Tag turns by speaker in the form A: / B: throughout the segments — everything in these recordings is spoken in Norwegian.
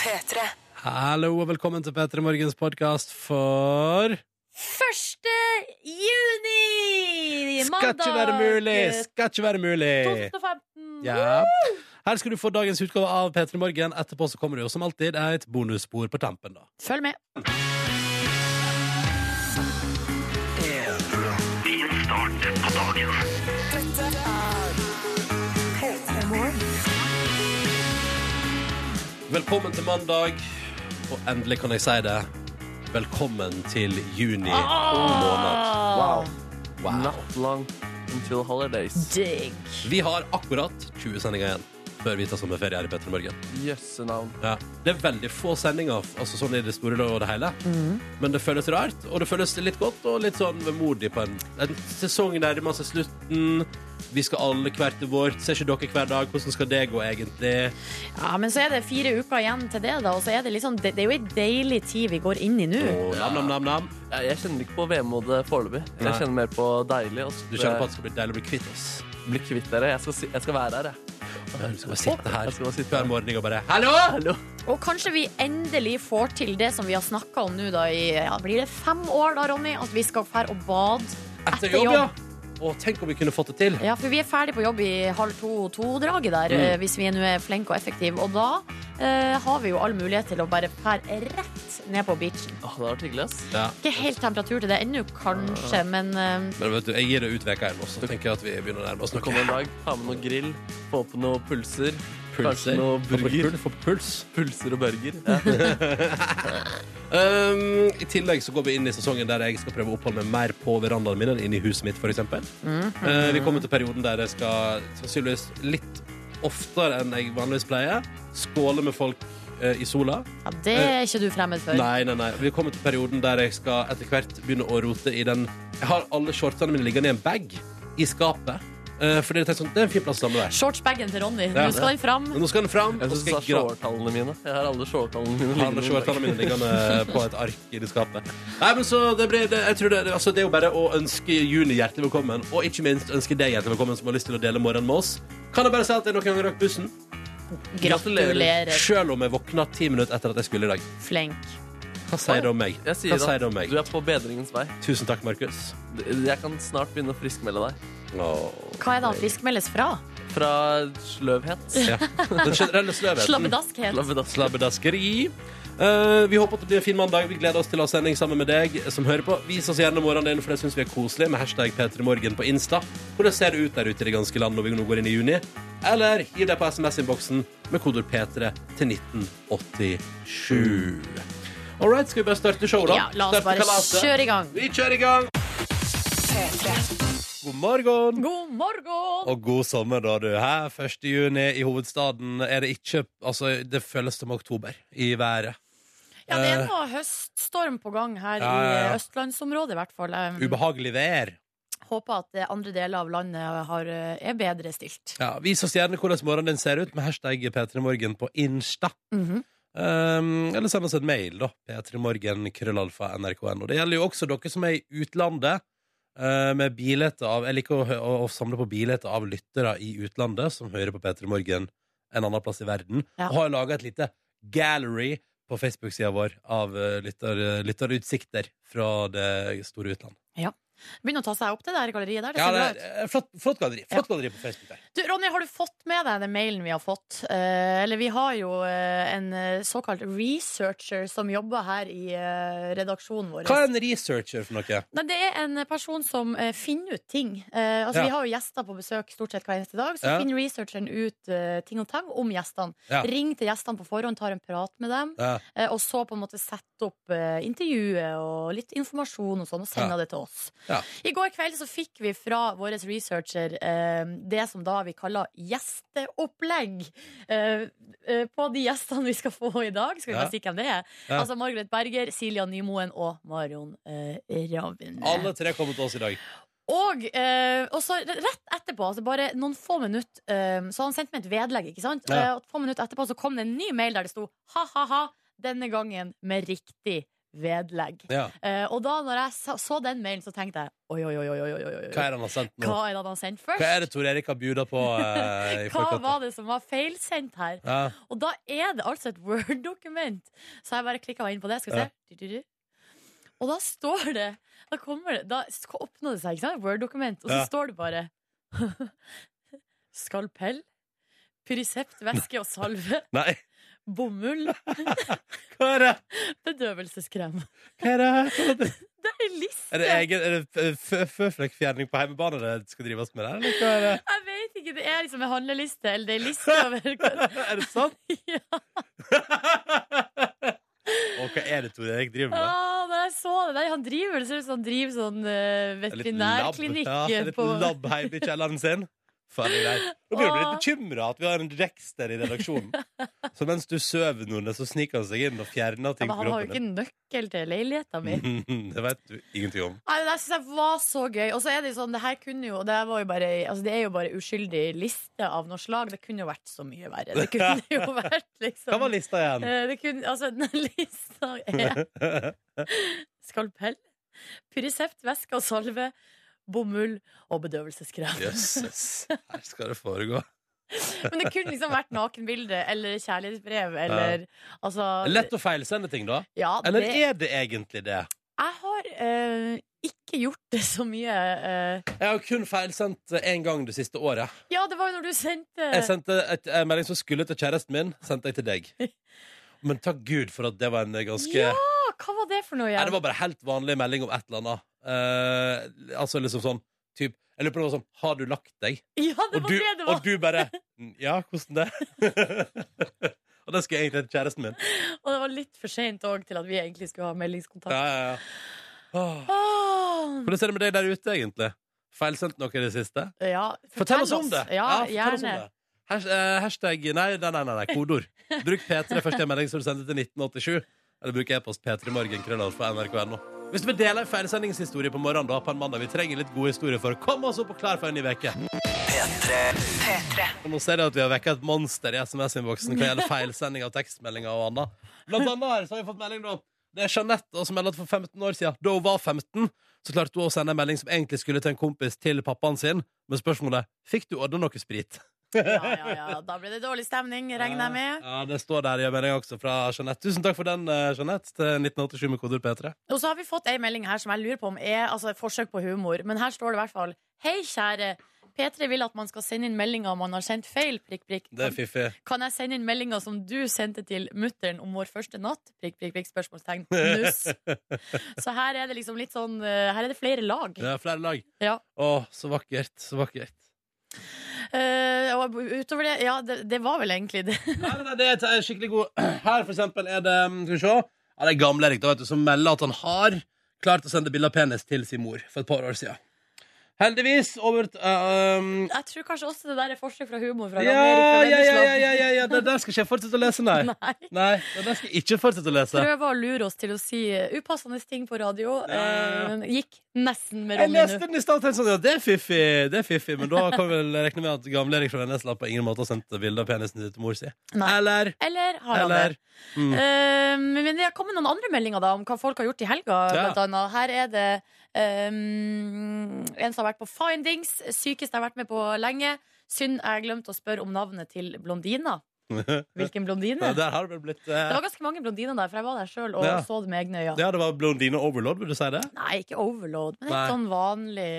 A: P3.
B: Hallo og velkommen til P3 Morgens podkast for
C: 1. juni! eh,
B: Skal ikke være mulig! Skal ikke være mulig!
C: 2015.
B: Ja. Her skal du få dagens utgave av P3 Morgen. Etterpå så kommer det jo som alltid et bonusspor på tampen. da
C: Følg med.
B: Velkommen til mandag, og endelig kan jeg si det. Velkommen til juni måned.
D: Wow.
B: Wow.
D: Not long until holidays.
C: Digg.
B: Vi har akkurat 20 sendinger igjen før vi tar sommerferie her i P3 Morgen.
D: Jøssenavn.
B: Ja. Det er veldig få sendinger, altså sånn i det store og det hele.
D: Mhm.
B: Men det føles rart, og det føles litt godt og litt sånn vemodig på en, en sesong nærmer seg slutten. Vi skal alle hvert til vårt. Ser ikke dere hver dag? Hvordan skal det gå, egentlig?
C: Ja, men så er det fire uker igjen til det, da. Og så er det, litt sånn- det, det er jo ei deilig tid vi går inn i nå.
B: Og nam, nam, nam, nam.
D: Jeg, jeg kjenner ikke på vemodet foreløpig. Jeg
B: Nei.
D: kjenner mer på deilig. Og så
B: Du kjenner på at det skal bli deilig å bli kvitt oss?
D: bli kvitt dere. Jeg skal, si, jeg skal være her, jeg.
B: Du skal bare sitte her
D: Jeg skal bare sitte
B: hver
D: her.
B: morgen og bare Hallo!
D: Hallo.
C: Og kanskje vi endelig får til det som vi har snakka om nå da i ja, Blir det fem år da, Ronny? At vi skal fære og bade
B: Etter jobb, ja. Og tenk om vi kunne fått det til.
C: Ja, for vi er ferdig på jobb i halv to-to-draget der, eh, hvis vi nå er flinke og effektive. Og da eh, har vi jo all mulighet til å bare fære rett ned på beachen.
D: Åh, det har vært hyggelig, ass.
B: Ja.
C: Ikke helt temperatur til det ennå, kanskje, men eh,
B: Men vet du, jeg gir det ut veka igjen, og så tenker jeg at vi begynner å nærme oss
D: Så kom
B: noe.
D: en dag, ta med noe grill, få på noen pulser.
B: Pulser.
D: Kanskje noe
B: Få på
D: burger.
B: pul- Få på puls.
D: Pulser og burger. Ja.
B: Um, I tillegg så går vi inn i sesongen der jeg skal prøve å oppholde meg mer på verandaen min enn inne i huset mitt, f.eks. uh, vi kommer til perioden der jeg skal sannsynligvis litt oftere enn jeg vanligvis pleier, skåle med folk uh, i sola.
C: ja, det er ikke du fremmed for.
B: Nei, nei, nei. Vi kommer til perioden der jeg skal etter hvert begynne å rote i den Jeg har alle shortsene mine liggende i en bag i skapet. Uh, for det er, sånn, det er en fin plass å samle deg.
C: Shortsbagen til Ronny,
B: Ja.
C: nå skal den fram.
B: Men nå skal den fram.
D: Jeg
B: og
D: syns du
B: skal
D: sa
B: jeg gra-
D: shortallene mine. Jeg har alle shortallene mine
B: Alle shortene mine liggende på et ark i det skapet. Nei, men så det blir, det, jeg tror det, altså, det er jo bare å ønske Juni hjertelig velkommen, og ikke minst ønske deg hjertelig velkommen som har lyst til å dele morgenen med oss. Kan jeg bare si at jeg noen ganger rakk bussen,
C: Gratulerer.
B: selv om jeg våkna ti minutter etter at jeg skulle i dag.
C: Flink.
B: Hva sier det om meg?
D: Jeg
B: Hva
D: sier
B: sier
D: at
B: det om meg?
D: du er på bedringens vei.
B: Tusen takk, Markus.
D: Jeg kan snart begynne å friskmelde deg.
C: Hva er det han friskmeldes fra?
D: Fra sløvhet.
B: Ja. Den generelle sløvheten.
C: Slabbedaskhet.
D: Slabbedass.
B: Slabbedaskeri. Eh, vi håper at det blir en fin mandag. Vi gleder oss til å ha sending sammen med deg som hører på. Vis oss gjerne morgenen din, for det syns vi er koselig, med hashtag P3morgen på Insta. Hvordan ser det ut der ute i det ganske land når vi nå går inn i juni? Eller hiv deg på SMS-innboksen med kodord P3 til 1987. All right, skal vi bare starte showet, da?
C: Ja, la oss
B: Starte
C: bare
B: kalaset?
C: kjøre i gang.
B: Vi kjører i gang! God morgen!
C: God morgen!
B: Og god sommer, da, du. Her, 1. juni i hovedstaden er det ikke Altså, det føles som oktober i været.
C: Ja, det er noe høststorm på gang her
B: eh, Ja, ja, ja.
C: i østlandsområdet, i hvert fall. Jeg
B: Ubehagelig vær.
C: Håper at eh, andre deler av landet har, eh, er bedre stilt.
B: Ja, Vis oss gjerne hvordan morgenen din ser ut med hashtag P3morgen på Insta.
C: Mhm.
B: Um, eller send oss en mail, da. P3morgen.krøllalfa.nrk.no. Det gjelder jo også dere som er i utlandet. eh, Med bilheter av Jeg liker å, hø- å, å samle på bilheter av lyttere i utlandet som hører på P3 Morgen en annen plass i verden.
C: Ja.
B: Og har laga et lite gallery på Facebook-sida vår av eh, lytter, lytterutsikter fra det store utland.
C: Begynner å ta seg opp det der galleriet der. Det
B: Ja,
C: ser bra ut.
B: det er, eh, flott, flott galleri. Flott galleri på Facebook der.
C: Du, Ronny, har du fått med deg den mailen vi har fått? Eh, eller vi har jo eh, en eh, såkalt researcher som jobber her i eh, redaksjonen vår.
B: Hva er en researcher for noe?
C: Nei, det er en person som eh, finner ut ting. Eh, altså,
B: Ja.
C: Vi har jo gjester på besøk stort sett hver eneste dag. Så
B: Ja.
C: finner researcheren ut eh, ting og tang om gjestene.
B: Ja.
C: Ring til gjestene på forhånd, tar en prat med dem.
B: Ja.
C: eh, og så på en måte sette opp eh, intervjuet og litt informasjon og sånn, og sende
B: Ja.
C: det til oss.
B: Ja.
C: I går kveld så fikk vi fra vår researcher eh, det som da vi kaller gjesteopplegg eh, eh, på de gjestene vi skal få i dag. Skal vi
B: Ja.
C: bare si hvem det er?
B: Ja.
C: Altså Margaret Berger, Silja Nymoen og Marion eh, Ravn.
B: Alle tre kommer til oss i dag.
C: Og, eh, og så rett etterpå, altså bare noen få minutter eh, Så han sendte meg et vedlegg, ikke sant?
B: Ja.
C: Eh, og få minutter etterpå så kom det en ny mail der det sto ha-ha-ha, denne gangen med riktig vedlegg.
B: Ja.
C: Eh, og da når jeg så, så den mailen, så tenkte jeg oi, oi, oi, oi, oi, oi, oi.
B: Hva er det han har sendt nå?
C: Hva er det han har sendt først?
B: Hva er det Tor Erik har buda på eh, i
C: Hva
B: forkant?
C: var det som var feilsendt her?
B: Ja.
C: Og da er det altså et Word-dokument. Så jeg bare klikka meg inn på det. Skal vi se. Du, du, du. Og da står det Da kommer det Da sk- åpner det seg, ikke sant? Word-dokument. Og
B: Ja.
C: så står det bare Skalpell. Pyrisept, væske og salve.
B: Nei,
C: Bomull.
B: hva er det?
C: Bedøvelseskrem.
B: Hva er det?
C: Det er ei liste!
B: Er det egen er det f- f- føflekkfjerning på hjemmebane det skal drives med der, eller hva er det?
C: Jeg vet ikke. Det er liksom en handleliste, eller det er ei liste over
B: Er det sant?
C: ja.
B: Og hva er det Tor Erik driver med?
C: Ja, da jeg så det der, han driver, det ser ut som han driver sånn eh,
B: Det er litt lab.
C: veterinærklinikk
B: Ja,
C: eh,
B: litt
C: på
B: lab hjemme i kjelleren sin. Farlig greit. Nå blir du litt
C: Åh.
B: bekymra at vi har en drekster i redaksjonen. Så mens du sover, Nordnes, så sniker han seg inn og fjerner
C: ja,
B: ting
C: men
B: fra
C: han har jo ikke
B: kroppen din.
C: nøkkel til leiligheta mi.
B: Det vet du ingenting om.
C: Nei, men Det syns jeg var så gøy. Og så er det jo sånn, det her kunne jo Det, her var jo bare, altså, det er jo bare uskyldig liste av noe slag. Det kunne jo vært så mye verre. Det kunne jo vært liksom
B: Hva var lista igjen?
C: Eh, det kunne, altså, den lista er skalpell, pyrisept, væske og salve, bomull og bedøvelseskrem.
B: Jøsses. Her skal det foregå.
C: Men det kunne liksom vært nakenbilde eller kjærlighetsbrev eller altså
B: Lett å feilsende ting, da.
C: ja,
B: Eller
C: det,
B: er det egentlig det?
C: Jeg har eh, ikke gjort det så mye. eh.
B: Jeg har kun feilsendt én gang det siste året.
C: ja, det var jo når du sendte
B: Jeg sendte et, en melding som skulle til kjæresten min, sendte jeg til deg. Men takk Gud for at det var en ganske
C: Ja, hva var det for noe
B: Nei,
C: igjen?
B: det var bare helt vanlig melding om et eller annet. Eh, altså liksom sånn typ, Jeg lurer på om det var sånn Har du lagt deg?
C: Ja, det
B: Og
C: var
B: du,
C: det det
B: og
C: var!
B: du bare «Mm, Ja, hvordan det? og det skulle jeg egentlig til kjæresten min.
C: Og, det var litt for seint òg til at vi egentlig skulle ha meldingskontakt.
B: Ja, ja, ja. Åh.
C: Åh.
B: Hvordan ser det med deg der ute, egentlig? Feilsendt noe i det siste?
C: Ja,
B: Fortell oss om det!
C: Ja,
B: fortell oss om
C: gjerne.
B: det. Has, eh, hashtag nei, nei, nei, nei, nei kodeord. Bruk P3 først i en melding som du sendte til 1987. Eller bruk e-post p3morgenkrøllalfa.nrk.no. Hvis du vil dele en feilsendingshistorie på morgenen da, på en mandag, vi trenger litt gode historier for å komme oss opp og klar for en ny uke. Og Nå ser jeg at vi har vekket et monster i SMS-innboksen hva gjelder feilsending av tekstmeldinger og annet. Blant annet her så har vi fått melding da. Det er Jeanette da, som melder at for 15 år siden, da hun var 15, så klarte hun å sende en melding som egentlig skulle til en kompis til pappaen sin, men spørsmålet er, fikk du ordnet noe sprit?
C: Ja, ja, ja. Da ble det dårlig stemning, regner jeg med.
B: Ja, det står der i meldingen også fra Jeanette. Tusen takk for den, eh, Jeanette, til 1987 med koder P3.
C: Og så har vi fått ei melding her som jeg lurer på om er altså, et forsøk på humor. Men her står det i hvert fall Hei, kjære. P3 vil at man skal sende inn meldinger om man har sendt feil. prikk, prikk.
B: Det er fiffig.
C: Kan jeg sende inn meldinger som du sendte til mutteren om vår første natt? Prikk, prikk, prikk, spørsmålstegn. Nuss. Så her er det liksom litt sånn eh, Her er det flere lag.
B: Det er flere lag.
C: Ja.
B: Å, så vakkert, så vakkert.
C: Eh, og utover det Ja, det, det var vel egentlig det.
B: Nei, nei, nei, det er et eh, skikkelig god Her for eksempel er det mm, Skal vi se ja, Det er gamle Erik da, vet du, som melder at han har Klart å sende bilder av penis til sin mor For et par år siden Heldigvis over t- eh, um,
C: Jeg tror kanskje også det der er forsøk fra humor fra
B: ja,
C: Jan-Erik
B: ja,
C: fra
B: ja, ja,
C: Vennesla.
B: ja, ja, ja Det der skal ikke jeg fortsette å lese, nei
C: Nei.
B: Nei, det der skal jeg ikke fortsette å lese
C: Prøver å lure oss til å si eh, upassende ting på radio.
B: Ja.
C: Eh, gikk nesten med
B: Jeg
C: Ronny
B: leste
C: nå.
B: den i sted og tenkte sånn, ja, det er fiffig, det er fiffig Men da kan vi vel rekne med at gamle Erik fra Vennesla På ingen måte har sendt bilder av penisen til mor si
C: Nei.
B: Eller,
C: Eller har han
B: eller mm.
C: det? Eh, men det har kommet noen andre meldinger da om hva folk har gjort i helga.
B: Ja.
C: Blant annet. Her er det ehm, en som har vært på Findings. Sykeste jeg har vært med på lenge. Synd jeg glemte å spørre om navnet til blondina. Hvilken blondine?
B: Ja, Der har det vel blitt eh,
C: Det var ganske mange blondiner der, for jeg var der sjøl og
B: Ja.
C: så det med egne øyne.
B: Ja, det var blondine overload, vil du si det?
C: Nei, ikke overload, men
B: Nei.
C: et sånn vanlig,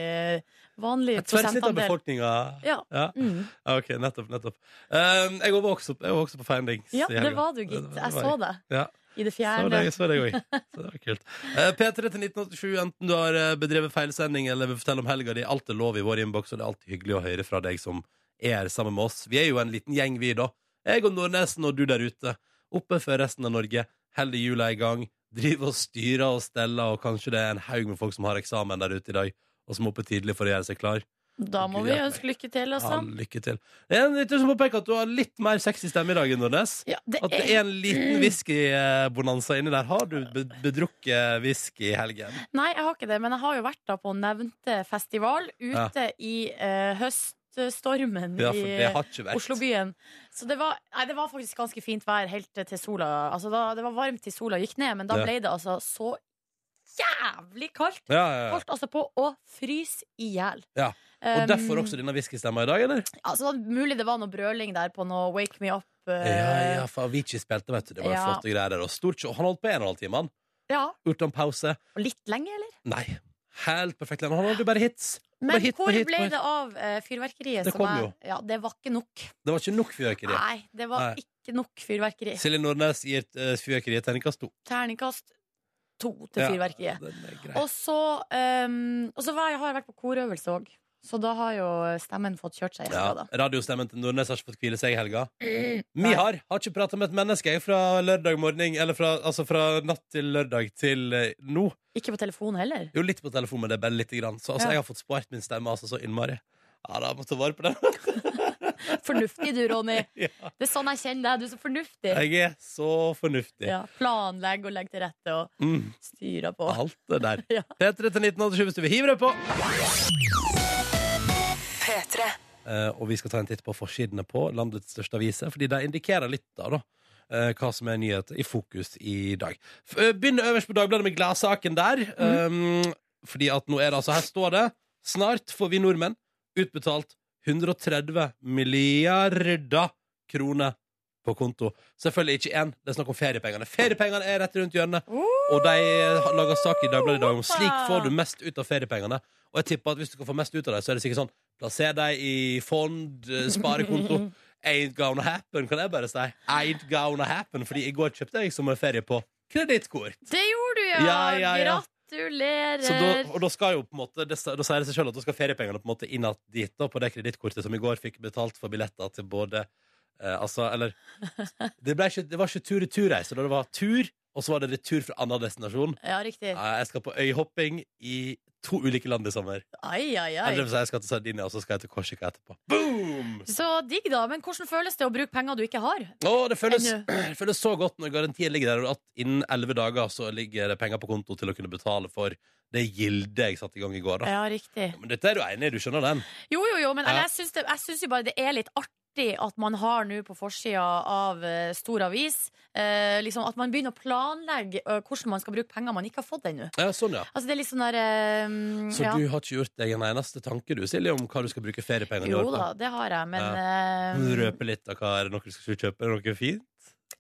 C: vanlig
B: Et tverrsnitt av
C: prosentandel.
B: befolkninga.
C: Ja.
B: Ja.
C: Mm.
B: Ja, ok, nettopp. nettopp um, Jeg var også, jeg var også på Findings.
C: ja,
B: i helga.
C: det var du, gitt. Jeg så det
B: Ja,
C: i det
B: så var
C: fjerne.
B: det, så var det jeg også. Så det var kult. Eh, P3 til 1987, enten du har eh, bedrevet feilsending eller vil fortelle om helga di, alt er lov i vår innboks, og det er alltid hyggelig å høre fra deg som er her sammen med oss. Vi er jo en liten gjeng, vi, da. Jeg og Nordnesen og du der ute. Oppe før resten av Norge. Holder jula i gang. Driver og styrer og steller, og kanskje det er en haug med folk som har eksamen der ute i dag, og som er oppe tidlig for å gjøre seg klar.
C: Da må
B: Gud
C: vi
B: hjelpe meg.
C: ønske lykke til,
B: Ja,
C: altså.
B: lykke til. Det er en lytter som påpeker at du har litt mer sexy stemme i dag, Nordnes.
C: Ja, det
B: At det
C: er,
B: er en liten whiskybonanza inni der. Har du be- bedrukket whisky i helgen?
C: nei, jeg har ikke det, men jeg har jo vært da på nevnte festival ute i eh, høst snøstormen
B: Ja, for det
C: i
B: har ikke vært.
C: Oslobyen. Så det var, nei, det var faktisk ganske fint vær helt til sola altså da, Det var varmt til sola gikk ned, men da
B: Ja.
C: ble det altså så jævlig kaldt.
B: Ja, ja, ja.
C: Holdt altså på å fryse i hjel. Ehm,
B: Ja, Og derfor også denne whiskystemma i dag, eller?
C: Altså, mulig det var noe brøling der på noe Wake Me Up. eh,
B: Ja, ja, for Avicii spilte, vet du. Det var jo
C: ja.
B: flotte greier der. Og stort show. Han holdt på en og en halv time, han.
C: ja.
B: Uten pause.
C: Og litt lenge, eller?
B: Nei. Helt perfekt. Han hadde bare hits.
C: Men
B: Bare hit,
C: hvor
B: bare hit,
C: ble
B: bare hit.
C: det av eh, fyrverkeriet?
B: Det
C: som
B: kom
C: jeg-
B: jo.
C: Ja, det var ikke nok.
B: Det var ikke nok fyrverkeri.
C: Nei, det var
B: Nei.
C: ikke nok fyrverkeri.
B: Silje Nordnes gir uh, fyrverkeriet terningkast to.
C: Terningkast to til
B: Ja,
C: fyrverkeriet.
B: den er grei.
C: Og så, ehm, og så var, jeg- har jeg vært på korøvelse òg, så da har jo stemmen fått kjørt seg. i helga,
B: Ja,
C: da.
B: radiostemmen til Nordnes har ikke fått hvile seg i helga. Vi
C: Mm, Nei.
B: har, har ikke prata med et menneske jeg, fra lørdag morgen, eller fra, altså fra natt til lørdag til eh, nå.
C: Ikke på telefon heller.
B: Jo, litt på telefon, men det er bare lite grann. Så altså,
C: Ja.
B: jeg har fått spart min stemme altså, så innmari. Ja, da må jeg ta vare på den.
C: Fornuftig du, Ronny.
B: Ja.
C: Det er sånn jeg kjenner deg. Du er så fornuftig.
B: Jeg er så fornuftig.
C: Ja, planlegg og legg til rette og
B: Mm,
C: styre på.
B: alt det der.
C: Ja.
B: P3 til 1987 hvis du vil hive deg på. Eh, og vi skal ta en titt på forsidene på landets største aviser, fordi de indikerer litt av da, eh, hva som er nyheter i fokus i dag. F eh, Begynner øverst på Dagbladet med gladsaken der.
C: Mhm.
B: Um, fordi at nå er det altså Her står det Snart får vi nordmenn utbetalt 130 milliarder kroner på konto. Selvfølgelig ikke én, det er snakk om feriepengene. Feriepengene er rett rundt hjørnet. Og de har laga sak i Dagbladet i dag om slik får du mest ut av feriepengene. Og jeg tipper at hvis du skal få mest ut av dem, så er det sikkert sånn Plasser dem i fond, eh, sparekonto. Ain't gonna happen, kan jeg bare si. Ain't gonna happen, fordi i går kjøpte jeg sommerferie på kredittkort.
C: Det gjorde du, ja!
B: Ja, ja, ja.
C: Gratulerer!
B: Så da, og da skal jo på en måte det, Da sier det seg selv at da skal feriepengene på en måte inn at dit da, på det kredittkortet som i går fikk betalt for billetter til både eh, Altså, eller Det, ble ikke, det var ikke tur-retur-reise, da det var tur, og så var det retur fra annen destinasjon.
C: Ja, riktig.
B: Eh, Jeg skal på øyhopping i to ulike land i sommer.
C: Ai, ai,
B: Eller det
C: ai.
B: vil si, jeg skal til Sardinia, og så skal jeg til Korsika etterpå. Boom!
C: Så digg, da. Men hvordan føles det å bruke penger du ikke har?
B: Å, det føles,
C: Ennå.
B: det føles så godt når garantien ligger der, og at innen elleve dager så ligger det penger på konto til å kunne betale for det gildet jeg satte i gang i går. da.
C: Ja, riktig.
B: Men dette er du enig i, du skjønner den?
C: Jo, jo, jo, men
B: Ja.
C: eller, jeg syns det- jeg syns jo bare det er litt artig at man har nå på forsida av eh, stor avis eh, liksom At man begynner å planlegge eh, hvordan man skal bruke penger man ikke har fått ennå.
B: Ja, sånn, ja.
C: Altså, det er litt sånn der eh, mm,
B: Så
C: ja.
B: du har ikke gjort deg en eneste tanke, du, Silje, om hva du skal bruke feriepengene
C: Jo
B: i år på?
C: da, det har jeg, men
B: Kan du
C: eh,
B: røpe litt av hva er det noe du skal kjøpe? Er det noe fint?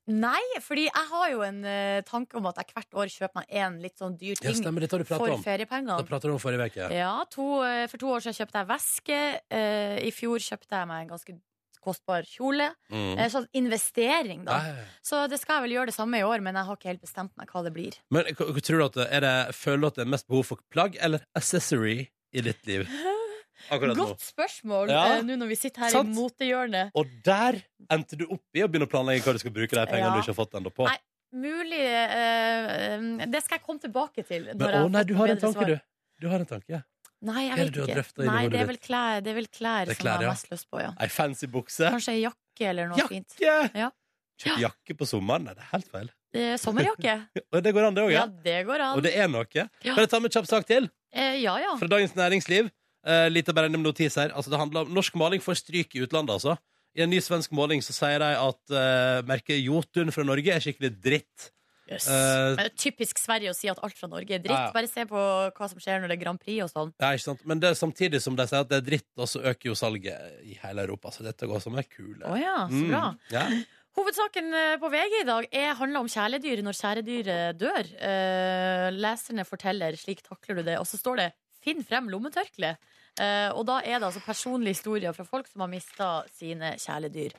C: Nei, fordi jeg har jo en eh, tanke om at jeg hvert år kjøper meg en litt sånn dyr
B: Ja,
C: ting
B: stemmer, dette har du pratet
C: for
B: om.
C: feriepengene.
B: Det pratet du om forrige uke.
C: Ja, to, eh, for to år siden kjøpte jeg veske. eh, I fjor kjøpte jeg meg en ganske kostbar kjole.
B: Mm.
C: Eh, sånn investering, da.
B: Nei.
C: Så det skal jeg vel gjøre det samme i år, men jeg har ikke helt bestemt meg hva det blir.
B: Men hva- hva tror du at det, er det, føler du at det er mest behov for plagg eller accessory i ditt liv? Akkurat nå.
C: Godt spørsmål
B: Ja.
C: eh, nå når vi sitter her
B: Sant.
C: i motehjørnet.
B: Og der endte du opp i å begynne å planlegge hva du skal bruke de pengene
C: Ja.
B: du ikke har fått ennå på.
C: Nei, Mulig eh, eh, Det skal jeg komme tilbake til. når
B: Men,
C: jeg
B: å nei,
C: fått
B: du har en
C: bedre
B: tanke,
C: svar.
B: du. Du har en tanke.
C: Nei, jeg
B: Hva er
C: vet
B: det du har drøftet i
C: ikke.
B: det
C: Nei,
B: hodet
C: det
B: ditt?
C: er vel klær, det er vel klær,
B: Det er
C: som
B: klær,
C: jeg
B: ja.
C: har mest lyst på, ja.
B: Ei fancy bukse.
C: Kanskje ei jakke eller noe fint.
B: Jakke!
C: Ja.
B: Kjøpe jakke på sommeren? Nei, det er helt feil.
C: Eh, sommerjakke.
B: Og det går an, det òg,
C: Oh,
B: ja.
C: Ja, det går
B: Og
C: an.
B: det er noe.
C: Ja.
B: Kan jeg ta med en kjapp sak til?
C: Eh, ja, ja.
B: Fra Dagens Næringsliv. Uh, lite bare en notis her. Altså, det handler om Norsk maling får stryk i utlandet, altså. I en ny svensk måling så sier de at eh, merket Jotun fra Norge er skikkelig dritt.
C: Yes.
B: Eh,
C: Men det er typisk Sverige å si at alt fra Norge er dritt.
B: Ja, ja.
C: Bare se på hva som skjer når det er Grand Prix og sånn.
B: Ja, ikke sant? Men det, samtidig som de sier at det er dritt, og så øker jo salget i hele Europa. Så dette går som ei kule.
C: Å ja, så bra.
B: Mm. Ja.
C: Hovedsaken eh, på VG i dag er, handler om kjæledyr når kjæledyret dør. Eh, leserne forteller 'slik takler du det', og så står det 'finn frem lommetørkleet'. Eh, og da er det altså personlige historier fra folk som har mista sine kjæledyr.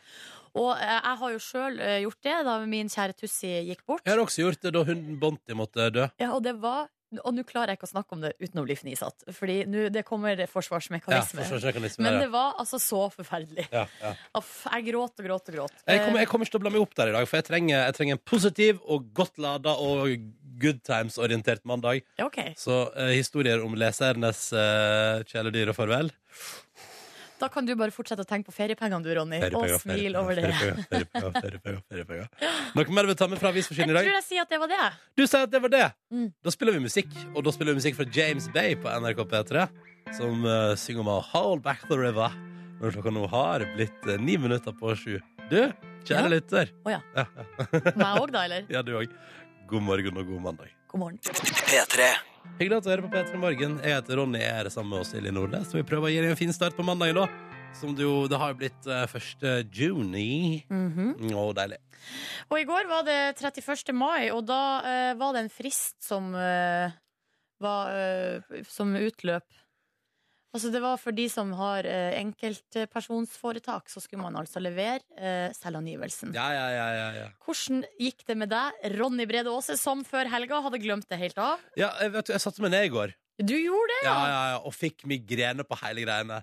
C: Og eh, jeg har jo sjøl eh, gjort det da min kjære Tussi gikk bort.
B: Jeg har også gjort det da hunden Bonti måtte dø.
C: Ja, og det var Og nå klarer jeg ikke å snakke om det uten å bli fnisatt, Fordi nå- det kommer
B: Ja,
C: forsvarsmekanisme.
B: forsvarsmekanisme,
C: Men
B: ja.
C: det var altså så forferdelig.
B: Ja, ja.
C: Uff, jeg gråt og gråt og gråt.
B: Jeg, kommer, jeg kommer ikke til å blande meg opp der i dag, for jeg trenger, jeg trenger en positiv og godt lada og good times-orientert mandag.
C: Eh, ok,
B: Så eh, historier om lesernes eh, kjæledyr og farvel
C: Da kan du bare fortsette å tenke på feriepengene du, Ronny,
B: Feriepenger,
C: og smil over det.
B: feriepenger, feriepenger, feriepenger, feriepenger, feriepenger. Noe mer du vil ta med fra avisforsiden
C: Jeg
B: i dag?
C: tror jeg sier at det var det.
B: Du sier at det var det.
C: Mm.
B: Da spiller vi musikk, og da spiller vi musikk fra James Bay på NRK P3, som eh, synger om å Hold Back The River. Når klokka nå har blitt eh, ni minutter på sju. Du, kjære
C: Ja.
B: lytter.
C: Å ja.
B: Ja,
C: Meg òg, da, eller?
B: ja, du òg. God morgen og god mandag.
C: God morgen.
B: Hyggelig at du hører på P3 Morgen. Jeg heter Ronny, jeg er sammen med oss Silje Nordnes. Og vi prøver å gi deg en fin start på mandagen, da. Som det jo Det har jo blitt eh, 1. juni.
C: Mhm.
B: Å, deilig.
C: Og i går var det 31. mai, og da eh, var det en frist som eh, var eh, som utløp. Altså det var for de som har eh, enkeltpersonsforetak, så skulle man altså levere eh, selvangivelsen.
B: Ja, ja, ja. ja, ja.
C: Hvordan gikk det med deg, Ronny Brede Aase, som før helga hadde glemt det helt av?
B: ja jeg, vet, du, jeg satte meg ned i går.
C: Du gjorde det,
B: ja, ja, ja, og fikk migrene på hele greiene.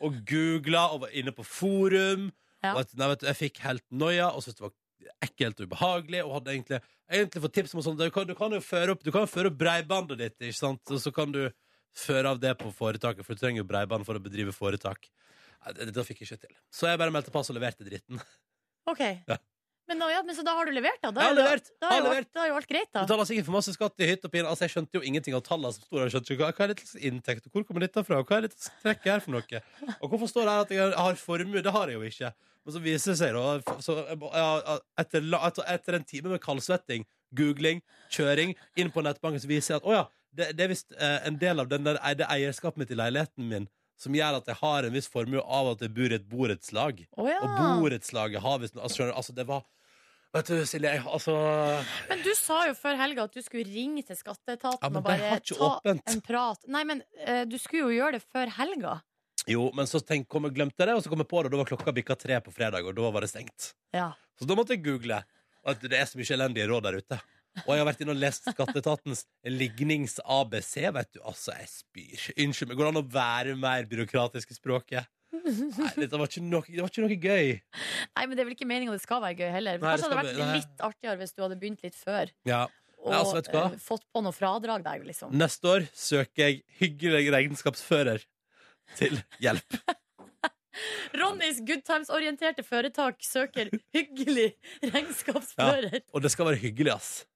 B: Og googla og var inne på forum.
C: Ja.
B: Og at, nei, vet du, jeg fikk helt noia og syntes det var ekkelt og ubehagelig. Og hadde egentlig, egentlig fått tips om sånn, du kan, du kan jo føre opp, du kan jo føre opp breibandet ditt, ikke sant? og så kan du føre av det på foretaket, for du trenger jo breiband for å bedrive foretak. Nei, Det, det fikk jeg ikke til. Så jeg bare meldte pass og leverte dritten.
C: Ok. Men, da, ja, men så da har du levert, da? da
B: Jeg har
C: er jo-
B: levert. Jeg
C: Da er
B: har
C: jo
B: levert.
C: alt, da er jo alt greit, da.
B: Betaler sikkert for masse skatt i hytt og pine. Altså, jeg skjønte jo ingenting av tallene som sto der. Jeg skjønte ikke hva- Hva er dette slags inntekt, og hvor kommer dette fra, og hva er dette slags trekk her for noe? Og hvorfor står det her at jeg har formue? Det har jeg jo ikke. Men så viser det seg, da så, jeg må- ja, etter, la- etter, etter en time med kaldsvetting, googling, kjøring, inn på nettbanken, så viser jeg at å ja, det, det er visst eh, en del av den der, det eierskapet mitt i leiligheten min som gjør at jeg har en viss formue av at jeg bor i et borettslag.
C: Å ja.
B: Og borettslaget har visst altså, skjønner du, altså, det var Vet du, Silje, jeg, altså
C: Men du sa jo før helga at du skulle ringe til skatteetaten
B: Ja, men
C: og
B: de har
C: bare
B: ikke
C: ta
B: åpent.
C: en prat. Nei, men eh, du skulle jo gjøre det før helga.
B: Jo, men så tenk, kom jeg, glemte jeg det, og så kom jeg på det, og da var klokka bikka tre på fredag, og da var det stengt.
C: Ja.
B: Så da måtte jeg google at det er så mye elendige råd der ute. Og jeg har vært inne og lest Skatteetatens lignings-ABC, vet du. Altså, jeg spyr. Unnskyld meg, går det an å være mer byråkratisk i språket? Nei, dette var ikke noe, det var ikke noe gøy.
C: Nei, men det er vel ikke meninga det skal være gøy
B: Nei,
C: heller.
B: det
C: Kanskje det
B: skal
C: hadde vært
B: bli- nei.
C: litt artigere hvis du hadde begynt litt før.
B: Ja.
C: Og
B: Ja, altså, vet du hva?
C: eh, fått på noe fradrag der, liksom.
B: Neste år søker jeg hyggelig regnskapsfører til hjelp.
C: Ronnys Good Times-orienterte foretak søker hyggelig regnskapsfører.
B: Og det skal være hyggelig, ass.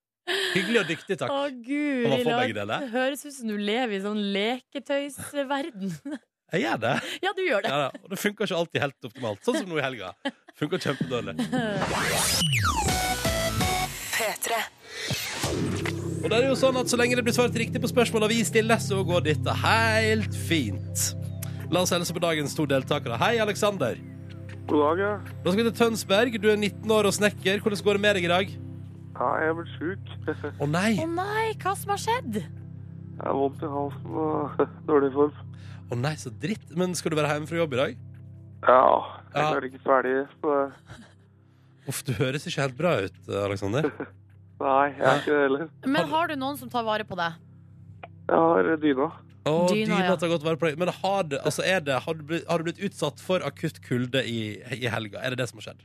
B: Hyggelig og dyktig,
C: Å,
B: takk.
C: gud.
B: Kan man få
C: Hilary.
B: begge deler?
C: Det høres ut som du lever i sånn leketøysverden.
B: Jeg gjør det.
C: ja, du gjør det.
B: Ja, da. Og det funker ikke alltid helt optimalt. Sånn som nå i helga. Funker kjempedårlig. Og det er jo sånn at Så lenge det blir svart riktig på spørsmåla vi stiller, så går dette helt fint. La oss hilse på dagens to deltakere. Hei, Aleksander.
D: God dag, ja.
B: Da skal vi til Tønsberg. Du er 19 år og snekker. Hvordan går det med deg i dag?
D: Ja, jeg er blitt sjuk.
B: Å nei!
C: Å nei, hva som har skjedd?
D: Jeg har vondt i halsen og dårlig form.
B: Å nei, så dritt. Men skal du være hjemme fra jobb i dag?
D: Ja, jeg
B: Ja.
D: klarer ikke ferdig. Så
B: Uff, du høres ikke helt bra ut, Aleksander.
D: nei, jeg er ikke det heller.
B: Har
C: Men
B: du-
C: har du noen som tar vare på deg?
D: Jeg har dyna.
B: Å,
C: Dyna,
B: dyna
C: ja.
B: tar godt vare på deg. Men har, det, altså er det, har, du blitt, har du blitt utsatt for akutt kulde i, i helga? Er det det som har skjedd?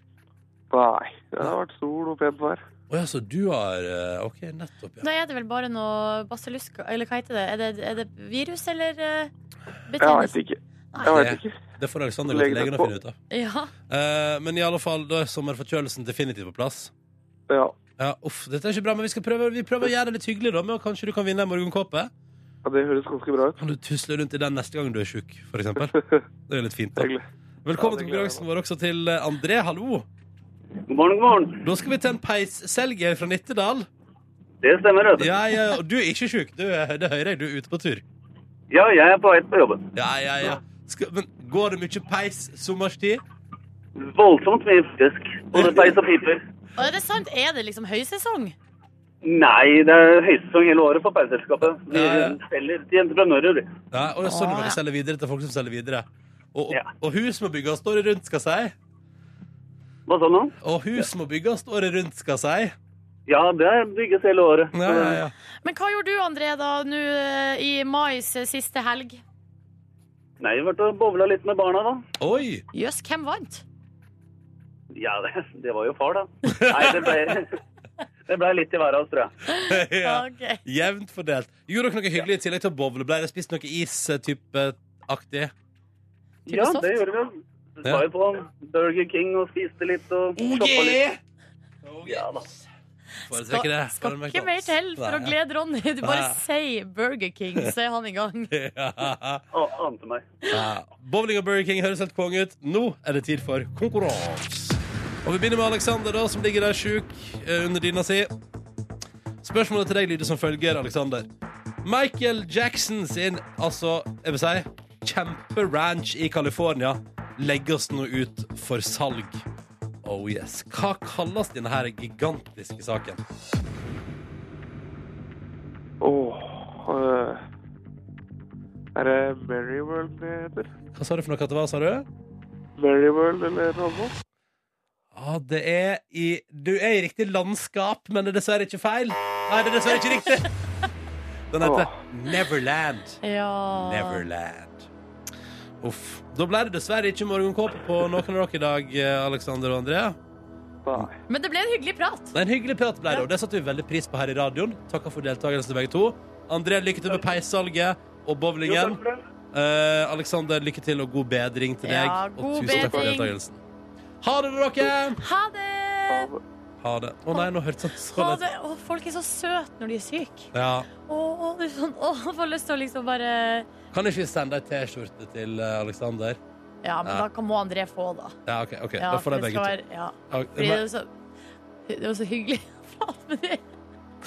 D: Nei, det har vært sol og pent vær.
B: Å ja, så du har eh, OK, nettopp, ja.
C: Da er det vel bare noe basillusk Eller hva heter det? Er det, er det virus eller eh,
D: Jeg veit
C: betennelse?
D: ikke. Jeg vet ikke.
B: Det får Aleksander gå til
D: Legg deg
B: legen og
D: på.
B: finne ut av.
C: Ja.
B: Eh, men i alle fall, da er sommerforkjølelsen definitivt på plass.
D: Ja,
B: Ja, uff, dette er ikke bra, men vi, skal prøve, vi prøver å gjøre det litt hyggelig, da, med at kanskje du kan vinne en morgenkåpe.
D: ja, det høres ganske bra ut.
B: Kan du tusle rundt i den neste gang du er sjuk, for eksempel? Det er jo litt fint, da.
D: Hyggelig.
B: Velkommen
D: Ja, det
B: til
D: gleder jeg
B: konkurransen vår også til eh, André, hallo.
E: God morgen, god morgen.
B: Da skal vi til en peisselger fra Nittedal.
E: Det stemmer, Røde. Ja.
B: Ja, ja, og du er ikke sjuk, du, eh, det hører jeg, du er ute på tur.
E: jeg er på vei på jobben.
B: Ja, ja, ja. Skal, men går det mye peis sommerstid?
E: Voldsomt mye fisk. Både peis og piper.
C: Og er det sant? Er det liksom høysesong?
E: Nei, det er høysesong hele året for peisselskapet. Vi
B: Ja, ja.
E: selger til entreprenører. vi.
B: Ja, og det er sånn
C: Å,
B: du
C: ja.
B: kan selge videre til folk som selger videre. Og, og,
E: Ja.
B: og hus må bygges året rundt, skal jeg si.
E: Hva sa du nå?
B: Og hus må bygges året rundt, skal jeg si.
E: Ja, det bygges hele året.
B: Ja, ja, ja.
C: Men hva gjorde du, André, da nå eh, i mais eh, siste helg?
E: Nei, vi ble og bowla litt med barna, da.
B: Oi!
C: Jøss, hvem vant?
E: Ja, det, det var jo far, da. Nei, det ble, det ble litt i været hans, tror jeg.
B: ja.
C: Ah, Ok.
B: Jevnt fordelt. Gjorde dere noe hyggelig i tillegg til å bowle? Ble det spist noe eh, is-type-aktig?
E: Ja,
C: Typisk soft.
E: det gjorde vi. Vi
C: Oh,
E: var jo på Burger King og spiste litt og shoppa litt. Ja da.
B: Foretrekker det.
C: Skal
B: Bare en
C: ikke mer
B: McDonald's.
C: til for å
B: Nei.
C: glede Ronny. Du bare
B: Nei.
C: sier Burger King, så er han i gang.
B: Ja.
F: Å, ante meg.
B: Ja. Bowling og Burger King høres helt konge ut. Nå er det tid for konkurranse. Og vi begynner med Alexander, da, som ligger der sjuk eh, under dyna si. Spørsmålet til deg lyder som følger, Alexander. Michael Jackson sin, altså, jeg vil si, kjemperanch i California legges nå ut for salg. Oh yes. Hva kalles denne her gigantiske saken?
E: Åh
D: øh,
E: eh, Er det Merryworld det heter?
B: Hva sa du for noe at det var, sa du?
E: Merryworld eller noe sånt?
B: Ja, Ah, det er i Du er i riktig landskap, men det er dessverre ikke feil. Nei, det er dessverre ikke riktig. Den heter Neverland.
C: Ja.
B: Neverland. Uff. Da ble det dessverre ikke morgenkåpe på noen av dere i dag, eh, Alexander og Andrea.
E: Nei.
C: Men det ble en hyggelig prat.
B: Det er en hyggelig prat ble det, og det satte vi veldig pris på her i radioen. Takker for deltakelsen til begge to. André, lykke til med peissalget og
F: Jo,
B: bowlingen.
F: takk for det.
B: Eh, Alexander, lykke til og god bedring til deg.
C: Ja,
B: og
C: god
B: tusen takk for
C: bedring.
B: deltakelsen. Ha det, dere!
C: Ha det!
B: Ha det. Å nei, nå hørtes det så
C: Ha
B: lett
C: det. Å, folk er så søte når de er syke.
B: Ja.
C: Å, å, det er sånn, å, jeg får lyst til å liksom bare
B: Kan ikke vi sende ei T-skjorte til eh, Alexander?
C: Ja, men
B: Ja.
C: da kan- må André få, da.
B: Ja, OK. ok,
C: Ja,
B: Da får
C: for
B: de
C: det
B: begge
C: skal
B: to.
C: være ja.
B: Ja,
C: Fordi det
B: men-
C: er så, det er så hyggelig å prate med deg.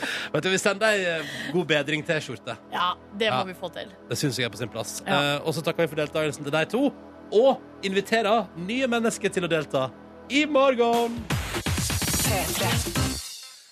B: Vet du, Vi sender ei eh, God bedring-T-skjorte.
C: Ja, det må
B: Ja.
C: vi få til.
B: Det syns jeg er på sin plass.
C: Ja.
B: Eh, og så takker vi for deltakelsen til de to. Og inviterer nye mennesker til å delta i morgen!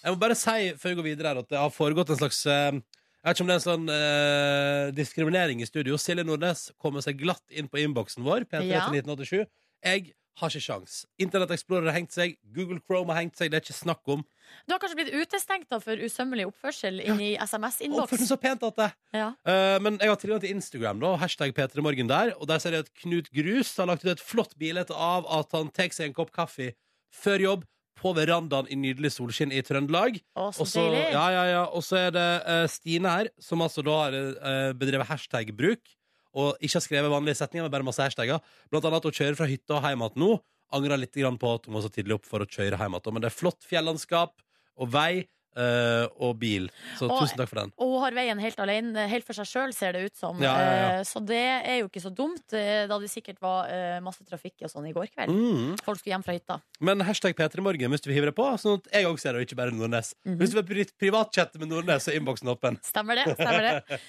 B: Jeg må bare si før vi går videre her at det har foregått en slags eh, Jeg vet ikke om det er en sånn eh, diskriminering i studio. Silje Nordnes kommer seg glatt inn på innboksen vår. P3
C: Ja.
B: til 1987 Jeg har ikke sjans. Internett Explorer har hengt seg. Google Chrome har hengt seg. Det er ikke snakk om.
C: Du har kanskje blitt utestengt da for usømmelig oppførsel inn i
B: Oppførselen
C: SMS-innboks.
B: så pent at det
C: Ja.
B: Eh, men jeg har tilgang til Instagram da, og hashtag P3morgen der. Og der ser jeg at Knut Grus har lagt ut et flott bilde av at han tar seg en kopp kaffe før jobb på verandaen i nydelig solskinn i Trøndelag.
C: Å, så
B: Og så
C: deilig.
B: ja, ja, ja. Og så er det eh, Stine her, som altså da har eh, bedrevet hashtag-bruk. Og ikke har skrevet vanlige setninger, men bare masse hashtagger. Blant annet at hun kjører fra hytta og hjem igjen nå. Angrer litt grann på at hun var så tidlig opp for å kjøre hjem igjen. Men det er flott fjellandskap og vei eh, og bil. Så
C: Og-
B: tusen takk for den.
C: Og hun har veien helt alene, helt for seg sjøl, ser det ut som.
B: Ja, ja, ja.
C: Eh, Så det er jo ikke så dumt, eh, da det sikkert var eh, masse trafikk og sånn i går kveld.
B: Mm.
C: Folk skulle hjem fra hytta.
B: Men hashtag P3morgen hvis du vil hive deg på, sånn at jeg òg ser det, og ikke bare Nordnes.
C: Mhm.
B: Hvis du vil pri- privatchatte med Nordnes, så er innboksen åpen.
C: Stemmer det. stemmer det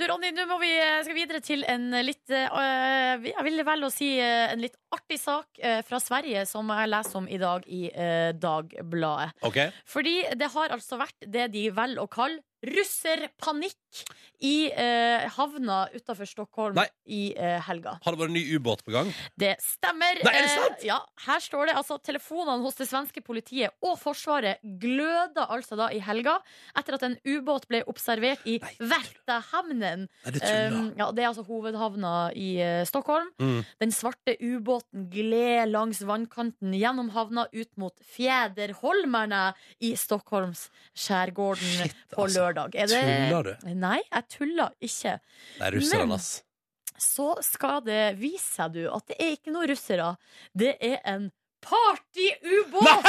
C: Du, Ronny, nå må vi, eh, skal vi videre til en litt eh, Jeg vil velge å si eh, en litt artig sak eh, fra Sverige som jeg leser om i dag i eh, Dagbladet.
B: Ok?
C: Fordi det har altså vært det de velger å kalle russerpanikk i eh, havna utafor Stockholm
B: Nei.
C: i eh, helga.
B: Har det vært en ny ubåt på gang?
C: Det stemmer.
B: Nei, er det sant?
C: Eh, ja, her står det altså telefonene hos det svenske politiet og Forsvaret gløda altså da i helga etter at en ubåt ble observert i
B: Nei,
C: Värtahamnen.
B: Nei, det tuller.
C: Um, ja, det er altså hovedhavna i eh, Stockholm.
B: Mm.
C: Den svarte ubåten gled langs vannkanten gjennom havna ut mot Fjederholmerne i Stockholms skjærgården
B: Shit,
C: på
B: altså.
C: lørdag. Er det...
B: Tuller du?
C: Nei, jeg tuller ikke.
B: Det er russerne,
C: Men-
B: ass.
C: Så skal det vise seg, du, at det er ikke noen russere. Det er en partyubåt!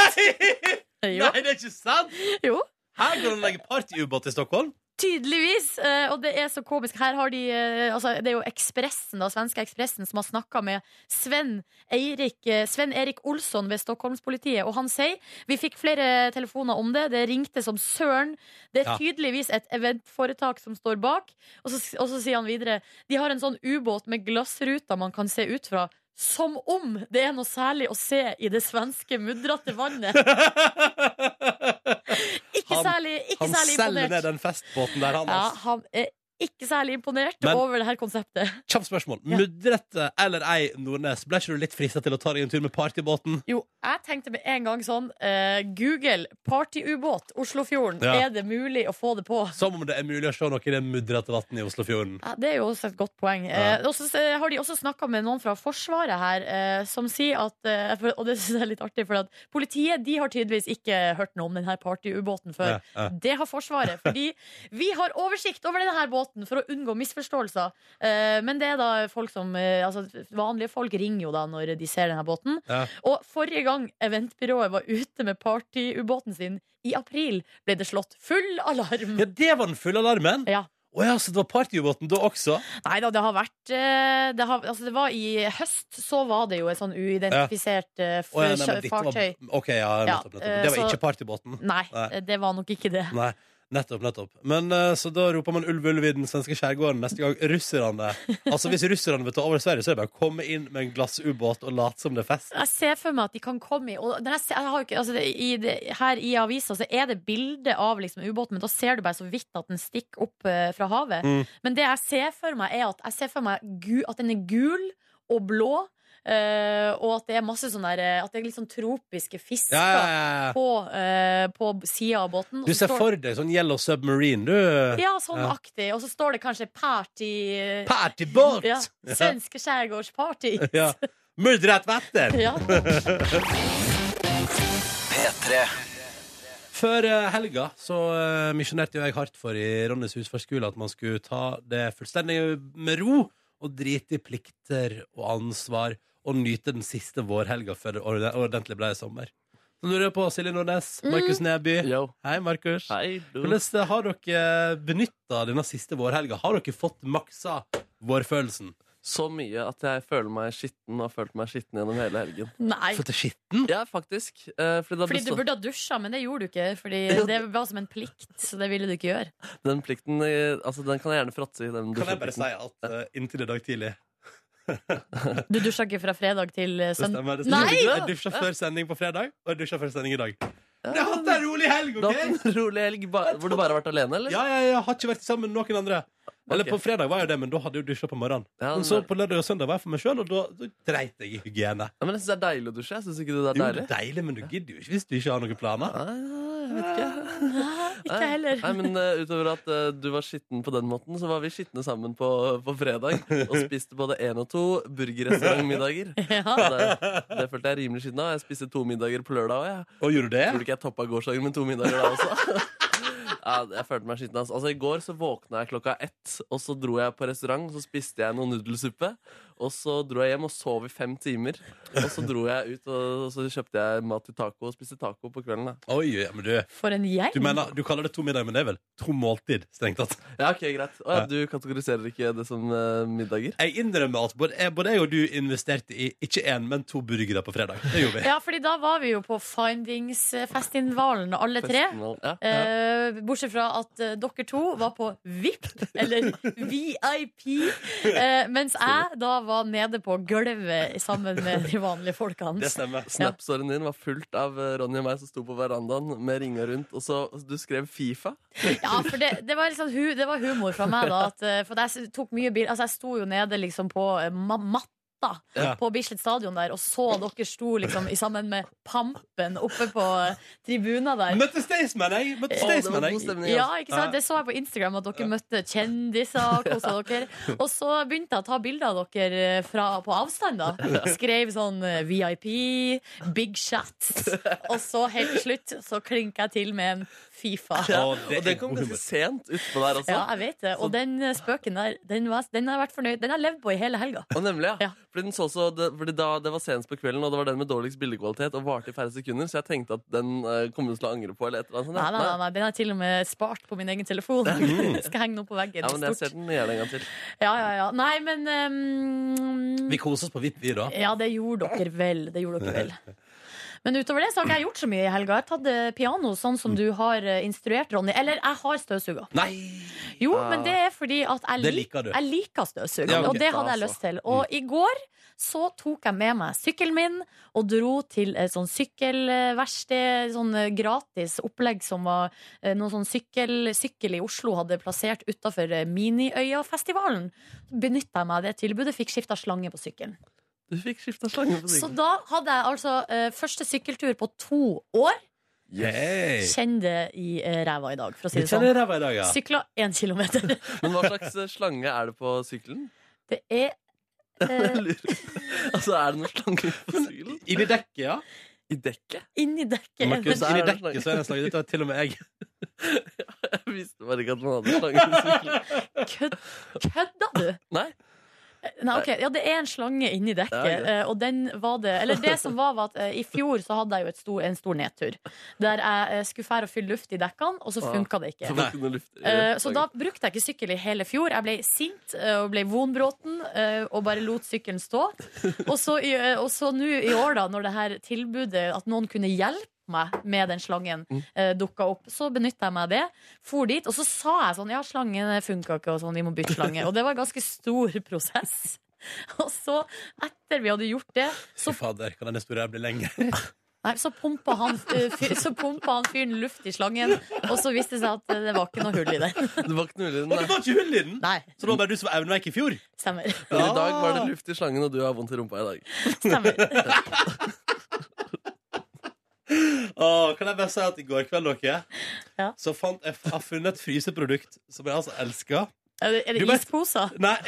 B: Nei!
C: Jo,
B: Nei, det er ikke sant!
C: jo.
B: Her går det an å legge partyubåt i Stockholm.
C: Tydeligvis. eh, Og det er så komisk. Her har de eh, altså, Det er jo Ekspressen, da, svenske Ekspressen, som har snakka med Sven Eirik, eh, Sven Erik Olsson ved Stockholmspolitiet, og han sier Vi fikk flere telefoner om det. Det ringte som søren. Det er
B: Ja.
C: tydeligvis et eventforetak som står bak. Og så, og så sier han videre De har en sånn ubåt med glassruter man kan se ut fra. Som om det er noe særlig å se i det svenske mudrete vannet. Ikke
B: Han-
C: særlig, ikke
B: Han
C: særlig
B: selger
C: imponert.
B: ned den festbåten der, han.
C: Ja,
B: ass.
C: han er ikke særlig imponert
B: Men-
C: over det her konseptet.
B: Kjapt spørsmål.
C: Ja.
B: Mudrete eller ei, Nordnes, ble ikke du litt frista til å ta deg en tur med partybåten?
C: Jo, jeg tenkte med en gang sånn eh, Google partyubåt Oslofjorden.
B: Ja.
C: Er det mulig å få det på?
B: Som om det er mulig å se noe i det mudrete vannet i Oslofjorden.
C: Ja, det er jo også et godt poeng.
B: Ja.
C: Eh, og så eh, har de også snakka med noen fra Forsvaret her, eh, som sier at eh, for, Og det syns jeg er litt artig, for at politiet de har tydeligvis ikke hørt noe om denne partyubåten før.
B: Ja, ja.
C: Det har Forsvaret, fordi vi har oversikt over denne båten. måten for å unngå misforståelser. Eh, Men det er da folk som eh, altså, Vanlige folk ringer jo da når de ser denne båten.
G: Ja.
C: Og forrige gang eventbyrået var ute med partyubåten sin, i april, ble det slått full alarm.
B: Ja, det var den fulle alarmen!
C: Ja.
B: Å ja, så det var partyubåten da også?
C: Nei da, det har vært eh, det, har, altså, det var i høst, så var det jo et sånn uidentifisert eh, f-
B: Å, ja, nei, men dette var-
C: fartøy.
B: Ok, ja,
C: Ja,
B: nettopp, nettopp. Det var
C: eh, så-
B: ikke partybåten.
C: Nei,
B: Nei.
C: det var nok ikke det.
B: Nei, nettopp, nettopp. Men eh, så da roper man ulv, ulv i den svenske skjærgården neste gang russerne Altså hvis russerne vil ta over Sverige, så er det bare å komme inn med en glassubåt og late som det er fest.
C: Jeg ser for meg at de kan komme i og når jeg ser, jeg har jo ikke, altså, det, i det, Her i avisa så er det bilde av liksom, ubåten, men da ser du bare så vidt at den stikker opp eh, fra havet.
B: Mm.
C: Men det jeg ser for meg, er at jeg ser for meg gu, at den er gul og blå, eh, og at det er masse sånn der eh, At det er litt sånn tropiske fisker
B: Ja, ja, ja.
C: på, uh, på sida av båten. og
B: Du
C: så
B: ser
C: står-
B: for deg sånn Yellow Submarine, du.
C: Ja, sånn
B: Ja.
C: aktig. Og så står det kanskje party
B: Partybåt!
C: ja,
B: Ja.
C: Svenske skjærgårdsparty.
B: Ja. Myldret vatten!
C: Ja.
B: Før eh, helga så eh, misjonerte jo jeg hardt for i Ronnys husfarskole at man skulle ta det fullstendig med ro og drite i plikter og ansvar og nyte den siste vårhelga før det orde- ordentlig ble sommer. Så lurer jeg på Silje Nordnes, Markus Neby.
D: Yo.
B: Hei, Markus.
D: Hei, du.
B: Hvordan eh, har dere benytta denne siste vårhelga? Har dere fått maksa vårfølelsen?
D: Så mye at jeg føler meg skitten og har følt meg skitten gjennom hele helgen.
C: Nei.
B: Fått det skitten?
D: Ja, faktisk. Eh, fordi da
C: Fordi du
D: bestå-
C: burde ha dusja, men det gjorde du ikke. Fordi det var som en plikt, så det ville du ikke gjøre.
D: Den plikten eh, altså, den kan jeg gjerne fråtse i. Den
B: Kan jeg bare
D: dusjeplikten.
B: si at eh, inntil i dag tidlig
C: Du dusja ikke fra fredag til eh,
B: Det
C: søndag.
B: stemmer. Det
C: Nei!
B: stemmer. Jeg
D: Nei!
B: dusja før sending på fredag, og jeg dusja før sending i dag. Men jeg har hatt en rolig helg,
D: Du har
B: OK?
D: hatt en rolig helg ba hvor du bare har vært alene, eller?
B: Ja, ja, ja, har ikke vært sammen med noen andre. Eller
D: Ok.
B: på fredag var jeg det, men da hadde jeg jo dusja på morgenen.
D: Ja,
B: Men
D: men,
B: så på lørdag og søndag var jeg for meg sjøl, og da, da dreit jeg i hygiene.
D: ja, men jeg syns det er deilig å dusje. Jeg synes ikke det er
B: Jo,
D: deilig.
B: det er deilig, men du gidder jo ikke hvis du ikke har noen planer.
D: Nei, jeg vet ikke.
C: Ah, Ikke jeg heller.
D: Nei, men eh, Utover at eh, du var skitten på den måten, så var vi skitne sammen på, på fredag. Og spiste både én og to burgerrestaurantmiddager.
C: Ja.
D: Så Det, det følte jeg rimelig skitten av. Jeg spiste to middager på lørdag òg. Jeg.
B: Og gjorde du det?
D: Tror du ikke jeg toppa gårsdagen med to middager da også? Ja, jeg følte meg skitten. ass. Altså, I går så våkna jeg klokka ett, og så dro jeg på restaurant. Så spiste jeg noe nudelsuppe, og så dro jeg hjem og sov i fem timer. Og så dro jeg ut, og, og så kjøpte jeg mat til taco og spiste taco på kvelden. da
B: Oi, ja, men du
C: For en
B: du,
C: gjeng.
B: mener, du kaller det to middager, men det er vel to måltid, strengt tatt.
D: Ja, ok, greit Å, ja, Du kategoriserer ikke det som eh, middager?
B: Jeg innrømmer at både jeg, både jeg og du investerte i ikke én, men to burgere på fredag. Det gjorde vi.
C: Ja, fordi da var vi jo på Findingsfestivalen, alle tre.
D: Festival, Ja.
C: Eh, bortsett fra at eh, dere to var på VIP, eller VIP, eh, mens jeg da var nede på gulvet sammen med de vanlige folkene.
B: Det stemmer.
D: Snapsåren din var fullt av eh, Ronny og meg som sto på verandaen med ringa rundt. Og så du skrev Fifa.
C: Ja, for det, det, var liksom, hu- det var humor fra meg, da. At, eh, for jeg s- tok mye bil, altså, jeg sto jo nede liksom på eh, ma matta.
B: Ja.
C: På Bislett stadion der, og så dere sto liksom i- sammen med Pampen oppe på eh, tribuna der.
B: Møtte Staysman, jeg! Møtte
D: Å, det
B: Staysman,
D: var god
B: jeg!
D: stemning. altså.
C: Ja,
D: ass.
C: ikke sant?
B: Ja.
C: Det så jeg på Instagram, at dere møtte kjendiser og kosa dere. Og så begynte jeg å ta bilder av dere eh, fra, på avstand, da. Skrev sånn eh, VIP, big shots. Og så helt til slutt så klinka jeg til med en Fifa.
D: Ja,
B: Å, det
D: Og den
B: er
D: kom
B: god
D: ganske
B: humor.
D: sent utpå der også.
C: Ja, jeg vet det. Og den eh, spøken der, den, var, den har jeg vært fornøyd Den har jeg levd på i hele helga.
D: Og nemlig, ja.
C: Ja.
D: Fordi den så så, det, fordi da, det var senest på kvelden, og det var den med dårligst bildekvalitet og varte i færre sekunder, så jeg tenkte at den eh, kommer du til å angre på. Eller et eller annet,
C: Nei,
D: sånt,
C: nei,
D: ja.
C: nei, nei, den har jeg til og med spart på min egen telefon. Skal henge den opp på veggen.
D: Ja, men jeg ser
C: stort.
D: den gjerne en gang til.
C: Ja, ja, ja. Nei, men ehm,
B: Vi koser oss på vipp, vi, da.
C: Ja, det gjorde dere vel. Det gjorde dere vel. Men utover det så har ikke jeg gjort så mye i helga. Jeg har tatt eh, piano sånn
D: Mm.
C: som du har eh, instruert, Ronny. Eller jeg har støvsuga.
B: Nei!
C: Jo, men det er fordi at
B: Ah.
C: jeg,
B: Det
C: lik,
B: liker du.
C: jeg liker støvsuga.
B: Ja, Mm. ok.
C: Og det hadde
D: Da,
C: jeg lyst til. Og i går så tok jeg med meg sykkelen min og dro til et sånn sykkelverksted. Sånn eh, gratis opplegg som var eh, noe sånn sykkel, sykkel i Oslo hadde plassert utafor eh, Miniøyafestivalen. Så benytta jeg meg av det tilbudet. Fikk skifta slange på sykkelen.
D: Du fikk skifta slange på
C: Så
D: sykkelen.
C: da hadde jeg altså eh, første sykkeltur på to år.
B: Hey.
C: Kjenn det i eh, ræva i dag, for å si
B: Du
C: det sånn.
B: kjenner ræva i dag, ja.
C: Sykla én kilometer.
D: Men hva slags eh, slange er det på sykkelen?
C: Det er eh,
D: Lurer. altså, er det noen slange på sykkelen?
B: Inni dekket, ja.
D: I dekket?
C: inni dekket.
B: Markus,
D: der
B: inni
D: er det
B: dekket så er det en slange. Dette har til og med jeg.
D: Jeg visste bare ikke at man hadde slangesykler.
C: Kødd, kødda du?
D: Nei.
C: Nei, ok, ja, Det er en slange inni dekket,
D: Ja, ok.
C: eh, og den var det Eller det som var, var at eh, i fjor så hadde jeg jo et stor, en stor nedtur. Der jeg eh, skulle fære og fylle luft i dekkene, og så
D: Ah.
C: funka det ikke.
D: Så man kunne lufte
C: Eh, Så da brukte jeg ikke sykkel i hele fjor. Jeg ble sint eh, og ble vonbråten eh, og bare lot sykkelen stå. Og så i- eh, og så nå i år, da, når det her tilbudet at noen kunne hjelpe meg med den slangen
D: Mm.
C: eh, dukka opp, så benytta jeg meg av det. For dit, og så sa jeg sånn Ja, slangen funka ikke, og sånn, vi må bytte slange. Og det var en ganske stor prosess. Og så, etter vi hadde gjort det,
B: Fy fader, kan denne historien her bli lenge?
C: Nei, så pumpa han, eh, fyr, så pumpa han fyren luft i slangen, og så viste det seg at eh, det var ikke noe hull i den.
D: Det var ikke noe mulig.
B: Og det
D: Nei.
B: var ikke hull i den!
C: Nei,
B: Så det var bare du som var evneveik i fjor?
C: stemmer.
D: Men i dag var det luft i slangen, og du har vondt i rumpa i dag.
C: stemmer.
B: Åh, kan jeg bare si at i går kveld, dere,
C: Ja.
B: så fant jeg, jeg har funnet et fryseprodukt som jeg altså elsker.
C: Er det, er
B: Du
C: det
B: vet-
C: isposer?
B: Nei,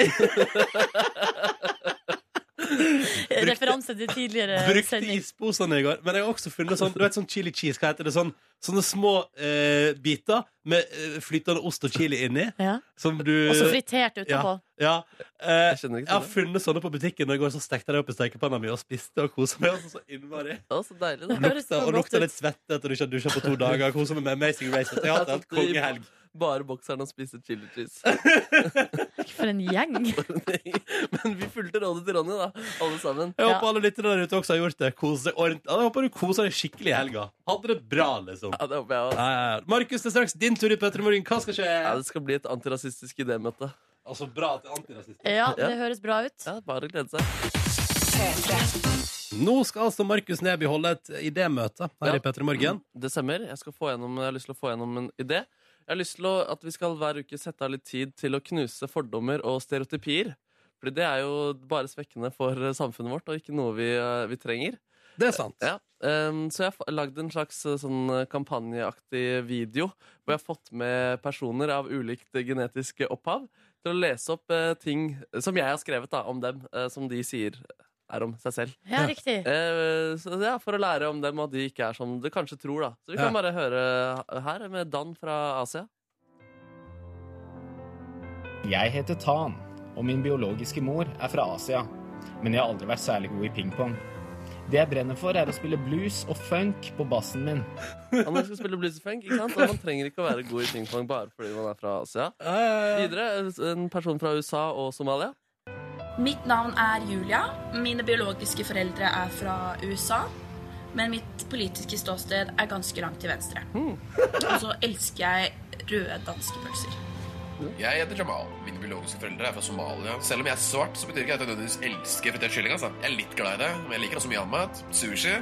C: Referanse til tidligere
B: brukte
C: sending.
B: isposene i går. Men jeg har også funnet sånn, du vet sånn chili cheese, hva heter det? Sånn, sånne små eh, biter med eh, flytende ost og chili inni.
C: Ja.
B: Som du
C: Og så fritert utenpå.
B: Eh, Ja. Eh,
D: Jeg kjenner
B: jeg
D: ikke
B: har
D: til det.
B: funnet sånne på butikken, og i går så stekte jeg det opp i stekepanna mi og spiste og kosa meg. Altså, så innmari.
D: Å, så deilig,
C: Det
D: da.
C: høres så
B: Og
C: godt
B: lukta
C: ut.
B: litt svette etter du ikke har dusja på to dager. Kosa meg med Amazing Race. Jeg har hatt en kongehelg.
D: Bare bokseren og spiste chili cheese.
C: For en gjeng.
D: Men vi fulgte rådet til Ronny, da. Alle sammen.
B: Jeg
C: Ja.
B: håper alle lyttere der ute også har gjort det. Kos deg ordent- Ja, Jeg håper du koser deg skikkelig i helga. Hadde det bra, liksom.
D: Ja, det håper jeg også.
B: Ja, ja, ja. Markus, det er straks din tur i Petter Morgen. Hva skal skje?
D: Ja, det skal bli et antirasistisk idémøte.
B: Altså, bra at det er antirasist.
C: Ja, det høres bra ut.
D: Ja, bare å glede seg.
B: Nå skal altså Markus Neby holde et idémøte her
D: Ja.
B: i Petter Morgen.
D: Det stemmer. Jeg, skal få gjennom, jeg har lyst til å få gjennom en idé. Jeg har lyst til å, at vi skal hver uke sette av litt tid til å knuse fordommer og stereotypier. Fordi det er jo bare svekkende for eh, samfunnet vårt, og ikke noe vi, eh, vi trenger.
B: Det er sant.
D: Ja. ehm, så jeg har fa- lagd en slags eh, sånn eh, kampanjeaktig video hvor jeg har fått med personer av ulikt eh, genetisk eh, opphav til å lese opp eh, ting som jeg har skrevet da, om dem, eh, som de sier er om seg selv.
C: Ja, riktig.
D: Eh, så ja, For å lære om dem, og de ikke er som du kanskje tror. da Så vi kan
B: Ja.
D: bare høre eh, her med Dan fra Asia.
H: Jeg heter Tan, og min biologiske mor er fra Asia. Men jeg har aldri vært særlig god i pingpong. Det jeg brenner for, er å spille blues og funk på bassen min.
D: Han skal spille blues funk, ikke sant? og man trenger ikke å være god i pingpong bare fordi man er fra Asia. Videre eh, en person fra USA og Somalia.
I: Mitt navn er Julia. Mine biologiske foreldre er fra USA. Men mitt politiske ståsted er ganske langt til venstre. Og så elsker jeg røde danske pølser.
F: Jeg heter Jamal. Mine biologiske foreldre er fra Somalia. Selv om jeg er svart, så betyr ikke det at jeg nødvendigvis elsker fritert kylling. Altså. Jeg er litt glad i det, men jeg liker også mye annet. Sushi.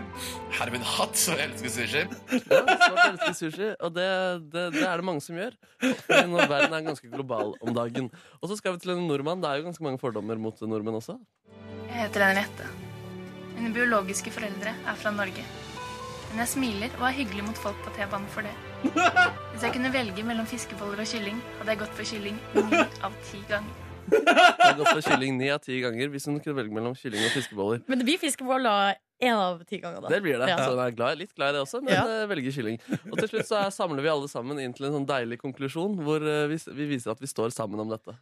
F: Hervin Hatt, så jeg elsker sushi.
D: Ja, svart elsker sushi, og det, det, det er det mange som gjør. Fordi nå- Verden er ganske global om dagen. Og så skal vi til en nordmann. Det er jo ganske mange fordommer mot nordmenn også.
J: Jeg heter Henriette. Mine biologiske foreldre er fra Norge. Men jeg smiler og er hyggelig mot folk på T-banen for det. Hvis jeg kunne velge mellom fiskeboller og kylling, hadde jeg gått for kylling ni av ti ganger.
D: Jeg har gått for kylling ni av ti ganger hvis hun kunne velge mellom kylling og fiskeboller.
C: Men det blir fiskeboller én av ti ganger,
D: Det
C: da.
D: blir det.
C: Ja.
D: Så hun er glad, litt glad i det også, men
C: Ja.
D: eh, velger kylling. Og til slutt så er, samler vi alle sammen inn til en sånn deilig konklusjon hvor eh, vi, s- vi viser at vi står sammen om dette.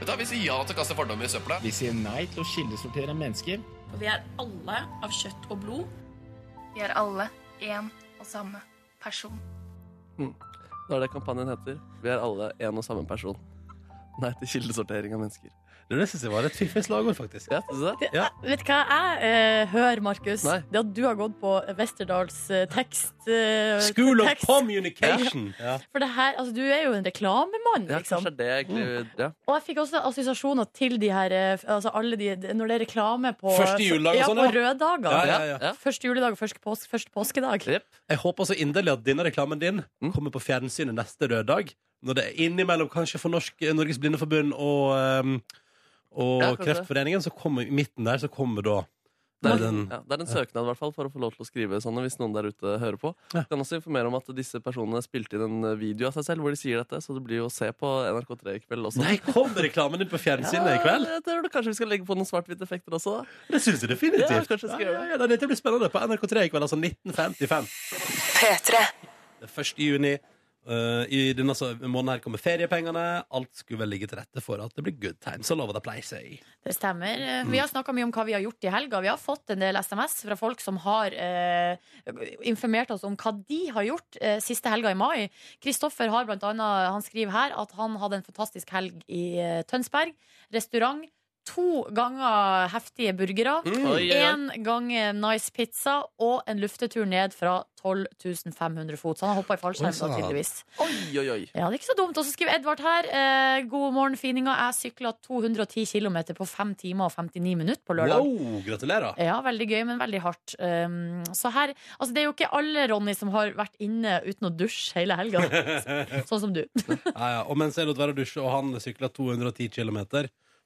F: Vet du hva, vi sier ja til å kaste fordommer i søpla.
H: Vi sier nei til å kildesortere mennesker.
I: Og vi er alle av kjøtt og blod.
J: Vi er alle én og samme person.
D: Det er det kampanjen heter. Vi er alle en og samme person. Nei til kildesortering av mennesker.
B: Det, det syns jeg var et fiffig slagord, faktisk.
D: Ja, synes jeg.
B: Ja.
C: Vet du hva jeg eh, hører, Markus?
D: Nei.
C: Det at du har gått på Westerdals eh, tekst... Eh,
B: School of
C: tekst.
B: Communication. Ja.
C: For det her, altså, du er jo en reklamemann,
D: Ja,
C: liksom.
D: kanskje det er egentlig ja.
C: Og jeg fikk også assosiasjoner til de her eh, f- altså alle de, de- Når det er reklame på
B: Første juledag og
C: ja,
B: sånn,
C: på
B: ja.
C: røde dager.
B: Ja, ja, ja.
D: Ja.
C: Første juledag og første, pås første påskedag.
D: Jepp.
B: Jeg håper så inderlig at denne reklamen din
D: Mm.
B: kommer på fjernsynet neste røddag. Når det er innimellom kanskje for Norsk, Norges Blindeforbund og, ehm, og
D: Ja, kanskje.
B: Kreftforeningen, så kommer i midten der, så kommer da
D: Det er,
B: den
D: ja, det er en søknad i hvert fall for å få lov til å skrive sånne hvis noen der ute hører på.
B: Ja.
D: Kan også informere om at disse personene spilte inn en eh, video av seg selv hvor de sier dette, så det blir jo å se på NRK3 i kveld også.
B: Nei, kommer reklamen din på fjernsynet i kveld?
D: Ja, jeg tror det. Kanskje vi skal legge på noen svart-hvitt-effekter også? da.
B: Det syns jeg definitivt.
D: Ja, kanskje jeg skal gjøre det.
B: Ja, ja, ja, dette blir spennende på NRK3 i kveld, altså 1955. Det er 1. juni. Eh, I denne så- måneden her kommer feriepengene. Alt skulle vel ligge til rette for at det blir good times. Så lover det pleier seg.
C: Det stemmer. Eh, Vi har snakka mye om hva vi har gjort i helga. Vi har fått en del SMS fra folk som har eh, informert oss om hva de har gjort eh, siste helga i mai. Kristoffer har blant annet, han skriver her at han hadde en fantastisk helg i eh, Tønsberg. Restaurant. To ganger heftige burgere.
D: Oi, oi, oi.
C: Én gang nice pizza og en luftetur ned fra 12 500 fot. Så han har hoppa i
B: Oi,
C: fallskjerm,
B: sann.
C: da, tydeligvis.
D: Oi, oi, oi.
C: Ja, det er ikke så dumt. Og så skriver Edvard her. Eh, God morgen, fininga. Jeg sykla 210 km på 5 timer og 59 minutter på lørdag.
B: Wow, gratulerer.
C: Ja, veldig gøy, men veldig hardt. Um, så her Altså, det er jo ikke alle, Ronny, som har vært inne uten å dusje hele helga. sånn som du.
B: Ja, ja. Og mens jeg lot være å dusje, og han sykla 210 km,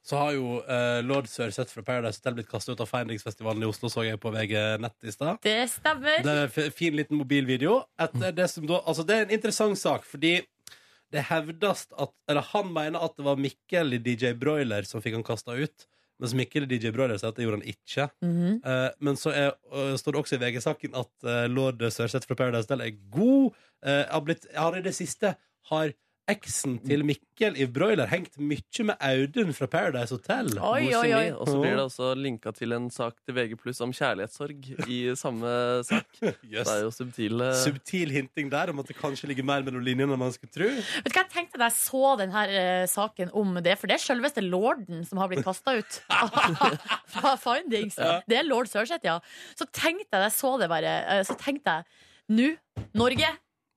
B: så har jo eh, lord Sørseth fra Paradise Hotel blitt kasta ut av Feindingsfestivalen i Oslo, så jeg på VG nett i stad.
C: Det stemmer.
B: Det er en f- fin liten mobilvideo. Etter det, som da, altså det er en interessant sak, fordi det hevdes at Eller han mener at det var Mikkel i DJ Broiler som fikk han kasta ut. Mens Mikkel i DJ Broiler sier at det gjorde han ikke.
C: Mhm.
B: Eh, men så er, øh, står det også i VG-saken at eh, lord Sørseth fra Paradise Hotel er god. Eh, har blitt, har i det siste har eksen til Mikkel i Broiler hengt mye med Audun fra Paradise Hotel.
C: Oi,
D: God
C: oi, oi.
D: kjemi. Og så blir det også linka til en sak til VG om kjærlighetssorg i samme sak.
B: Jøss.
D: Det er jo eh, subtile
B: eh, Subtil hinting der om at det kanskje ligger mer mellom linjene enn man skulle tro.
C: Vet du hva jeg tenkte da jeg så den her eh, saken om det? For det er selveste lorden som har blitt kasta ut fra Findings. Det er lord Sørseth, ja. Så tenkte jeg da jeg så det bare, eh, så tenkte jeg Nå, Norge,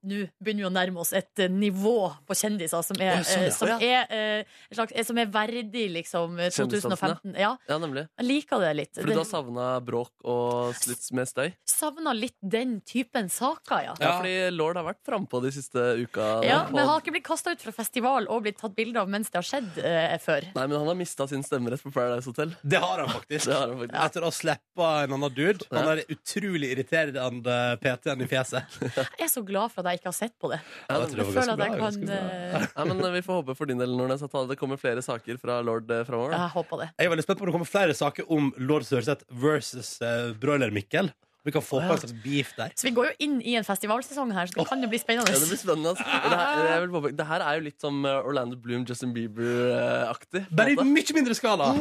C: nå begynner vi å nærme oss et eh, nivå på kjendiser som er,
D: Ja, sånn, ja.
C: eh, som
D: Ja.
C: er, eh, en slags, eh, som er verdig liksom eh,
D: Kjendisdansen,
C: 2015. Ja,
D: Ja, nemlig.
C: jeg liker det litt.
D: Fordi du har savna bråk og slutt med støy?
C: Savna litt den typen saker, ja.
D: Ja, fordi Lord har vært frampå de siste uka.
C: Ja,
D: Og-
C: men har ikke blitt kasta ut fra festival og blitt tatt bilde av mens det har skjedd eh, før.
D: Nei, men han har mista sin stemmerett på Paradise Hotel.
B: Det har han faktisk.
D: Det har han faktisk.
B: Etter å slippe en annen dude. Han
D: Ja.
B: er utrolig irriterende PT-en i fjeset.
C: Jeg er så glad for at jeg ikke har sett på det.
D: Ja,
B: jeg tror
C: Jeg
B: det var
C: føler
B: ganske
C: at jeg
B: bra,
C: kan
B: ganske bra.
C: eh,
D: Nei, men Vi får håpe for din del Nordnes, at det kommer flere saker fra Lord eh, framover. da.
C: Jeg håper det.
B: Jeg er veldig spent på om det kommer flere saker om lord Sørseth versus eh, broiler-Mikkel. Vi kan få på en slags beef der.
C: Så vi går jo inn i en festivalsesong her, så det kan jo bli spennende.
D: Ja, det blir spennende. Altså. Og Det, her, jeg vil påpeke, det her er jo litt som eh, Orlando Bloom, Justin Bieber-aktig. på en
B: Bare i
D: måte.
B: mye mindre skala!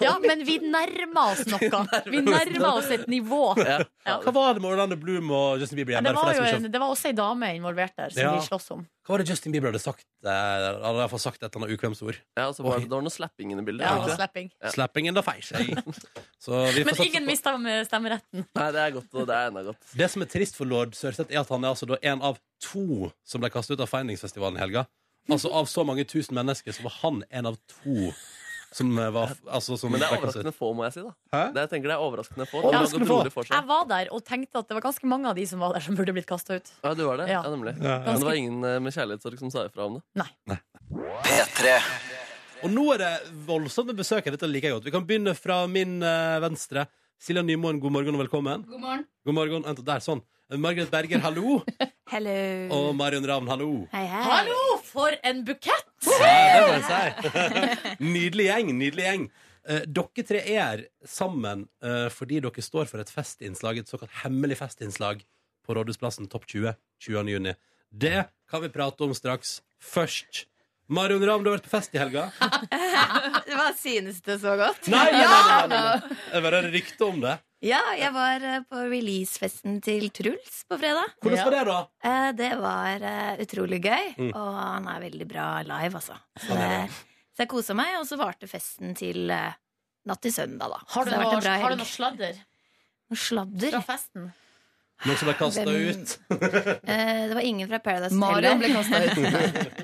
C: Ja, men vi nærmer oss noe. Vi nærmer oss et nivå.
D: Ja.
C: Ja.
B: Hva var det med Orlando Bloom og Justin Bieber?
C: Ja,
B: igjen?
C: det,
B: der, for
C: var
B: de
C: jo
B: som ikke-
C: en, det var også ei dame involvert der, som
B: Ja.
C: vi slåss om.
B: Hva var det Justin Bieber hadde sagt? Eh, han hadde i hvert fall sagt et eller annet ukvemsord.
D: Ja, og så var det, det var noe slapping inne i bildet.
C: Ja, altså.
D: var
C: og
D: det ikke det?
C: slapping.
B: Slappingen da feil seg. eh. Så vi får
C: Men
B: satse
C: ingen
B: på-
C: mista med stemmeretten.
D: Nei, det er godt, og det er enda godt.
B: Det som er trist for lord Sørseth, er at han er altså da en av to som ble kastet ut av Feindingsfestivalen i helga. Altså Av så mange tusen mennesker så var han en av to som eh, var altså, som
D: Men det er
B: ble kastet
D: overraskende
B: ut.
D: få, må jeg si. da
B: Hæ?
D: Det jeg tenker det er overraskende få.
B: Ja.
D: Det har gått rolig for seg.
C: Jeg var der og tenkte at det var ganske mange av de som var der, som burde blitt kasta ut.
D: Ja, du var det?
C: Ja.
D: Ja, nemlig.
B: Ja, ja.
D: Men det var ingen eh, med kjærlighetssorg som sa ifra om det.
B: Og nå er det voldsomme besøk her. Dette liker jeg godt. Vi kan begynne fra min eh, venstre. Silja Nymoen, god morgen og velkommen.
J: God morgen.
B: God morgen. Vent, der, sånn. Eh, Margaret Berger, hallo.
K: Hello.
B: Og Marion Ravn, hallo.
K: Hei, hei.
C: Hallo, for en bukett!
B: Ja, det må jeg si. Nydelig gjeng, nydelig gjeng. Eh, dere tre er her sammen eh, fordi dere står for et festinnslag, et såkalt hemmelig festinnslag på Rådhusplassen Topp 20 20. juni. Det kan vi prate om straks. Først Marion Ravn, du har vært på fest i helga.
K: Hva synes Eh, det så godt?
B: Nei, nei, nei, nei, nei. Det var et rykte om det.
K: Ja, jeg var eh, på releasefesten til Truls på fredag.
B: Hvordan var det, da?
K: Eh, Det var eh, utrolig gøy,
B: Mm.
K: og han er veldig bra live, altså. Så,
B: Han er
K: det- så jeg kosa meg, og så varte festen til eh, natt til søndag, da.
C: Har du
K: så det
C: noe,
K: vært en bra
C: har du
K: helg.
C: noe sladder
K: Noe sladder?
C: fra festen?
B: Noen som ble kasta
K: Hvem-
B: ut?
K: Eh, Det var ingen fra Paradise
C: Marion
K: ble kasta ut.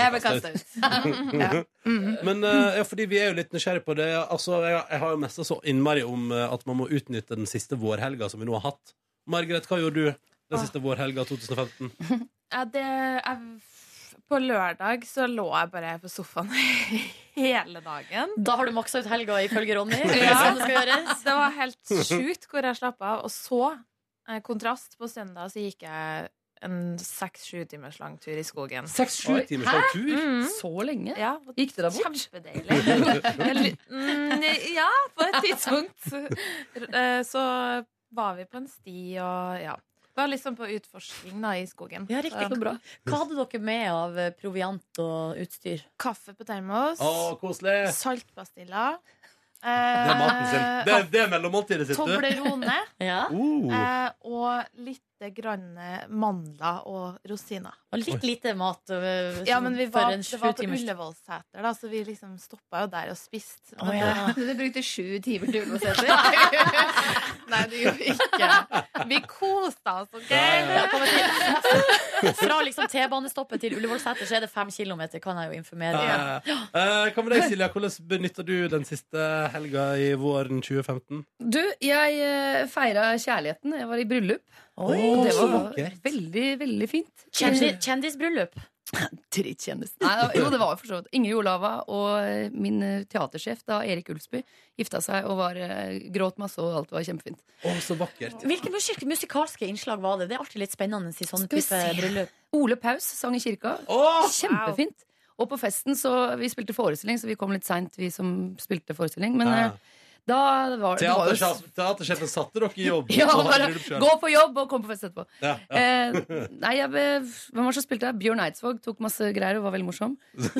K: jeg ble kasta ut. ja. Mhm.
B: Men eh, ja, fordi vi er jo litt nysgjerrig på det. Altså, jeg, jeg har jo mesta så innmari om eh, at man må utnytte den siste vårhelga som vi nå har hatt. Margaret, hva gjorde du den siste vårhelga 2015?
L: Ja, det er På lørdag så lå jeg bare på sofaen hele dagen.
C: Da har du maksa ut helga, ifølge Ronny.
L: Ja.
C: Sånn det skal gjøres.
L: Det var helt sjukt hvor jeg slapp av. Og så, eh, kontrast, på søndag så gikk jeg en seks-sju timers lang tur i skogen.
B: Seks-sju
C: Oi.
B: timers lang tur?
K: Så lenge?
L: Ja, og
K: Gikk det da bort?
L: Kjempedeilig. Eller, mm, ja, på et tidspunkt. Eh, Så var vi på en sti og ja. var litt sånn på utforsking da, i skogen.
C: Ja, riktig.
L: Så bra.
C: Hva hadde dere med av eh, proviant og utstyr?
L: Kaffe på termos.
B: Å, koselig.
L: Saltpastiller.
B: Det er maten sin. Det, er- det er mellommåltidet sitt,
L: Toblerone.
B: Oh.
L: eh, og litt grann mandler og rosiner.
C: Og litt lite mat eh,
L: Ja,
C: som-
L: men vi
C: for
L: var,
C: en
L: det var på
C: sju timers-
L: Ullevålseter, da, så vi liksom stoppa jo der og spiste.
C: Å, ja.
K: Du brukte sju timer til Ullevålseter?
L: Nei, det gjorde vi ikke. Vi kosa oss, OK?
C: Fra liksom T-banestoppet til Ullevålseter så er det fem kilometer, kan jeg jo informere.
B: Ja, ja, ja. Eh, Hva med deg, Silja? Hvordan benytter du den siste helga i våren 2015?
K: Du, jeg eh, feira kjærligheten. Jeg var i bryllup.
B: Oi,
K: Og det
B: så
K: var
B: vakkert.
K: veldig, veldig fint.
C: Kjendi- kjendisbryllup.
K: Drittkjendis. Nei, det var- jo, det var for så vidt. Ingrid Olava og eh, min eh, teatersjef da, Erik Ulsby gifta seg og var, eh, gråt masse, og alt var kjempefint.
B: Å, så vakkert.
C: Hvilke musik musikalske innslag var det? Det er alltid litt spennende i sånne
K: Skal vi
C: type
K: se.
C: bryllup.
K: Ole Paus sang i kirka. Kjempefint. Og på festen så Vi spilte forestilling, så vi kom litt seint, vi som spilte forestilling. Men
B: Ja.
K: eh, da var det var jo-
B: Teatersjef- Teatersjefen satte dere i jobb.
K: Ja,
B: og hadde
K: bare
B: bryllup selv.
K: gå på jobb og kom på fest etterpå.
B: Ja, ja.
K: Eh, nei, jeg, hvem var det som spilte der? Bjørn Eidsvåg tok masse greier og var veldig morsom.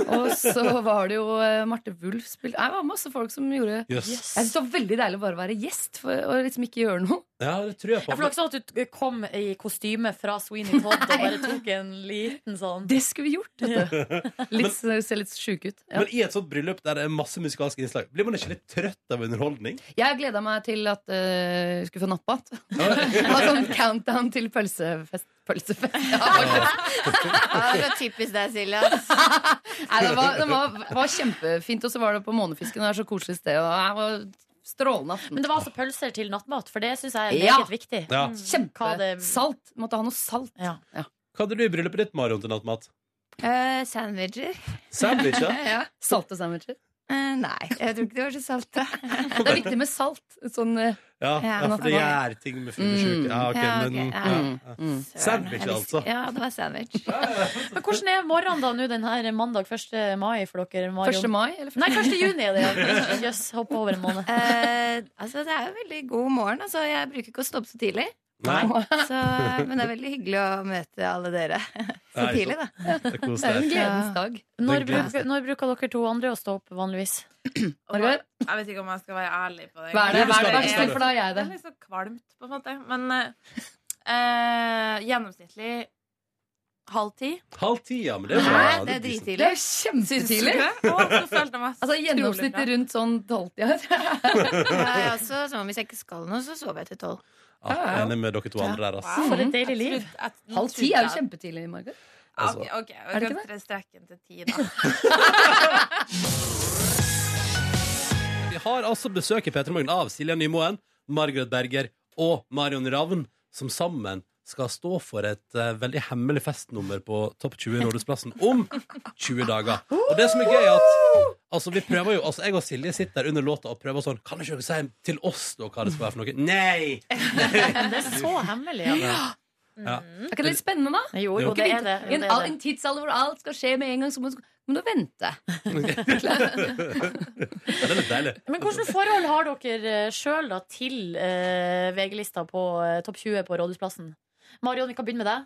K: Og så var det jo eh, Marte Wulf spilte Nei, Det var masse folk som gjorde
B: Yes.
K: Jeg syns det var veldig deilig å bare være gjest for, og liksom ikke gjøre noe.
B: Ja, det tror jeg
C: Ja,
B: på.
C: for det var ikke sånn at du kom i kostyme fra Sweeney Todd og bare tok en liten sånn
K: Det skulle vi gjort. Vet du. Litt, ser litt sjuk ut. Ja.
B: Men i et sånt bryllup der det er masse musikalske innslag, blir man ikke litt trøtt av underholdning?
K: Jeg gleda meg til at eh, jeg skulle få napp igjen. sånn countdown til pølsefest. Pølsefest.
M: Ja, det var typisk deg, Silja.
K: Nei, det var, det var, var kjempefint, og så var det på Månefisken. Det er så koselig sted. Og det var strålende aften.
C: Men det var altså pølser til nattmat, for det syns jeg er
K: Ja.
C: meget viktig.
B: Ja.
C: Hva det-
K: Kjempesalt. Måtte ha noe salt.
B: Hva hadde du i bryllupet ditt, Marion, til nattmat?
M: Eh, sandwicher.
B: Sandwicher?
M: ja.
K: Salte sandwicher?
M: Eh, nei, jeg tror ikke det var så salte.
K: Det er viktig med salt. Sånn, eh,
B: Ja, ja,
M: Ja.
B: for det gjør ting med fuglesyke. Ja, ok,
M: Ja, ok,
B: men
M: ja.
B: ja,
K: Mm.
B: ja.
M: Søren,
B: Sandwich,
M: jeg visste-
B: altså.
M: Ja, det var sandwich.
C: Men hvordan er morgenen da nå denne mandag 1. mai for dere? Marion?
M: 1. mai, eller 1.
C: Nei, 1. juni er det. Jøss, hoppa over en måned.
M: Eh, altså, det er jo veldig god morgen. Altså, jeg bruker ikke å stå opp så tidlig.
B: Nei.
M: Så, men det er veldig hyggelig å møte alle dere så
B: Nei, så-
M: tidlig, da.
B: Det er koselig.
M: dag.
C: Når
B: Det er gledens
C: bruker, når bruker dere to andre å stå opp vanligvis?
L: Jeg vet ikke om jeg skal være ærlig på det.
C: Hva er det? Jo, du Hva er det? skal det. Vær så snill, for da
K: er jeg det.
L: Det er litt så kvalmt, på en måte. Men eh, gjennomsnittlig halv ti.
B: Halv ti, ja, men det er bra.
L: Nei,
K: det er
B: decent.
K: Det er kjempetidlig! Altså gjennomsnittet rundt sånn tolvtida.
M: Jeg er også sånn, hvis jeg ikke skal noe, så sover jeg til tolv.
B: Ja, enig med dere to andre her, ass.
K: Mhm.
M: For et
C: deilig liv.
K: Halv ti er jo kjempetidlig, Margaret.
B: Altså.
L: Ok, ok, vi
K: Er det
L: kan
K: ikke
L: tre strekken til ti, da.
B: Vi har altså besøk i P3 Morgen av Silja Nymoen, Margaret Berger og Marion Ravn, som sammen skal stå for et eh, veldig hemmelig festnummer på Topp 20 Rådhusplassen om 20 dager. Og det som er gøy, er at altså, vi prøver jo, altså, jeg og Silje sitter der under låta og prøver sånn Kan ikke dere si til oss da hva det skal være for noe? Nei!
C: Det er så hemmelig. Ja.
B: Ja.
K: Er ikke det litt spennende, da?
C: Jo,
B: jo,
C: det
K: Skal vi-
C: er det, jo,
K: I en,
C: det er det.
K: en tidsalder hvor alt skal skje med en gang, så må må du vente.
B: Ja, det er litt deilig.
C: Men hvilke forhold har dere sjøl til eh, VG-lista på eh, topp 20 på Rådhusplassen? Marion, vi kan begynne med deg.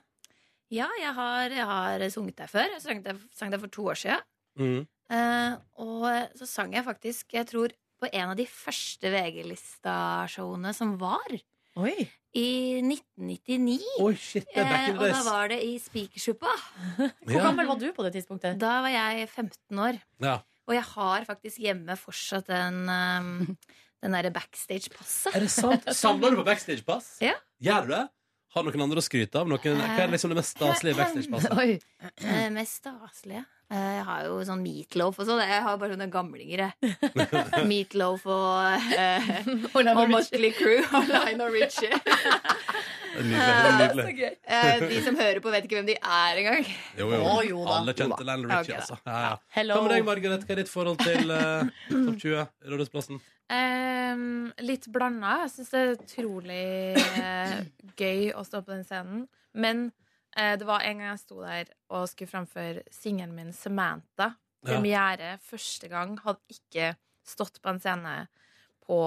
M: Ja, jeg har, jeg har sunget der før. Jeg sang der, sang der for to år siden.
B: Mm.
M: Eh, og så sang jeg faktisk, jeg tror, på en av de første VG-lista-showene som var. I 1999.
B: Oi, shit, det er back
M: Eh,
B: in
M: og
B: the
M: da
B: days.
M: var det i Spikersuppa.
B: Hvor Ja. gammel
C: var du på det tidspunktet?
M: Da var jeg 15 år.
B: Ja.
M: Og jeg har faktisk hjemme fortsatt den, um, den derre backstage-passet.
B: Er det sant? Samler du på backstage-pass?
M: Ja.
B: Gjør du det? Har noen andre å skryte av? Noen, hva er liksom det mest staselige backstage-passet?
M: Eh, mest staselige? Eh, jeg har jo sånn meatloaf og sånn. Jeg har bare sånne gamlinger, jeg. meatloaf og eh, Og Motley Crew og Lionel Richie.
B: Nydelig. nydelig.
M: Eh, de som hører på, vet ikke hvem de er engang.
B: Jo, jo.
M: Å, jo da.
B: Alle kjente
M: Jo da.
B: Lionel Richie,
M: Ok, da.
B: altså. Ja, ja.
M: Hello.
B: Hva med deg, Margaret? Hva er ditt forhold til eh, Topp 20? Rådhusplassen?
L: Ehm, litt blanda. Jeg syns det er utrolig eh, gøy å stå på den scenen. Men eh, det var en gang jeg sto der og skulle framføre singelen min 'Samantha'.
M: Ja.
L: Premiere første gang. Hadde ikke stått på en scene på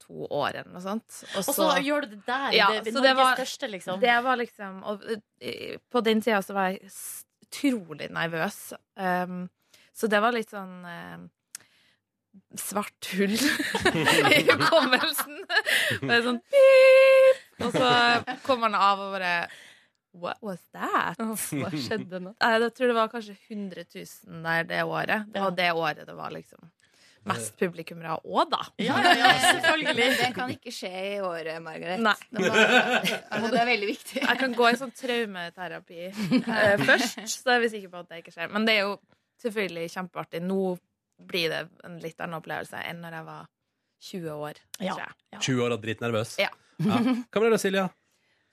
L: to år eller noe sånt.
C: Og så gjør du det der, det-
L: så
C: Norges største, liksom.
L: Det var liksom og, eh, På den tida så var jeg s- utrolig nervøs. Um, så det var litt sånn eh, svart hull i hukommelsen. Bare sånn pip! Og så kom han av og bare What was that?
K: Hva skjedde nå?
L: Nei, Jeg tror det var kanskje 100 000 der det året. Det var det året det var liksom mest publikummere òg, da.
M: Men Det kan ikke skje i året, Margaret.
L: Nei.
M: Det, må, altså, det er veldig viktig.
L: Jeg kan gå i sånn traumeterapi eh, først, så er vi sikre på at det ikke skjer. Men det er jo selvfølgelig kjempeartig. Nå blir det en litt annen opplevelse enn når jeg var 20 år. tror jeg.
B: 20 år og dritnervøs.
L: Ja.
B: Ja. Hva med deg, Silja?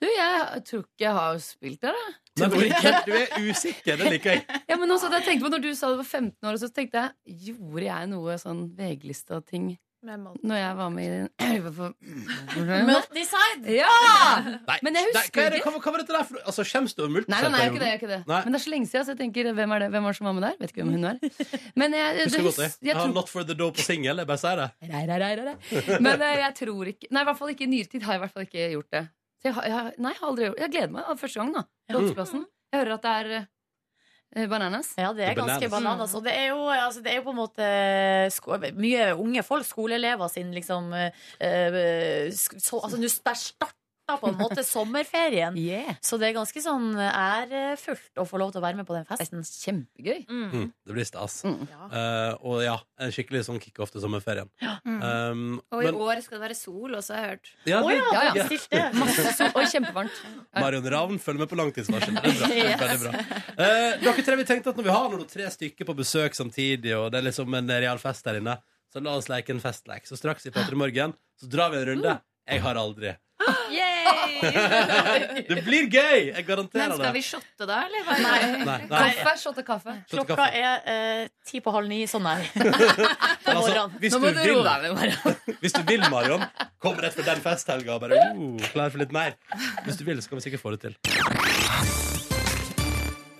K: Du, jeg tror ikke jeg har spilt der, jeg.
B: Nei, du, liker, du er usikker, det liker jeg.
K: Ja, men også, at jeg tenkte på Når du sa du var 15 år, så tenkte jeg Gjorde jeg noe sånn VG-lista-ting
L: Med
K: når jeg var med i den
C: Melt Decide!
K: Ja!
B: Nei,
K: Men jeg
B: nei,
K: husker
B: hva er det-
K: ikke.
B: Hva, hva var dette der? for- Altså, Kjems du over multen?
K: Nei, nei, nei, jeg gjør ikke det, jeg gjør ikke det.
B: Nei.
K: Men det er så lenge siden, så jeg tenker hvem er det Hvem var det som var med der? Vet ikke hvem hun er. Men jeg,
B: Husker
K: det
B: godt det.
K: hus-
B: Jeg
K: jeg
B: har
K: tror,
B: Not for the Dope på singel. Jeg bare sier det.
K: Nei, nei, nei, nei, nei. Men eh, jeg tror ikke Nei, i hvert fall ikke i nyere tid har jeg i hvert fall ikke gjort det. Så jeg, har- jeg, har- nei, jeg har aldri gjort det. Jeg gleder meg. Det er Første gang, da. Rådhusplassen. Jeg hører at det er eh, bananas.
C: Ja, det er ganske bananas. Og det er jo, altså, det er jo på en måte sko mye unge folk, skoleelever sin liksom eh, eh, sk- så, Altså, nå sp- starta på en måte sommerferien. Så det er ganske sånn ærefullt å få lov til å være med på den festen.
K: Kjempegøy.
B: Mm, det blir stas. Eh, og ja, en skikkelig sånn kickoff til sommerferien.
M: Ja.
K: Mm.
B: Um,
M: Og i
B: men
M: år skal det være sol også, har jeg hørt.
B: Ja, det- Å ja, det er ja. stilt, det.
K: Masse sol og kjempevarmt.
B: Marion Ravn følger med på langtidsvarsel. Det er bra. Det er Veldig bra. Eh, dere tre, vi tenkte at når vi har noen tre stykker på besøk samtidig, og det er liksom en real fest der inne, så la oss leke en festlek. Så straks i Petter Morgen så drar vi en runde. Jeg har aldri. det blir gøy! Jeg garanterer
M: Men skal vi
B: det.
M: shotte da, eller?
B: Nei, nei. Kaffe,
K: shot og kaffe.
B: Shot og
C: Klokka
B: kaffe.
C: er eh, ti på halv ni, sånn er
B: Men altså,
C: morgenen.
B: hvis
C: Nå må
B: du
C: du
B: vil-
C: roe deg ned,
B: Hvis du vil, Marion, kom rett fra den festhelga og bare oh, klar for litt mer. Hvis du vil, så kan vi sikkert få det til.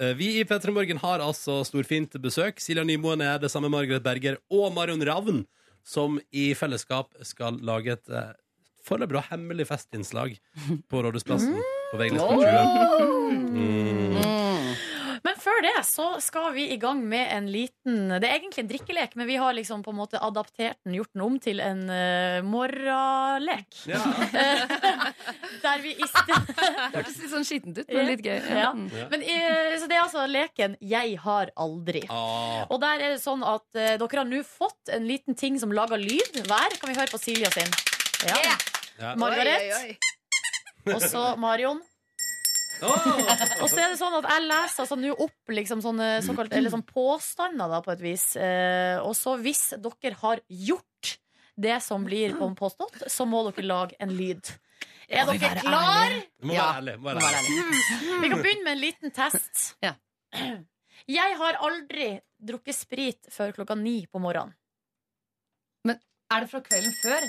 B: Eh, Vi i P3 Morgen har altså storfint besøk. Silja Nymoen er det samme Margaret Berger og Marion Ravn, som i fellesskap skal lage et eh, foreløpig og hemmelig festinnslag på Rådhusplassen på Vegnes på 20. Mm.
C: Men før det så skal vi i gang med en liten Det er egentlig en drikkelek, men vi har liksom på en måte adaptert den, gjort den om til en uh, morralek.
K: Ja.
C: Der vi i sted
K: Hørtes litt sånn skittent ut, men litt gøy.
C: Ja. Men, eh, så det er altså leken 'Jeg har aldri'.
B: Ah.
C: Og der er det sånn at eh, dere har nå fått en liten ting som lager lyd hver. Kan vi høre på Silja sin? Ja.
B: Ja.
C: Margaret. Og så Marion. og så er det sånn at jeg leser altså, nå opp liksom sånne såkalt, eller sånn påstander, da, på et vis. Eh, og så hvis dere har gjort det som blir på- påstått, så må dere lage en lyd. Er
K: Må vi
C: dere
K: være
C: klar?
K: ærlige? Må være Ja.
B: ærlig,
K: må være Må være ærlig.
C: Mm. Vi kan begynne med en liten test. Jeg har aldri drukket sprit før klokka ni på morgenen.
K: Men er det fra kvelden før?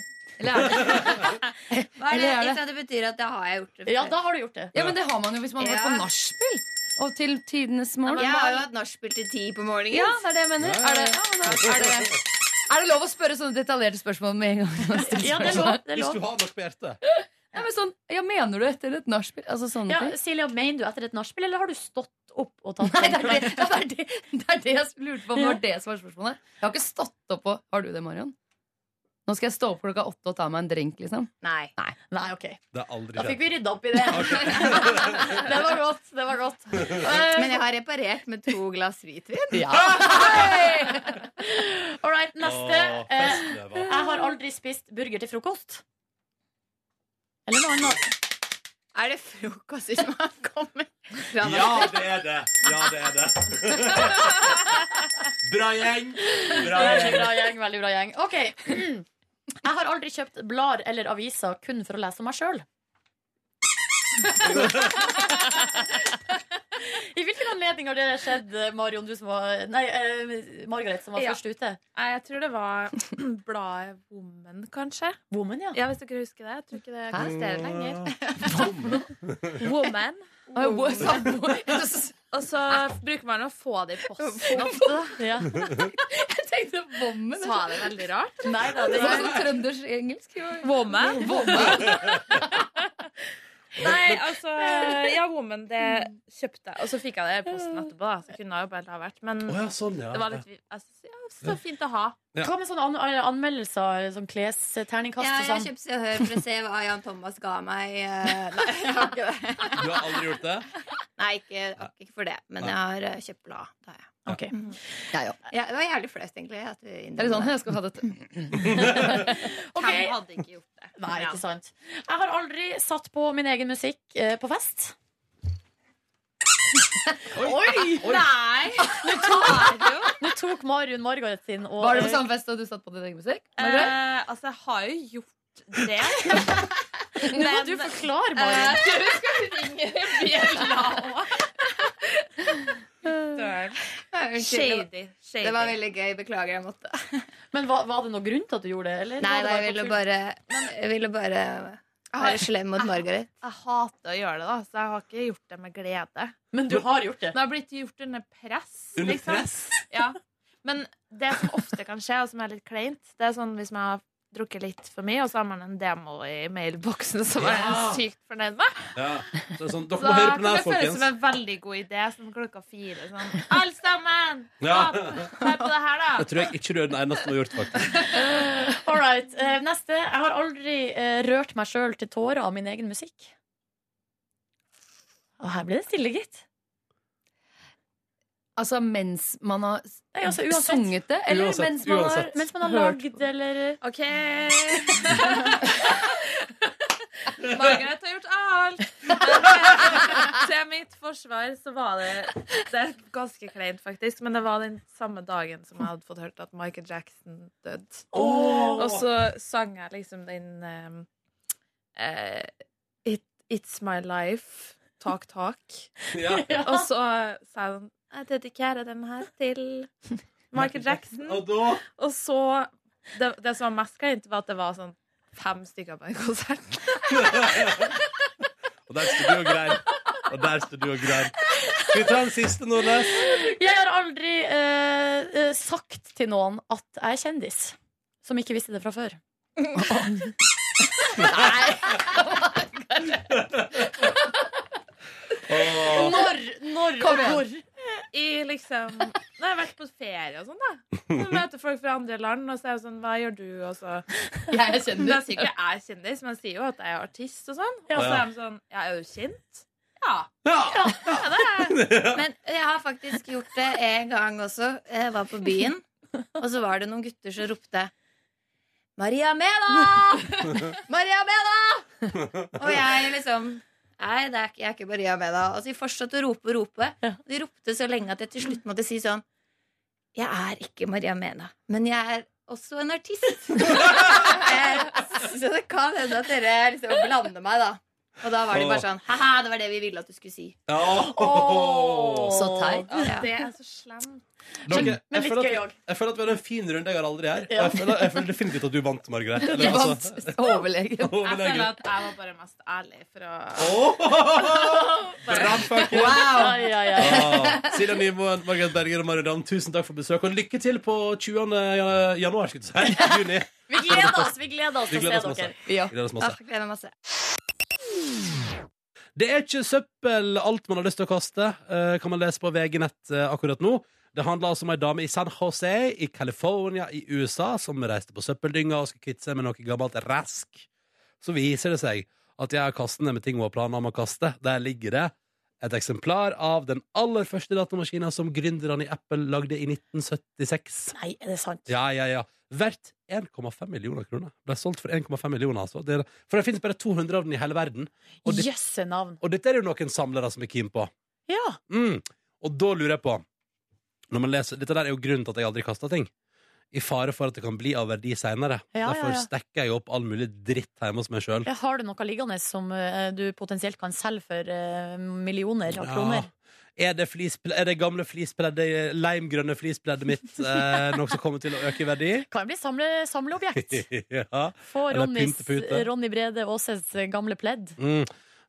K: Eller er det
M: Hva er det?
K: Eller er det-
M: Ikke sant, det betyr at da har jeg gjort det før.
K: Ja, da
C: har du gjort det.
K: Ja, men det har man jo hvis man har vært på nachspiel. Og til tidenes morgen.
M: Jeg har jo hatt nachspiel til ti på morgenen.
K: Ja, det er det jeg mener. Er det, er det, er det lov å spørre sånne detaljerte spørsmål med en gang?
C: Ja, det er lov, det er lov.
B: Hvis du har noe på hjertet.
K: Ja, men sånn, ja, mener du etter et nachspiel? Altså sånne
C: Ja,
K: ting.
C: Silja, mener du etter et nachspiel, eller har du stått opp og tatt
K: Nei, det er det, det, er det, det er det jeg lurte på om det var det som var spørsmålet. Jeg har ikke stått opp og Har du det, Marion? Nå skal jeg stå opp klokka åtte og ta meg en drink, liksom.
M: Nei.
K: Nei,
C: ok.
B: Det er aldri
C: Da
B: skjedd.
C: fikk vi rydda opp i det. det var godt. det var godt Eh,
M: Men jeg har reparert med to glass hvitvin.
K: Ja.
C: All right, neste.
M: Åh,
C: Eh,
M: festløva.
C: jeg har aldri spist burger til frokost. Eller noe annet.
M: Er det frokost som har kommet?
B: Ja, det er det. Ja, det er det. Bra gjeng. Bra
C: Veldig
B: gjeng.
C: bra gjeng. veldig bra gjeng Ok. Jeg har aldri kjøpt blader eller aviser kun for å lese om meg sjøl. I hvilken anledning har det skjedd, Marion, du som var Nei, eh, Margaret, som var
L: Ja.
C: først ute?
L: Nei, Jeg tror det var bladet Woman, kanskje.
C: Woman, ja.
L: Hvis dere husker det. Jeg tror ikke det
C: Hæ?
L: eksisterer lenger. Woman.
K: Oi, wo- sa-
L: Og så bruker man å få det i posten ofte. da.
C: Ja.
K: Jeg tenkte vommen.
L: Sa det veldig rart?
K: Nei da, det var sånn trønders-engelsk.
L: Woman?
K: Woman.
L: Nei, altså Ja, Woman, det kjøpte jeg. Og så fikk jeg det i posten etterpå, da. Så kunne jeg jo bare la vært. Men
G: Å ja, sånn, ja.
L: det var litt altså, ja, Så fint å ha.
G: Ja.
C: Hva med sånne an anmeldelser? Sånn klesterningkast
M: Ja,
C: og
M: jeg har
C: sånn?
M: kjøpt Se og Hør for å se hva Jan Thomas ga meg. eh, Nei, jeg har ikke det.
B: Du har aldri gjort det?
M: Nei, ikke, ikke for det. Men jeg har eh, kjøpt blad. Det har jeg.
C: Mhm.
M: Ja, det var jævlig flaut, egentlig. At du
K: Det er litt sånn, jeg skulle hatt et
M: Hvem hadde ikke gjort det?
C: Nei,
M: Ja.
C: ikke sant. Jeg har aldri satt på min egen musikk eh, på fest. Oi!
L: Nei!
C: Nå tok, nå tok Marion Margaret sin og eh,
K: Var det på samme fest da du satt på din egen musikk?
L: Eh, altså, jeg har jo gjort det.
C: Nå må du forklare,
L: Eh,
C: Marion.
L: du skal ringe bjella
M: Unnskyld,
L: òg. Shady. Shady.
M: Det var veldig gøy. Beklager, jeg måtte.
C: Men var, var det noen grunn til at du gjorde det? Eller?
M: Nei,
C: Var det
M: jeg ville bare, jeg ville bare være slem mot Margaret.
L: Jeg hater å gjøre det, da, så jeg har ikke gjort det med glede.
C: Men du har gjort det.
L: Men jeg har blitt gjort under press.
C: Under
L: liksom.
C: press?
L: Ja. Men det som ofte kan skje, og som er litt kleint, det er sånn hvis man har drukket litt for mye, og så har man en demo i mailboksen som man
B: Ja.
L: er sykt fornøyd med.
B: Ja. Så det er sånn,
L: Så
B: dere må
L: kan
B: høre på den
L: det
B: her,
L: føles som
B: folkens.
L: en veldig god idé som klokka fire. Sånn, Alle sammen!
B: Ja.
L: Hør på det her, da!
B: Jeg tror jeg ikke du er den eneste som har gjort faktisk.
C: All right. eh, neste. Jeg har aldri eh, rørt meg sjøl til tårer av min egen musikk. Og her ble det stille, gitt.
K: Altså mens man har
C: Nei, altså, uansett.
K: sunget det? Eller
C: Uansett,
K: mens man har,
C: uansett. Mens man har lagd, eller
L: OK. Margaret har gjort alt. Men, eh, Til mitt forsvar så var det Det er ganske kleint, faktisk, men det var den samme dagen som jeg hadde fått hørt at Michael Jackson døde.
K: Åh.
L: Og så sang jeg liksom den ehm, eh, It, It's My Life, Talk Talk.
B: Ja.
L: Og så sa
K: sånn,
L: hun Jeg dedikerer den her til Michael Jackson.
B: Og da
L: Og så Det, det som var mest kleint, var at det var sånn fem stykker på en konsert.
B: Og der står du og grein. Og der står du og grein. Skal vi ta den siste, Nordnes?
C: Jeg har aldri eh, eh, sagt til noen at jeg er kjendis. Som ikke visste det fra før. Når? Når?
L: Kom
C: og
L: igjen.
C: hvor?
L: I liksom Når jeg har vært på ferie og sånn, da. Så møter folk fra andre land, og så er jeg sånn Hva gjør du? Og så
K: Jeg er kjendis.
L: Men jeg sier ikke jeg er kjendis, men jeg sier jo at jeg er artist og sånn.
K: Ja.
L: Og så er de sånn Ja, er du kjent? Ja.
M: Men jeg har faktisk gjort det en gang også. Jeg var på byen, og så var det noen gutter som ropte Maria Mena! Maria Mena! Og jeg liksom Nei, det er ikke, jeg er ikke Maria Mena. Og så de fortsatte å rope og rope. Og de ropte så lenge at jeg til slutt måtte si sånn Jeg er ikke Maria Mena, men jeg er også en artist. Eh, så det kan hende at dere liksom blander meg, da. Og da var de bare sånn Ha-ha, det var det vi ville at du skulle si. Så teit. Ja.
L: Det er så slemt.
B: Dere,
L: men
B: jeg,
L: litt
B: føler
L: gøy
B: at, jeg føler at vi hadde en fin runde jeg har aldri her. Og
L: Ja.
B: jeg føler, jeg føler definitivt at du vant, Margaret.
K: Du vant. Overlegen.
L: Jeg føler
B: altså- Overlegen.
L: at jeg var bare mest ærlig for å
B: Åh! Brannfakkel.
L: Wow.
C: Ja, ja,
B: Ah, Silja Nymoen, Margaret Berger og Maridam, tusen takk for besøk. Og lykke til på 20. jan- januar, skulle jeg si. Juni.
C: Vi gleder oss vi gleder oss
B: Vi
C: til å
B: gleder oss
C: se
B: masse.
C: dere.
B: Vi gleder oss masse.
M: Åh, gleder meg masse.
B: Det er ikke søppel alt man har lyst til å kaste, eh, kan man lese på VG Nett eh, akkurat nå. Det handler altså om ei dame i San Jose i California i USA som reiste på søppeldynga og skulle kvitte seg med noe gammelt rask. Så viser det seg at jeg har kastene med ting hun har planer om å kaste. Der ligger det et eksemplar av den aller første datamaskinen som gründerne i Apple lagde i 1976.
C: Nei, er det sant?
B: Ja, ja, ja. Verdt 1,5 millioner kroner. Ble solgt for 1,5 millioner, altså. Det er, for det finnes bare 200 av den i hele verden. Og det-
C: Jøsse navn.
B: og dette er det jo noen samlere som er keen på.
C: Ja.
B: Mm. Og da lurer jeg på når man leser, Dette der er jo grunnen til at jeg aldri kaster ting. I fare for at det kan bli av verdi seinere.
C: Ja, ja,
B: Derfor
C: ja.
B: stekker jeg opp all mulig dritt hjemme hos meg sjøl.
C: Jeg har du noe liggende som eh, du potensielt kan selge for eh, millioner av kroner?
B: Er det, flisple- er det gamle flispleddet, leimgrønne flispleddet mitt, eh, noe som kommer til å øke i verdi?
C: Kan bli samle, samleobjekt.
B: ja.
C: Få
B: Eller
C: Ronnys,
B: pyntepute.
C: Ronny Brede Aases eh, gamle pledd.
B: Mm.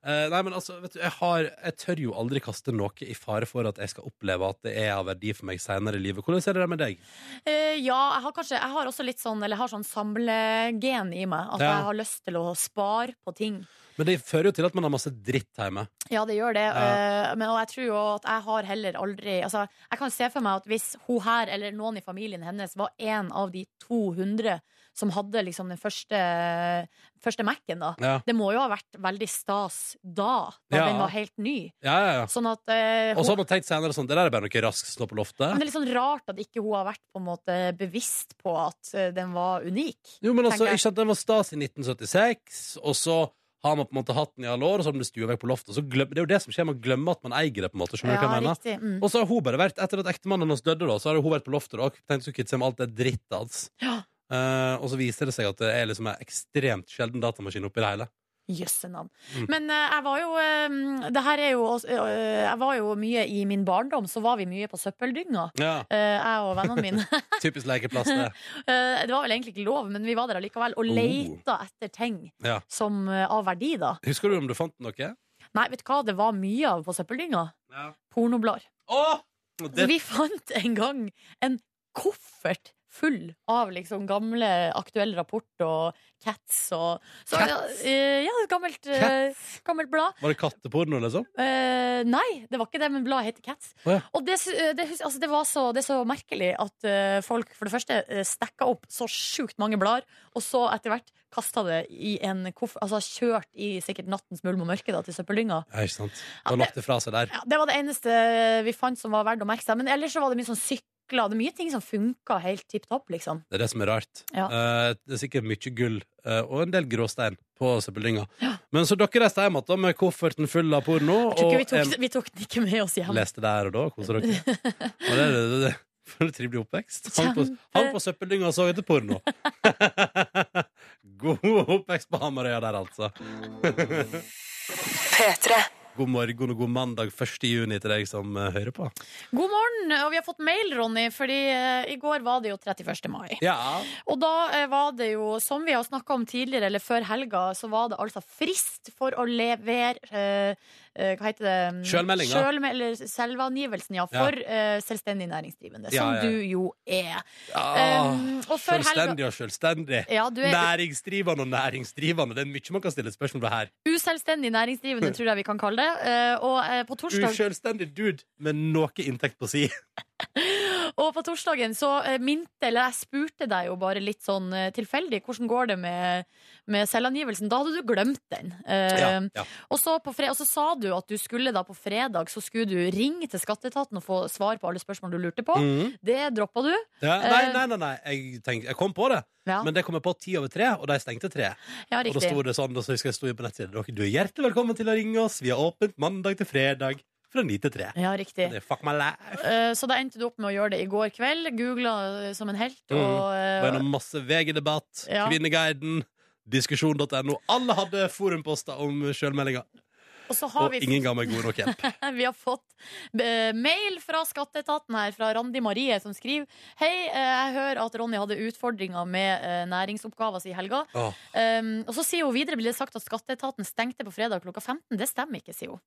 B: Eh, nei, men altså, vet du, jeg, har, jeg tør jo aldri kaste noe i fare for at jeg skal oppleve at det er av verdi for meg senere i livet. Hvordan er det der med deg?
C: Eh, ja, jeg har kanskje Jeg har også litt sånn Eller jeg har sånn samlegen i meg. At
B: Ja.
C: jeg har lyst til å spare på ting.
B: Men det fører jo til at man har masse dritt hjemme.
C: Ja, det gjør det.
B: Ja.
C: eh, Men, og jeg tror jo at jeg har heller aldri altså, Jeg kan se for meg at hvis hun her, eller noen i familien hennes, var en av de 200 som hadde liksom den første, første Mac-en, da
B: Ja.
C: Det må jo ha vært veldig stas da, da
B: Ja.
C: den var helt ny.
B: Ja, ja, ja.
C: Sånn at eh,
B: Og så har
C: hun,
B: man tenkt senere sånn, det der er bare noe rask snå på loftet.
C: Men det er litt sånn rart at ikke hun har vært på en måte bevisst på at eh, den var unik.
B: Jo, men altså,
C: tenker jeg.
B: ikke sant, Den var stas i 1976, og så har man på en måte hatt den i alle år, og så har den blitt stuet vekk på loftet. og Så glem, det er jo det som skjer, man glemmer at man eier det. på en måte, skjønner du
C: Ja,
B: hva jeg mener?
C: riktig, mm.
B: Og så har hun bare vært, etter at ektemannen hennes døde, da, så har hun vært på loftet da, og tenkt å kvitte seg med alt det drittet hans.
C: Ja.
B: Eh, og så viser det seg at det er liksom en ekstremt sjelden datamaskin oppi det hele.
C: Jøsse navn.
B: Mm.
C: Men eh, jeg var jo eh, Det her er jo også- eh, Jeg var jo mye i min barndom, så var vi mye på søppeldynga.
B: Ja.
C: Eh, jeg og vennene mine.
B: Typisk lekeplass, det.
C: Eh, det var vel egentlig ikke lov, men vi var der allikevel og
B: Oh.
C: leita etter ting
B: Ja.
C: som eh, av verdi, da.
B: Husker du om du fant noe?
C: Nei, vet du hva det var mye av på søppeldynga?
B: Ja.
C: Pornoblader.
B: Åh!
C: Så vi fant en gang en koffert full av liksom gamle aktuell rapport og Cats og så,
B: Cats?
C: eh, ja, et gammelt, eh, gammelt blad.
B: Var det katteporno, liksom?
C: Eh, nei, det var ikke det, men bladet heter Cats.
B: Å, ja.
C: Og det, sy- det, hus- altså, det, var så, det er så merkelig at eh, folk for det første uh, stekka opp så sjukt mange blader, og så etter hvert kasta det i en koffert Altså kjørt i sikkert nattens mulm og mørke da, til søppeldynga.
B: Ja, ikke sant. Man har lagt det fra seg der.
C: Ja, det var det eneste eh, vi fant som var verdt å merke seg. Men ellers så var det mye sånn sykler. Det er mye ting som funka helt tipp topp, liksom.
B: Det er det som er rart.
C: Ja.
B: Eh, det er sikkert mye gull eh, og en del gråstein på søppeldynga. Men så dere reiste hjem igjen da, med kofferten full av porno.
C: Jeg tror ikke vi
B: og
C: tok, vi tok den ikke med oss hjem.
B: leste der og da. Koser dere. Og det, det, det, det. For en trivelig oppvekst. Hang på, hang på søppeldynga og så etter porno. God oppvekst på Hamarøya der, altså. God morgen og god mandag 1. juni til deg som eh, hører på.
C: God morgen, og vi har fått mail, Ronny, fordi eh, i går var det jo 31. mai.
B: Ja.
C: Og da eh, var det jo, som vi har snakka om tidligere, eller før helga, så var det altså frist for å levere eh, eh, Hva heter det?
B: Selvmeldinga.
C: Selvme- eller selvangivelsen, ja. For eh, selvstendig næringsdrivende.
B: Ja,
C: Som
B: ja.
C: du jo er.
B: Ah,
C: Um, og før
B: selvstendig og selvstendig.
C: Ja, du er-
B: Næringsdrivende og næringsdrivende. Det er mye man kan stille spørsmål ved her.
C: Uselvstendig næringsdrivende, tror jeg vi kan kalle det. Eh, og, eh, på torsdag,
B: Uselvstendig dude med noe inntekt på si.
C: og på torsdagen så eh, minte, eller jeg spurte deg jo bare litt sånn eh, tilfeldig, hvordan går det med, med selvangivelsen? Da hadde du glemt den. Eh,
N: Ja, ja.
C: Og så, på fre og så sa du at du skulle da på fredag Så skulle du ringe til skatteetaten og få svar på alle spørsmål du lurte på.
B: Mhm.
C: Det droppa du.
B: Ja, nei,
C: Eh,
B: nei, nei, nei. Jeg, tenkte, jeg kom på det,
C: Ja.
B: men det kom jeg på ti over tre, og de stengte tre. og
C: Ja,
B: da
C: riktig.
B: sto det sånn, og så husker jeg sto jeg på nettsiden. Dere, du er hjertelig velkommen til å ringe oss. Vi har åpent mandag til fredag fra ni til tre.
C: Ja, riktig.
B: Det er fuck my life.
C: eh, Så da endte du opp med å gjøre det i går kveld. Googla som en helt.
B: Mm.
C: Og, eh,
B: Var gjennom masse VG-debatt,
C: Ja.
B: Kvinneguiden, diskusjon.no. Alle hadde forumposter om sjølmeldinga.
C: og så har
B: Og
C: vi
B: ingen ga meg god nok hjelp.
C: Vi har fått eh, mail fra skatteetaten her, fra Randi Marie, som skriver Hei, eh, jeg hører at Ronny hadde utfordringer med eh, næringsoppgaver si i helga.
B: Åh.
C: Um, og så sier hun videre blir det sagt at skatteetaten stengte på fredag klokka 15. Det stemmer ikke, sier hun.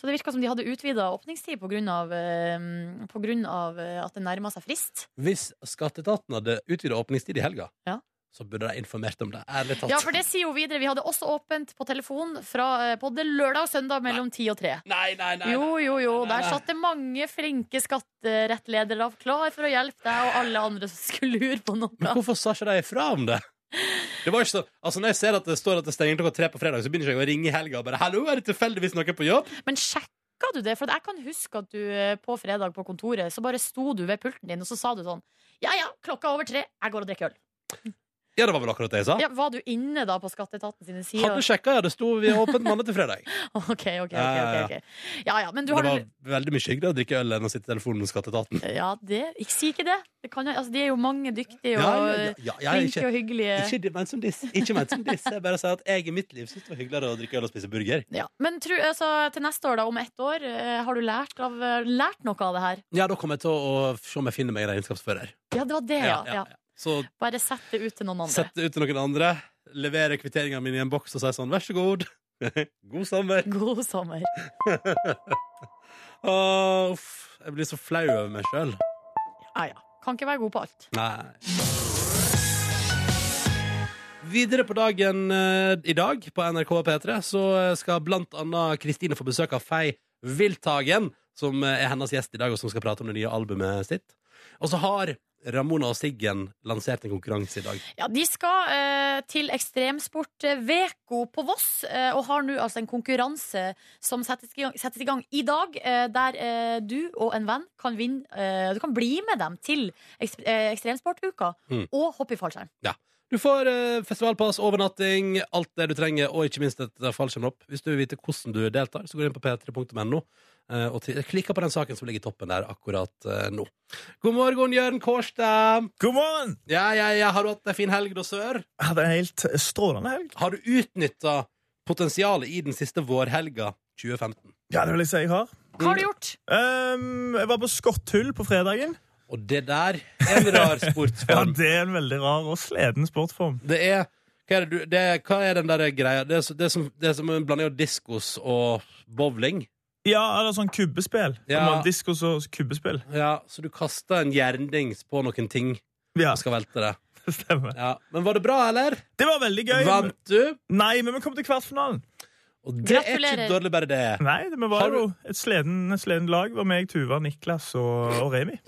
C: Så det virka som de hadde utvida åpningstid pga. Uh, på grunn av, eh, at det nærma seg frist.
B: Hvis skatteetaten hadde utvida åpningstid i helga,
C: Ja.
B: så burde de informert om det. Ærlig talt.
C: Ja, for det sier hun videre. Vi hadde også åpent på telefon fra eh, både lørdag og søndag mellom 10 og 3.
B: Nei, nei, nei,
C: jo, jo, jo.
B: nei, nei,
C: Der
B: nei.
C: satt det mange flinke skatterettledere klar for å hjelpe deg og alle andre som skulle lure på noe.
B: Men hvorfor sa ikke de ifra om det? Det var ikke så, altså Når jeg ser at det står at det stenger klokka tre på fredag, så begynner ikke jeg å ringe i helga og bare 'Hallo, er det tilfeldigvis noe på jobb?'
C: Men sjekka du det? For jeg kan huske at du eh, på fredag på kontoret så bare sto du ved pulten din og så sa du sånn Ja ja, klokka er over tre, jeg går og drikker øl.
B: Ja, det var vel akkurat det jeg sa.
C: Ja, var du inne da på skatteetaten sine sider?
B: Ah. Hadde sjekka, ja. Det sto vi er åpent mandag til fredag.
C: OK, OK. ok, ok,
B: Ja, ja, ja.
C: ok. ja ja, men du
B: det
C: har
B: var veldig mye hyggeligere å drikke øl enn å sitte i telefonen med skatteetaten.
C: Ja, det, ikke, si ikke det. det kan, jeg- altså, de er jo mange dyktige og
B: Ja,
C: eh,
B: ja, ja, ja, ja,
C: flinke
B: ikke-
C: og hyggelige.
B: Ikke de- ment som disse. Ikke ment som disse. Jeg bare sier at jeg i mitt liv syns det var hyggeligere å drikke øl og spise burger.
C: Ja. Men tru, altså, til neste år, da, om ett år, eh, har du lært, av, eh, lært noe av det her?
B: Ja, da kommer jeg til å se om jeg finner meg en regnskapsfører.
C: Ja, det var det, ja.
B: Ja, ja,
C: ja,
B: Så
C: Bare sett det ut til noen andre.
B: sette ut til noen andre, levere kvitteringene mine i en boks og si sånn 'vær så god', God sommer.
C: God sommer.
B: Å, uff, jeg blir så flau over meg sjøl.
C: Ja, ja. Kan ikke være god på alt.
B: Nei. Videre på dagen eh, i dag på NRK P3 så eh, skal blant annet Kristine få besøk av Fei Wilthagen, som eh, er hennes gjest i dag, og som skal prate om det nye albumet sitt. Og så har Ramona og Siggen lansert en konkurranse i dag.
C: Ja, De skal eh, til Ekstremsport eh, Veko på Voss, eh, og har nå altså en konkurranse som settes i gang, settes i, gang i dag, eh, der eh, du og en venn kan vinne eh, Du kan bli med dem til eks- eh, Ekstremsportuka
B: Mm.
C: og hoppe i fallskjerm.
B: Ja. Du får eh, festivalpass, overnatting, alt det du trenger, og ikke minst et eh, fallskjermhopp. Hvis du vil vite hvordan du deltar, så gå inn på p3.no eh, og tri- klikker på den saken som ligger i toppen der akkurat eh, nå. God morgen, Jørn Kårstad.
N: God morgen!
B: Ja, ja, ja. Har du hatt ei en fin helg, da, sør?
N: Hadde en helt strålende helg.
B: Har du utnytta potensialet i den siste vårhelga 2015?
N: Ja, det vil jeg si jeg har.
C: Hva har du gjort?
N: Ehm, jeg var på skotthull på fredagen.
B: Og det der er en rar sportsform.
N: ja, det er en veldig rar og sleden sportsform.
B: Det er Hva er, det du, det, hva er den der greia? Det er, så- det er, som, det er som en blanding av diskos og bowling.
N: Ja, eller sånn kubbespill.
B: Ja.
N: Diskos og kubbespill.
B: Ja, så du kasta en jerndings på noen ting og skal velte det.
N: Det stemmer.
B: Ja. Men var det bra, eller?
N: Det var veldig gøy.
B: Vant du?
N: Nei, men vi kom til kvartfinalen.
B: Og det er ikke dårlig, bare det.
N: Nei, det vi var
B: Har du-
N: jo et sleden, et sleden lag. Det var meg, Tuva, Niklas og, og Remi.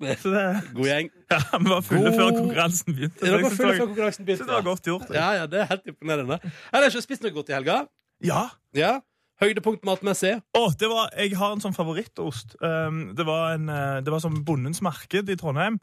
N: Så det...
B: God gjeng.
N: Ja, vi var fulle
B: God-
N: før konkurransen begynte. så
B: Ja, dere
N: jeg
B: var
N: synes
B: fulle
N: det
B: før
N: var-
B: konkurransen begynte.
N: synes Det var godt gjort. jeg.
B: Ja, ja, det er helt imponerende. Har dere ikke spist noe godt i helga?
N: Ja.
B: Høydepunkt matmessig?
N: Å, det var, jeg har en sånn favorittost. Um, det var, en, eh, det var sånn Bondens marked i Trondheim.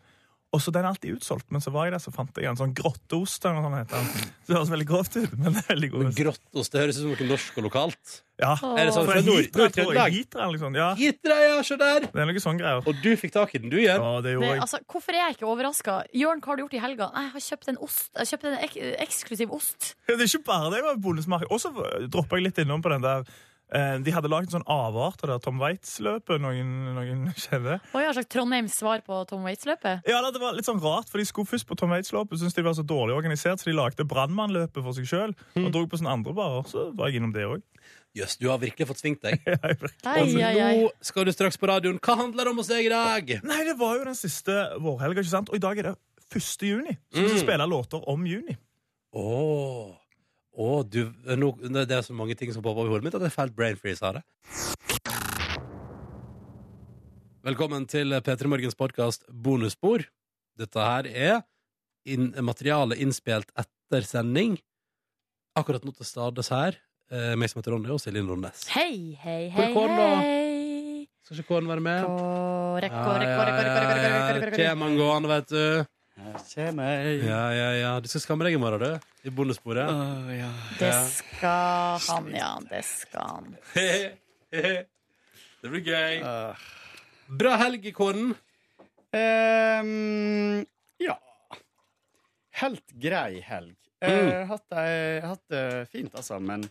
N: Og så Den er alltid utsolgt, men så var jeg der, så fant jeg en sånn grotteost. eller noe sånt heter den. Så Det høres veldig grovt ut, men det er veldig god. ost.
B: Grottost, det høres ut som noe norsk og lokalt.
N: Ja.
B: Er det sånn fra
N: Hitra, tror
B: Nord-
N: jeg.
B: Nord-Trøndelag?
N: Hitra, eller noe sånt, liksom, ja.
B: Hitra, ja, se der!
N: Det er noe sånn greier.
B: Og du fikk tak i den, du, Jørn.
N: Ja, det gjorde
C: Men,
N: jeg.
C: altså, hvorfor er jeg ikke overraska? Jørn, hva har du gjort i helga? Nei, jeg har kjøpt en ost. Jeg har kjøpt en ek eksklusiv ost.
N: Det er ikke bare det. det var Bondens marked. Og så droppa jeg litt innom på den der eh, De hadde laget en sånn avart av det der Tom Waitz-løpet. Noen, noen kjenner.
C: Og jeg har sagt Trondheims svar på Tom Waits-løpet.
N: Ja, da, det var litt sånn rart, for De skulle først på Tom Waits-løpet, syntes de var så dårlig organisert, så de lagde Brannmannløpet for seg sjøl.
B: Mm.
N: Og dro på sånne andre barer. Så var jeg innom det òg.
B: Jøss, du har virkelig fått svingt deg.
C: Ai,
B: Og
N: ai, ai.
B: nå skal du straks på radioen. Hva handler det om hos deg i dag?
N: Nei, det var jo den siste vårhelga, ikke sant? Og i dag er det 1. juni. Så vi skal
B: Mm.
N: spille låter om juni.
B: Åh, Åh, du, nå, det er så mange ting som popper opp i hodet mitt at jeg feilt brain freeze av det. Velkommen til P3 Morgens podkast Bonusspor. Dette her er inn- materiale innspilt etter sending. Akkurat nå til stades her, eh, meg som heter Ronny, og Silje Nordnes.
C: Hei, hei,
B: Hvor er
C: hei.
B: Kåren, da?
C: hei.
B: Skal ikke Kåren være med?
C: Kåre,
B: Ja,
C: Kåre,
B: ja,
C: Kåre, Kåre, Kåre, Kåre,
B: ja,
C: Kåre,
B: ja.
C: Kåre, Kåre.
B: Kjem han gående, vet du. Ja, ja, ja. Du skal skamme deg i morgen, du. I bondesporet.
C: Det skal han, ja. Det skal han.
B: det blir gøy. Bra helg, Kåren.
O: Ehm, ja. Helt grei helg. Eh,
P: Mm.
O: hatt, det- hatt det fint, altså, men jeg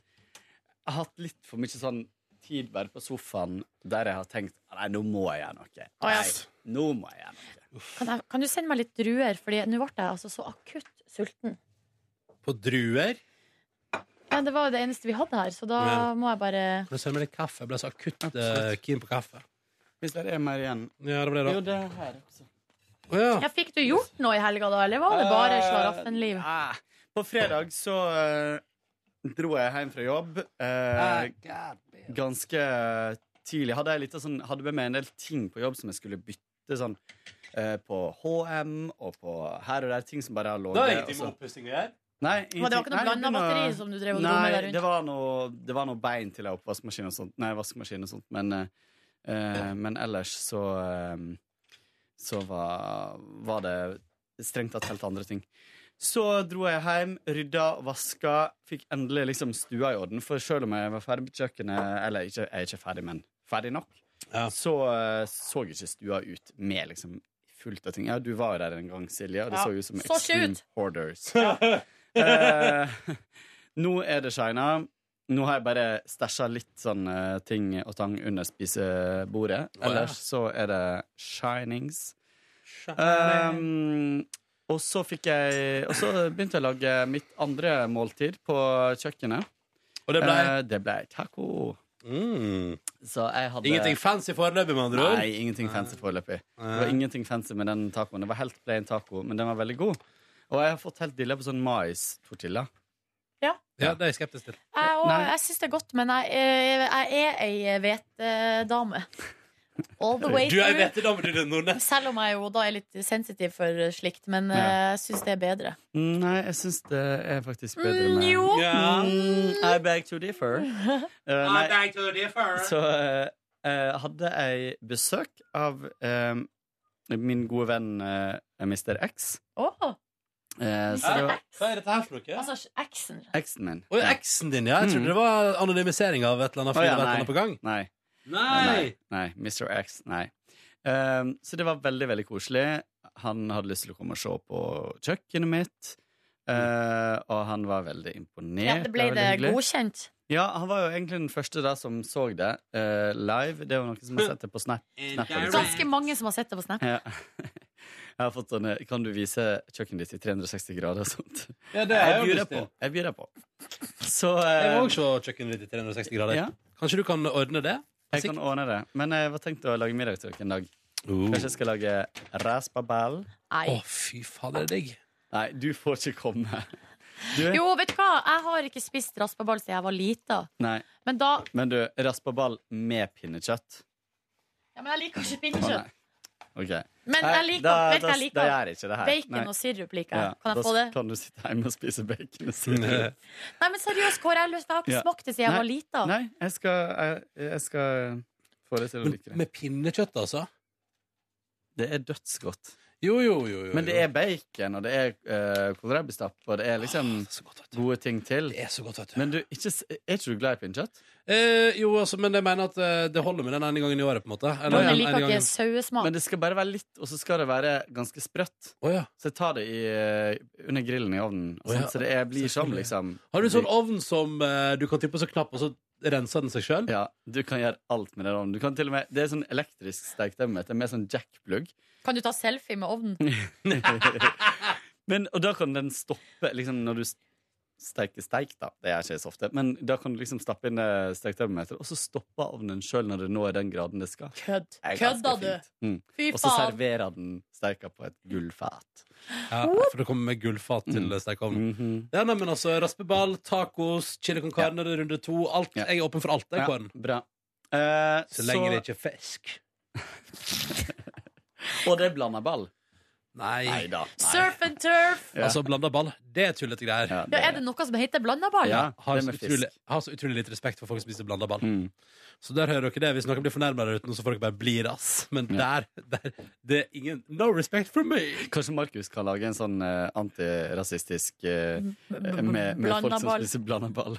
O: har hatt litt for mye sånn tid bare på sofaen der jeg har tenkt nei, nå må jeg gjøre noe.
C: Å, ja.
O: Nei, nå må jeg gjøre noe.
C: Kan, jeg, kan du sende meg litt druer? Fordi nå ble jeg altså så akutt sulten.
B: På druer.
C: Ja, det var jo det eneste vi hadde her, så da
B: Ja.
C: må jeg bare
B: Men så er det med litt kaffe. Jeg ble så akutt eh, keen på kaffe.
O: Hvis det er mer igjen.
B: Ja, det ble det.
O: Jo, det er her også.
B: Å, ja.
C: ja, Fikk du gjort noe i helga, da, eller var det bare
O: Eh,
C: slaraffenliv?
O: nei. På fredag så eh, dro jeg hjem fra jobb. eh, ganske Eh, tidlig. Hadde jeg litt av sånn, hadde med meg en del ting på jobb som jeg skulle bytte sånn. eh, på HM og på her og der. Ting som bare har
B: Da er
O: ligget
B: det ingenting med oppussing å gjøre.
O: Nei,
C: Men det var ikke noe
O: ingenting. Nei,
C: blandet
O: det var-
C: batteri som du drev og dro
O: Nei,
C: med der rundt?
O: Det var noe, det var noe bein til ei oppvaskmaskin og sånt. Nei, vaskemaskin og sånt. Men, eh, eh, men ellers så eh, Så var, var det strengt tatt helt andre ting. Så dro jeg hjem, rydda, vaska, fikk endelig liksom stua i orden. For selv om jeg var ferdig på kjøkkenet Eller ikke, jeg er ikke ferdig, men ferdig nok. Så eh, så ikke stua ut med liksom fullt av ting. Ja, du var jo der en gang, Silje, og det
C: Ja,
O: så ut som
C: så ikke
O: Extreme
C: ut.
O: Hoarders.
C: Ja.
O: Eh, nå er det shina. Nå har jeg bare stæsja litt sånn eh, ting og tang under spisebordet.
P: ja.
O: Ellers så er det shinings. Um, og så fikk jeg Og så begynte jeg å lage mitt andre måltid på kjøkkenet.
G: Og det ble?
O: Eh, det ble taco.
B: Mm.
O: Så jeg hadde
G: Ingenting fancy foreløpig, med andre ord?
O: Nei, ingenting fancy foreløpig. Det var ingenting fancy med den tacoen. Det var helt plain taco, men den var veldig god. Og jeg har fått helt dilla på sånn mais-tortilla.
C: Ja.
O: Ja,
B: Eh, det er jeg skeptisk til.
C: Jeg, og,
O: Nei.
C: jeg syns det er godt, men jeg, eh, jeg er ei hvetedame. All the way
G: Du er
C: through.
G: vettedame, du, Nordnes.
C: Selv om jeg jo da er litt sensitiv for slikt, men eh,
O: Ja.
C: jeg syns det er bedre.
O: Nei, jeg syns det er faktisk bedre
C: Mm,
O: med
C: jo. Ja.
O: Mm, I beg to differ. Eh,
B: Ah,
O: nei, Så eh, eh, hadde jeg besøk av eh, min gode venn eh, Mr. X.
C: Åh.
O: Eh, så det var
B: Hva er dette her for noe?
C: Altså, eksen.
O: eksen min.
B: Å, ja, eksen din, ja. Jeg trodde det var anonymisering av et eller annet.
O: Å,
B: fordi
O: ja,
B: det var et eller annet på gang.
O: Nei.
B: Nei.
O: Nei, Mr. X, nei. Ehm, så det var veldig, veldig koselig. Han hadde lyst til å komme og se på kjøkkenet mitt, eh, og han var veldig imponert.
C: Ja, det ble
O: var
C: det
O: veldig hyggelig.
C: godkjent.
O: Ja, han var jo egentlig den første da som så det eh, live. Det er jo noen som har sett det på Snap. Snap eller sånt.
C: Ganske mange som har sett det på Snap.
O: Ja. Jeg har fått sånne Kan du vise kjøkkenet ditt i 360 grader og sånt?
B: Ja, det har jeg
O: byr
B: lyst
O: deg
B: til.
O: på. Jeg byr deg på. Så
B: Jeg
O: eh,
B: må også se kjøkkenet ditt i 360 grader.
O: Ja.
B: Kanskje du kan ordne det?
O: Jeg kan ordne det. Men eh, jeg var tenkt å lage middag til dere en dag.
B: Oh.
O: Kanskje jeg skal lage raspabell.
C: Nei.
B: Å, fy fader, det er digg.
O: Nei, du får ikke komme. Du,
C: Jo, vet du hva? Jeg har ikke spist raspeball siden jeg var lita.
O: Nei.
C: Men da
O: Men du, raspabell med pinnekjøtt.
C: Ja, men jeg liker ikke
O: Å,
C: pinnekjøtt.
O: nei. OK.
C: Men
O: Nei,
C: jeg liker,
O: da-
C: vet du hva jeg
O: da-
C: liker?
O: Da gjør jeg ikke det her.
C: Bacon
O: Nei.
C: og sirup liker jeg.
O: Ja,
C: Kan jeg
O: da
C: få det?
O: Kan du sitte hjemme og spise bacon og sirup?
C: Nei, men seriøst, Kåre, jeg har lyst- jeg har ikke
O: Ja.
C: smakt det siden jeg
O: Nei.
C: var lita.
O: Nei, jeg skal, jeg, jeg skal få det til å like det.
B: Med pinnekjøtt, altså?
O: Det er dødsgodt.
B: Jo, jo, jo. jo.
O: Men det er bacon, og det er uh, kålrabistapp, og det er liksom
B: Ah,
O: gode ting til. Det
B: er så godt, vet
O: du. Men du, ikke, s- er ikke du glad i pinnekjøtt?
B: eh, Jo, altså, men jeg mener at eh, det holder med den ene gangen i året, på en måte. Eller
C: Men jeg
B: en- en
C: liker
B: gang-
C: ikke sauesmak.
O: Men det skal bare være litt, og så skal det være ganske sprøtt. Så jeg tar det i, eh, under grillen i ovnen, og
B: Å ja,
O: sånt, så det er, blir sånn, liksom.
B: Har du sånn ovn som eh, du kan tippe så knapp, og så renser den seg sjøl?
O: Ja, du kan gjøre alt med den ovnen. Du kan til og med, det er sånn elektrisk steketemmeter med sånn jackplugg.
C: Kan du ta selfie med ovnen?
O: Men, og da kan den stoppe liksom, Når du s- steker steik da Det gjør ikke jeg så ofte Men da kan du liksom stappe inn eh, steketermometer Og så stopper ovnen selv når det når den graden det skal
C: Kødd
O: Det er ganske
C: Kødda du?
O: fint. mm.
C: Fy
O: Og så
C: faen.
O: serverer den steika på et gullfat
B: Ja, for det kommer med gullfat til mm. stekeovnen.
O: Mm-hmm.
B: Ja, nei, men altså, Raspeball, tacos, chili con carne, det er runde to. Alt, Jeg er åpen for alt. Jeg,
O: Ja,
B: Kåren.
O: bra Eh,
B: Så lenge det ikke er fisk
O: Og det blander ball
B: Nei,
O: da
C: Surf and turf!
O: Ja.
B: Altså, blanda ball, det er tullete greier.
C: Ja, er det noe som heter blanda ball?
B: Ja, har,
O: det
B: så
O: med fisk. Mm.
B: utrolig, har så utrolig litt respekt for folk som spiser blanda ball. Så der hører dere det. Hvis noen blir fornærma der ute, nå, så får dere bare bli rass. Men der, der det er ingen No respect for me!
O: Kanskje Markus kan lage en sånn eh, antirasistisk eh,
B: B-
O: eh, med, med folk som
C: blandaball.
O: spiser blanda ball.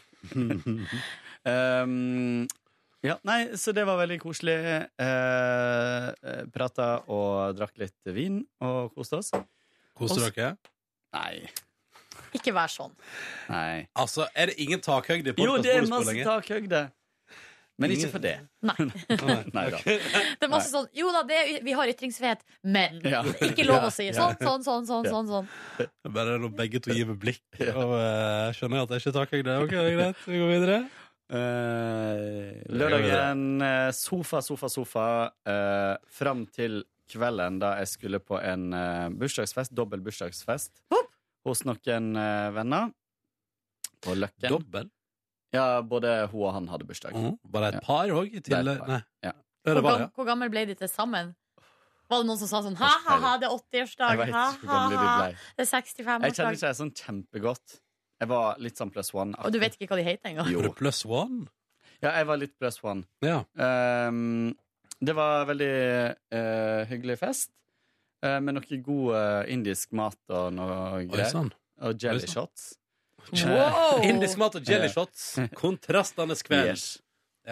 O: um, ja, nei, så det var veldig koselig. Uh, Prata og drakk litt vin og koste oss.
B: Koser
O: Oss-
B: dere?
O: Nei.
C: Ikke vær sånn.
O: nei.
B: Altså, er det ingen takhøyde i
O: Jo, det er
B: podcastbordet så
O: masse
B: lenge?
O: takhøyde. Men ikke for det. Nei. da.
C: Det er masse sånn Jo da, det, vi har ytringsfrihet, men
B: Ja.
C: ikke lov å si
B: Ja.
C: sånn, sånn, sånn, sånn.
B: Ja.
C: sånn, sånn.
B: Bare når begge to gir meg blikk, og eh, skjønner jeg at det er ikke takhøyde. Ok, det er greit. Vi går videre.
O: Eh, Lørdagen eh, sofa, sofa, sofa eh, fram til kvelden da jeg skulle på en eh, bursdagsfest, dobbel bursdagsfest, hos noen eh, venner på Løkken.
B: Dobbel?
O: Ja, både hun og han hadde bursdag.
B: Mhm. Bare et par òg? Nei.
O: Ja.
C: Hvor, gam, hvor gammel ble de til sammen? Var det noen som sa sånn ha, ha, ha, det er 80-årsdag,
O: Jeg vet
C: ha,
O: ikke hvor
C: ha,
O: gamle de
C: ha,
O: ble.
C: det er
O: Jeg kjenner
C: 65-årsdag.
O: ikke jeg sånn kjempegodt. Jeg var litt sånn plus one.
C: Og du vet ikke hva de heter engang.
O: Jo.
B: Plus one?
O: Ja, jeg var litt plus one.
B: Ja.
O: Ehm, det var veldig eh, hyggelig fest, eh, med noe god eh, indisk mat og noe greier.
B: sann.
O: Og
B: sånn. Oi,
O: jelly
B: sann.
O: shots.
B: Wow!
O: Eh,
B: Indisk mat og jelly shots. Kontrastenes kveld.
O: Yes.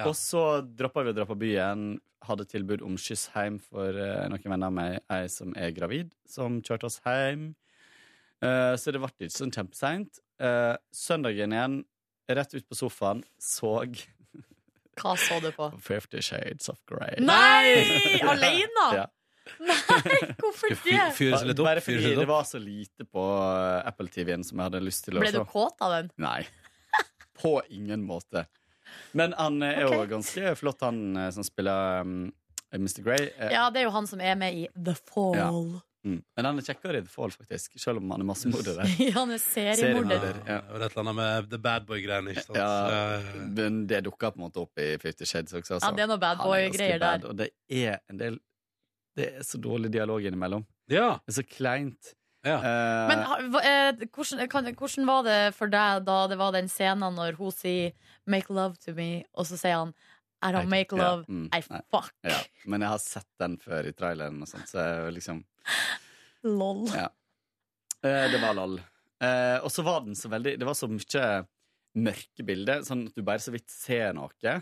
O: Og så droppa vi å dra på byen. Hadde tilbud om skyss hjem for eh, noen venner av meg, ei som er gravid, som kjørte oss hjem. Eh, så det ble ikke sånn kjempeseint. Eh, søndagen igjen, rett ut på sofaen, så
C: Hva så du på?
O: Fifty Shades of Grey.
C: Nei! Alene?
O: ja.
C: Hvorfor det?
B: fyre seg litt opp,
O: Bare
B: fyre seg
O: fordi
B: litt
O: det var så lite på eh, Apple TV-en som jeg hadde lyst til å
C: Ble du
O: se.
C: kåt av den?
O: Nei. På ingen måte. Men han eh, er jo ganske flott, han eh, som spiller um, Mr. Grey. Eh,
C: Ja, det er jo han som er med i The Fall.
O: Mm. Men han er kjekkere i The Fall, faktisk. Selv om han er massemordere.
C: Ja, han er seriemorder.
O: Ja. Og et eller annet med The Bad Boy-greiene. ikke sant? Ja,
B: eh,
O: men det dukka på en måte opp i Fifty Shades også.
C: Ja, det er noe bad
O: altså. Han er
C: boy-greier
O: ganske bad,
C: der.
O: Og det er en del Det er så dårlig dialog innimellom. Det er så kleint. Eh,
C: Men ha- hva- eh, hvordan, kan, hvordan var det for deg da det var den scenen når hun sier 'make love to me', og så sier han 'I don't make
O: ja,
C: love,
O: mm,
C: I
O: nei.
C: fuck
O: ja, men jeg har sett den før i traileren og sånt, så jeg liksom
C: lol'.
O: Ja. Eh, det var lol. Eh, og så var den så veldig Det var så mye mørke bilder, sånn at du bare så vidt ser noe. Eh,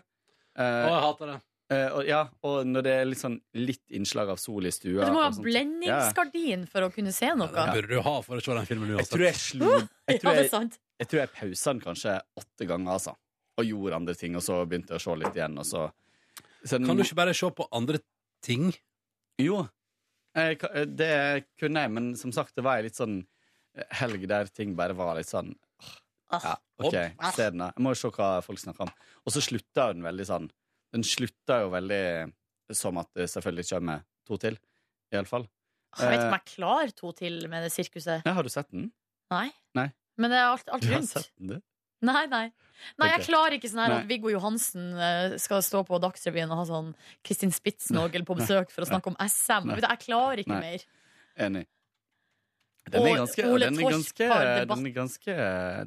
B: Å, jeg hater det.
O: eh, og, ja, og når det er litt sånn litt innslag av sol i stua
C: Du må ha
O: og sånn sånt.
C: blendingsgardin for å kunne se noe.
O: Ja.
B: Burde du ha for å se den filmen
O: Jeg tror jeg slo jeg
C: Ja,
O: tror
C: det er
O: jeg,
C: sant.
O: jeg, tror jeg pausa den kanskje åtte ganger, altså. Og gjorde andre ting, og så begynte jeg å se litt igjen, og så
B: Kan du ikke bare se på andre ting?
O: Jo. Jeg, ka- eh, det kunne jeg, men som sagt, det var ei litt sånn helg der ting bare var litt sånn åh, Ja, OK, se den, da. Jeg må jo se hva folk snakker om. Og så slutta jo den veldig sånn. Den slutta jo veldig som at det selvfølgelig kommer to til, iallfall.
C: Jeg vet ikke om jeg klarer to til med det sirkuset.
O: Har du sett den?
C: Nei.
O: Nei.
C: Men det er alt, alt
O: Du har
C: rundt.
O: sett den, du?
C: Nei, nei. Nei, jeg
O: Ok.
C: klarer ikke sånn her at
O: Nei.
C: Viggo Johansen eh, skal stå på Dagsrevyen og ha sånn Kristin Spitsnogel på besøk for å
O: Nei.
C: snakke om SM.
O: Nei.
C: Vet du, Jeg klarer ikke
O: Nei.
C: mer.
O: Enig. Den
C: Og
O: er ganske,
C: Ole
O: den er
C: Torp
O: ganske,
C: har debatt.
O: den er ganske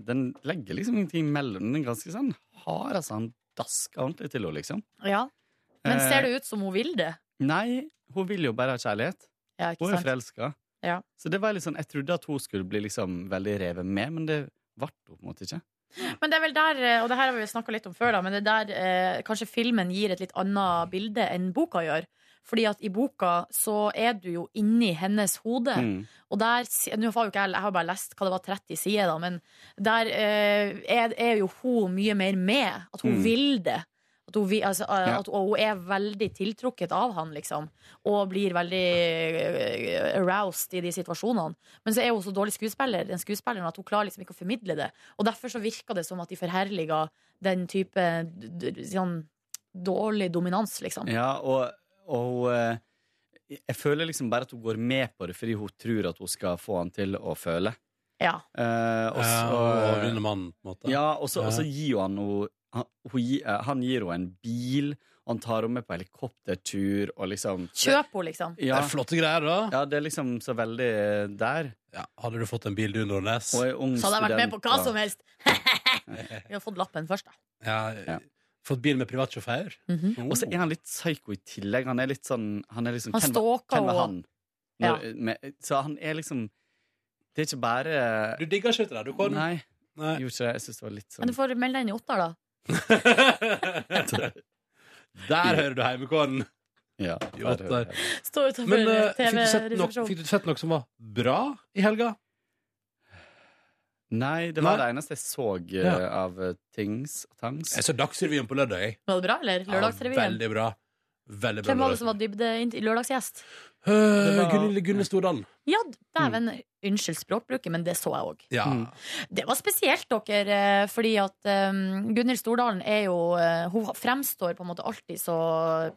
O: Den legger liksom ingenting imellom. Den er ganske sånn hard, altså. Han dasker ordentlig til henne, liksom.
C: Ja. Men
O: Eh,
C: ser det ut som hun vil det?
O: Nei, hun vil jo bare ha kjærlighet.
C: Ja, ikke
O: hun er
C: sant?
O: forelska.
C: Ja.
O: Så det var litt sånn, jeg trodde at hun skulle bli liksom veldig revet med, men det ble hun på en måte ikke.
C: Men det er vel der, eh, og det her har vi jo snakka litt om før, da, men det er der eh, kanskje filmen gir et litt annet bilde enn boka gjør. Fordi at i boka så er du jo inni hennes hode.
P: Mm.
C: Og der, si- nå har jo ikke jeg, jeg har bare lest hva det var 30 sider, da, men der eh, er, er jo hun mye mer med. At hun
P: Mm.
C: vil det. At hun, vi- altså, eh,
P: Ja.
C: at, og hun er veldig tiltrukket av han, liksom. Og blir veldig eh, aroused i de situasjonene. Men så er hun så dårlig skuespiller den skuespilleren, at hun klarer liksom ikke å formidle det. Og derfor så virker det som at de forherliger den type d- d- sånn dårlig dominans, liksom.
O: Ja, og, og eh, jeg føler liksom bare at hun går med på det fordi hun tror at hun skal få han til å føle.
C: Ja.
O: Eh, og
B: Ja,
O: så
B: og overvinne mannen, på en måte.
O: Ja, og så, og så
B: Ja.
O: gir jo han henne han, hun gi- eh, han gir henne en bil, og han tar henne med på helikoptertur og liksom
C: Kjøp henne, liksom.
O: Ja.
B: Det er flotte greier, da.
O: Ja, det er liksom så veldig eh, der.
B: Hadde du fått en bil, du, Nordnes?
O: Og er ung
C: Så hadde jeg vært med på
O: student,
C: hva
O: og-
C: som helst. Vi har fått lappen først, da.
B: Ja, Fått bil med privatsjåfør?
C: Mhm.
B: Oh.
O: Og så er han litt psycho i tillegg. Han er litt sånn Han, er liksom,
C: Han
O: hvem var-
C: stalker
O: hvem var
C: og-
O: han? Når, med, så han er liksom Det er ikke bare
B: Du digger ikke det? Du kom
O: Nei. Gjorde ikke det. Jeg syns det var litt
C: Men
O: sånn
C: du får melde deg inn i Ottar, da.
B: Der hører du heimekorn!
O: Ja,
B: Jo, der.
C: Står utenfor
B: Men eh, fikk, du sett nok,
C: TV-resepsjonen.
B: fikk du sett noe som var bra i helga?
O: Nei, det var
B: Nei.
O: det eneste jeg så eh,
B: Ja.
O: av eh, Tings og Tangs.
B: Jeg så Dagsrevyen på lørdag. jeg.
C: Var det bra, eller? Lørdagsrevyen.
B: Veldig bra. Veldig bra.
C: Hvem var det som var dybde i lørdagsgjest?
B: Eh, Gunhild Gunne Stordalen.
C: Ja,
B: Mm.
C: dæven. Unnskyld språkbruket, men det så jeg òg.
B: Ja.
C: Det var spesielt, dere, eh, fordi at um, Gunhild Stordalen er jo eh, Hun fremstår på en måte alltid så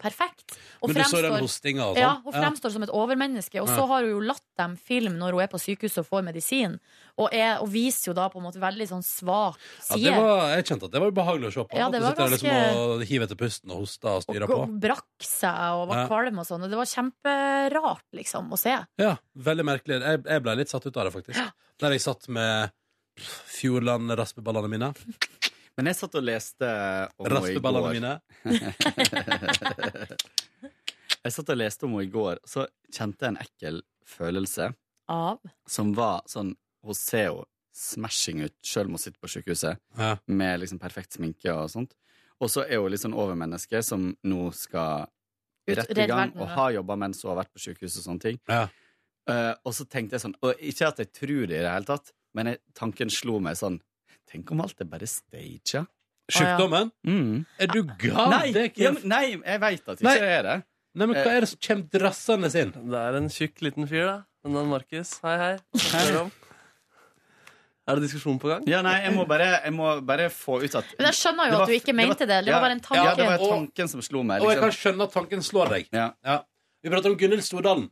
C: perfekt.
B: Men du så den hostinga og sånn?
C: Ja, hun
B: Ja.
C: fremstår som et overmenneske. Og så
B: Ja.
C: har hun jo latt dem filme når hun er på sykehuset og får medisin, og, er, og viser jo da på en måte veldig sånn svak
B: Ja,
C: side.
B: det var, jeg kjente at det var behagelig å se på.
C: Ja,
B: At
C: det
B: du
C: var
B: sitter der liksom
C: ganske-
B: og hiver etter pusten og hoster og styrer på.
C: og brakk seg og
B: Ja.
C: var kvalm og sånn. Og det var kjemperart, liksom, å se.
B: Ja, veldig merkelig. Jeg, jeg ble litt satt ut av det, faktisk. Der jeg satt med Fjordland-raspeballene mine.
O: Men jeg satt og leste om henne i går.
B: Raspeballene mine.
O: Jeg satt og leste om henne i går, så kjente jeg en ekkel følelse.
C: Av?
O: Som var sånn Hun ser jo smashing ut, sjøl om hun sitter på sykehuset, med liksom perfekt sminke og sånt. Og så er hun litt sånn overmenneske som nå skal
B: Ut-
O: rett i
B: redde
O: gang,
B: verden,
O: og
B: ja.
O: har jobba mens hun har vært på sykehuset og sånne ting. Eh, og så tenkte jeg sånn Og ikke at jeg tror det i det hele tatt, men jeg, tanken slo meg sånn Tenk om alt er bare staged?
B: Sjukdommen?
O: Mm.
B: Er du gal?
O: Nei,
B: Det er ikke-
O: ja, men- nei, jeg veit at ikke
B: Nei.
O: jeg Eh. er det.
B: Nei, men hva er det som kommer drassende inn?
D: Det er en tjukk liten fyr, da. Men han Markus. Hei, hei. Hva spør du om? Er det diskusjon på gang?
O: Ja, nei, jeg må bare, jeg må bare få ut at
C: Men jeg skjønner jo
O: Det var-
C: at du ikke mente det. Det var bare en tanke.
O: Ja, det var tanken som slo meg. liksom.
G: Og jeg kan skjønne at tanken slår deg. Ja. Vi prater om Gunhild Stordalen.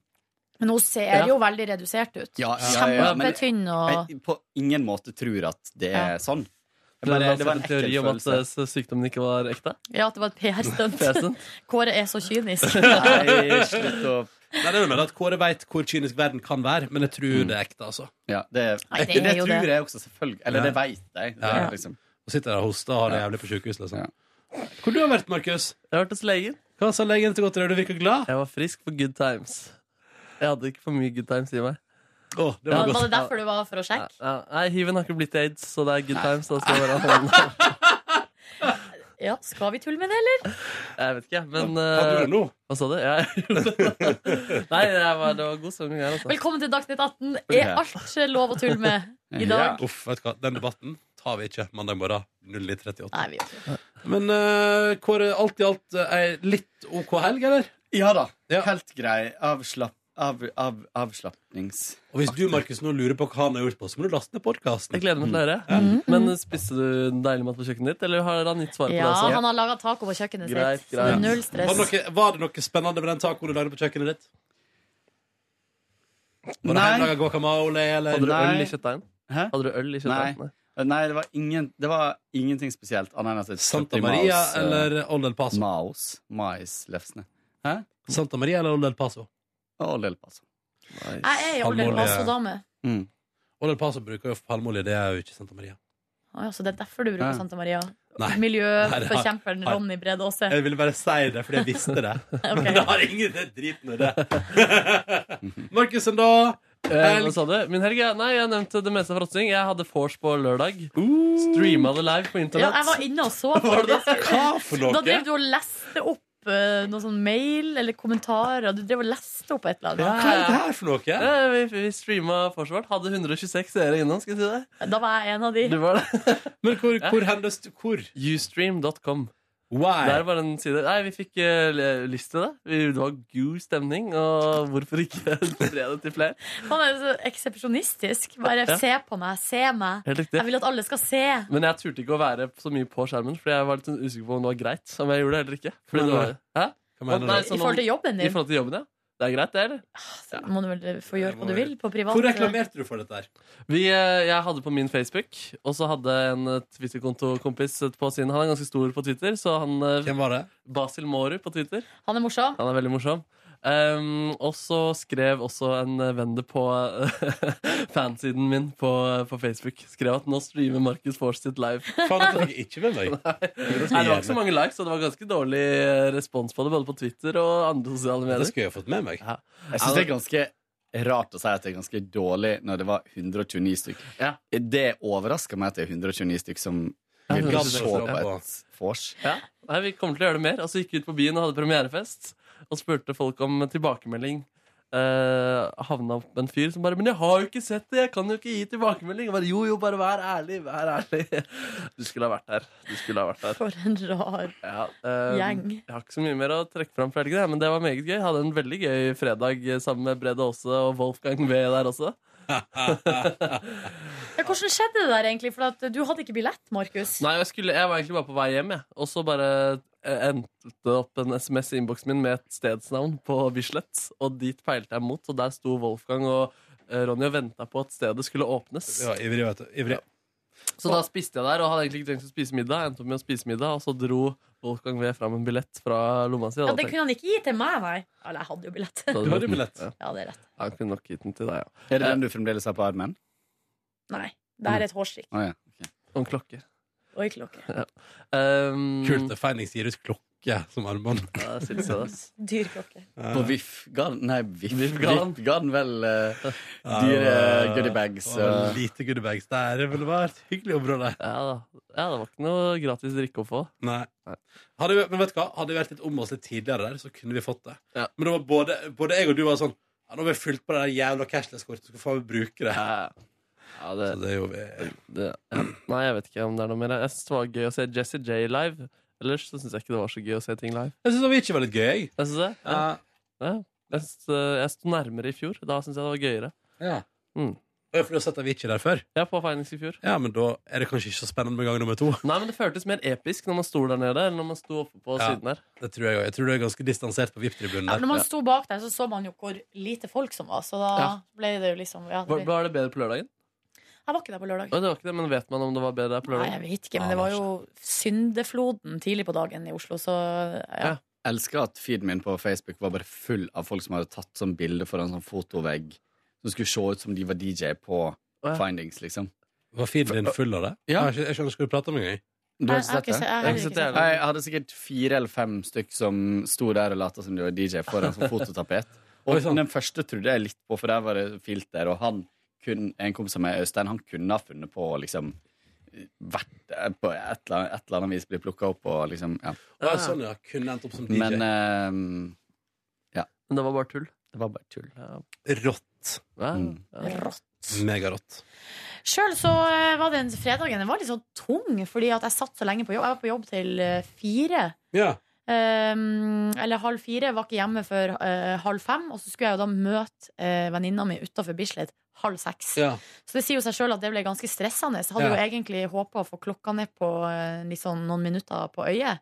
C: Men hun ser jo veldig redusert ut.
O: Ja, ja, ja, ja, men-
C: Kjempetynn og
O: Jeg på ingen måte tror at det er sånn. Jeg
D: Det,
O: bare,
D: det var en teori om at eh, sykdommen ikke var ekte.
C: Ja, at det var et PR-stunt.
D: PR-stunt.
C: Kåre er så kynisk.
G: Nei,
O: slutt
G: Nei, det er noe med at Kåre vet hvor kynisk verden kan være, men jeg tror
O: Mm.
G: det er ekte, altså.
O: Ja, det,
C: Nei, det er
O: det
C: jo
O: tror
C: det.
O: jeg også, selvfølgelig. Eller det veit jeg. Det,
G: Ja.
O: er liksom.
G: Og sitter der og hoster og har det jævlig på sjukehuset. Liksom. Hvor du har vært, Markus?
D: Jeg har vært hos legen.
G: Hva sa legen til godt til deg? Du virker glad.
D: Jeg var frisk for good times. Jeg hadde ikke for mye good times i meg.
G: Oh,
C: Ja, var det derfor du var for å sjekke?
D: Ja, nei, hiven har ikke blitt aids, så det er good times. Da skal jeg bare holde den.
C: Ja, Skal vi tulle med det, eller?
D: Jeg vet ikke, men eh,
G: Hva gjorde du nå?
D: Hva sa du? Ja, jeg gjorde det. Nei, det var, det var god stemning her, altså.
C: Velkommen til Dagsnytt 18. Er
G: Ok.
C: alt lov å tulle med i dag?
G: Ja. Uff, vet du hva? Den debatten tar vi ikke mandag morgen 09.38.
C: Nei, vi gjør ikke
G: det. Men eh, Kåre, alt i alt eh, ei litt OK helg, eller?
O: Ja da. Helt grei. Avslapp, av, av, avslapnings...
G: Og hvis du Markus, nå lurer på hva han har gjort på, så må du laste ned podkasten.
D: Jeg gleder meg til å høre. Men eh, spiste du deilig mat på kjøkkenet ditt, eller har han gitt svar på det
C: Ja,
D: også?
C: han har laga taco på kjøkkenet
D: Greit,
C: sitt.
D: greit.
C: Null stress.
G: Var det, noe, var det noe spennende med den tacoen du lagde på kjøkkenet ditt? Var det
O: Nei.
G: hjemmelaga guacamole, eller?
D: Hadde du øl i
O: Nei.
D: kjøttdeigen?
O: Hæ?
D: Hadde du øl i
O: Nei.
D: kjøttdeigen?
O: Eh, Nei, det var, ingen, det var ingenting spesielt annet enn at jeg
G: Santa
O: kjøpte
G: Maria
O: Maos, eh,
G: eller Old El Paso?
O: Maos. Maislefsene. Hæ?
G: Santa Maria eller Old El Paso?
O: Old El Paso.
C: Jeg er jo
G: Palmeolje.
C: Oldel Paso-dame.
G: Old El Paso bruker jo palmeolje, det er jo ikke Santa Maria.
C: Å ja, så det er derfor du
G: Ja.
C: bruker Santa Maria?
G: Nei.
C: Miljøforkjemperen
G: Nei, nei.
C: Ronny Brede Aase.
G: Jeg ville bare si det fordi jeg visste det.
C: Ok.
G: Men det har ingen det er driten i det. Markussen, da?
D: Eh, hva sa du? Min helg? ja. Nei, jeg nevnte det meste fra Rotsing. Jeg hadde vors på lørdag. Streama det live på
C: Ja,
D: internett.
C: jeg var inne og så på
D: Var
C: det.
D: det hva for noe?
C: Da drev du og leste opp eh, noe sånn mail eller kommentarer. Du drev og leste opp et eller annet.
G: for noe?
D: vi, vi streama forsvart. Hadde 126 seere innom, skal jeg si det.
C: Da var jeg en av de.
D: Du var det.
G: Men hvor, hvor hendes Hvor?
D: Ustream.com.
G: Why?
D: Det er bare en side. Nei, vi fikk eh, le- lyst til det. Vi, det var god stemning, og hvorfor ikke spre det til flere?
C: Han er jo så eksepsjonistisk. Bare
D: Ja.
C: se på meg, se meg.
D: Helt riktig.
C: Jeg vil at alle skal se.
D: Men jeg turte ikke å være så mye på skjermen, Fordi jeg var litt sånn usikker på om det var greit. Om jeg gjorde det eller ikke
G: Hva
D: fordi det var,
G: mener
D: Hæ?
G: Hva mener
D: Å, nei,
G: du?
D: sånn
C: I forhold til
D: om-
C: jobben din?
D: I forhold til jobben, ja Det er greit, det, eller?
C: Så må du vel få gjøre hva du vil på privat.
G: Hvor reklamerte du for dette her?
D: Vi, eh, jeg hadde på min Facebook, og så hadde en eh, Twitter-kontokompis på sin. Han er ganske stor på Twitter, så han eh,
G: Hvem var det?
D: Basil Mårud på Twitter.
C: Han er morsom.
D: Han er veldig morsom. Um, og så skrev også en eh, venn det på eh, fansiden min på, på Facebook. Skrev at nå streamer Markus Force sitt live.
G: Faen, det fikk jeg ikke med meg.
D: Nei, det var ikke så mange likes, og det var ganske dårlig eh, respons på det, både på Twitter og andre sosiale medier.
G: Det skulle jeg fått med meg.
D: Ja.
O: Jeg syns det er ganske rart å si at det er ganske dårlig når det var 129 stykk. Det overrasker meg at det er 129 stykk som
D: Ja,
O: vil
D: det
O: se
D: synes
O: på
D: jeg
O: et vors.
D: Ja. Nei, vi kommer til å gjøre det mer. Og så gikk vi ut på byen og hadde premierefest og spurte folk om tilbakemelding. Uh, havna opp med en fyr som bare 'Men jeg har jo ikke sett det! Jeg kan jo ikke gi tilbakemelding!' Jeg bare, jo, jo, bare vær ærlig, vær ærlig. Du skulle ha vært der. Du skulle ha vært der.
C: For en rar
D: Ja, eh,
C: Gjeng.
D: Jeg har ikke så mye mer å trekke fram fra helgen, jeg, men det var meget gøy. Jeg hadde en veldig gøy fredag eh, sammen med Brede Aase og Wolfgang V der også.
C: Ja, hvordan skjedde det der, egentlig? For at du hadde ikke billett, Markus.
D: Nei, jeg, skulle, jeg var egentlig bare på vei hjem, jeg. Og så bare eh, endte det opp en SMS i innboksen min med et stedsnavn på Bislett. Og dit peilte jeg mot, og der sto Wolfgang og eh, Ronny og venta på at stedet skulle åpnes.
G: Ja, ivrig, vet du. Ivrig.
D: Så da spiste jeg der, og hadde egentlig ikke tenkt å spise middag. Endte opp med å spise middag, og så dro Wolfgang V fram en billett fra lomma si.
C: Ja,
D: og da
C: det
D: tenkte
C: kunne han ikke gi til meg, nei. Eller jeg hadde jo billett.
D: jeg,
O: Du hadde jo billett.
C: Ja, det er rett.
D: Han kunne nok gitt den til deg, ja.
O: Er det den du fremdeles har på armen?
C: Nei. Det er et hårstrikk.
O: Å ja.
D: Og en klokke.
C: Og en klokke.
D: Ja. Um,
G: Kult at Findings gir ut klokke som armbånd.
D: Ja, jeg synes det, ass.
C: Dyr klokke.
O: På VIF Garden Nei, VIF,
D: VIF
O: Garden.
D: Garden.
O: VIF Garden vel eh,
G: Ja,
O: dyre
G: det var-
O: goodiebags. eh.
G: det var Lite goodiebags. Det er vel vært et hyggelig område.
D: Ja, da. ja, det var ikke noe gratis drikke å få.
G: Nei. Hadde vi, men vet du hva? Hadde vi vært litt om oss litt tidligere der, så kunne vi fått det.
D: Ja.
G: Men det var både, både jeg og du var sånn ja, Nå har vi fylt på det der jævla cashless-kortet, så skal faen meg bruke det.
D: Ja, det,
G: så det gjorde
B: eh,
G: vi.
D: Det, ja. Nei, jeg vet ikke om det er noe mer. Jeg synes det var gøy å se Jesse J live. Ellers så syns jeg ikke det var så gøy å se ting live.
G: Jeg syns Avicii var litt gøy. jeg.
D: Jeg synes det? Ja.
G: Ja.
D: Ja. Jeg, synes, eh, jeg sto nærmere i fjor. Da syns jeg det var gøyere.
G: Ja.
D: Mm.
B: Å, ja, For du har sett Avicii der før?
D: Ja, på Feinings i fjor.
B: Ja, men da er det kanskje ikke så spennende med gang nummer to.
D: Nei, men Det føltes mer episk når man sto der nede, eller når man sto oppe på
B: Ja,
D: siden der.
B: Det tror jeg òg. Jeg tror du er ganske distansert på VIP-tribunen
C: Ja,
B: der.
C: når man sto bak der, så så man jo hvor lite folk som var. Så da
D: Ja.
C: ble det jo liksom ja, det
D: Var,
C: ble...
D: var det bedre på lørdagen?
C: Jeg var ikke der på lørdag.
D: Å, det var ikke det, Men vet man om det var bedre der på
C: Nei,
D: lørdagen?
C: jeg vet ikke, men det var jo syndefloden tidlig på dagen i Oslo, så ja.
O: Elsker at feeden min på Facebook var bare full av folk som hadde tatt sånn bilde foran sånn fotovegg, som skulle se ut som de var DJ på
D: ja.
O: Findings, liksom.
B: Var feeden din full av det?
O: Ja.
B: Jeg skjø- Jeg skjønner ikke hva du prater om engang.
O: Du har
B: Nei, jeg har
O: ikke sett det?
B: ikke sett- jeg har ikke sett det.
O: Nei, jeg hadde sikkert fire eller fem stykk som sto der og lata som de var DJ foran sånn fototapet. Og den første trodde jeg litt på, for der var det filter, og han kun, en kompis av meg, Øystein, han kunne ha funnet på å liksom vært der på et eller annet, et eller annet vis, bli plukka opp og liksom Ja.
B: Å, ja, sånn, ja. Kunne endt opp som DJ.
O: Men ehm, ja.
D: Men det var bare tull?
O: Det var bare tull.
B: Rått.
D: Mm.
C: Rått.
B: Megarått.
C: Sjøl så eh, var den fredagen den var litt sånn tung, fordi at jeg satt så lenge på jobb. Jeg var på jobb til eh, fire.
B: Ja.
C: Um, eller halv fire. Var ikke hjemme før eh, halv fem. Og så skulle jeg jo da møte eh, venninna mi utafor Bislett halv seks. Så det sier jo seg sjøl at det ble ganske stressende. Så jeg hadde
K: Ja.
C: jo egentlig håpa å få klokka ned på eh, litt sånn noen minutter på øyet.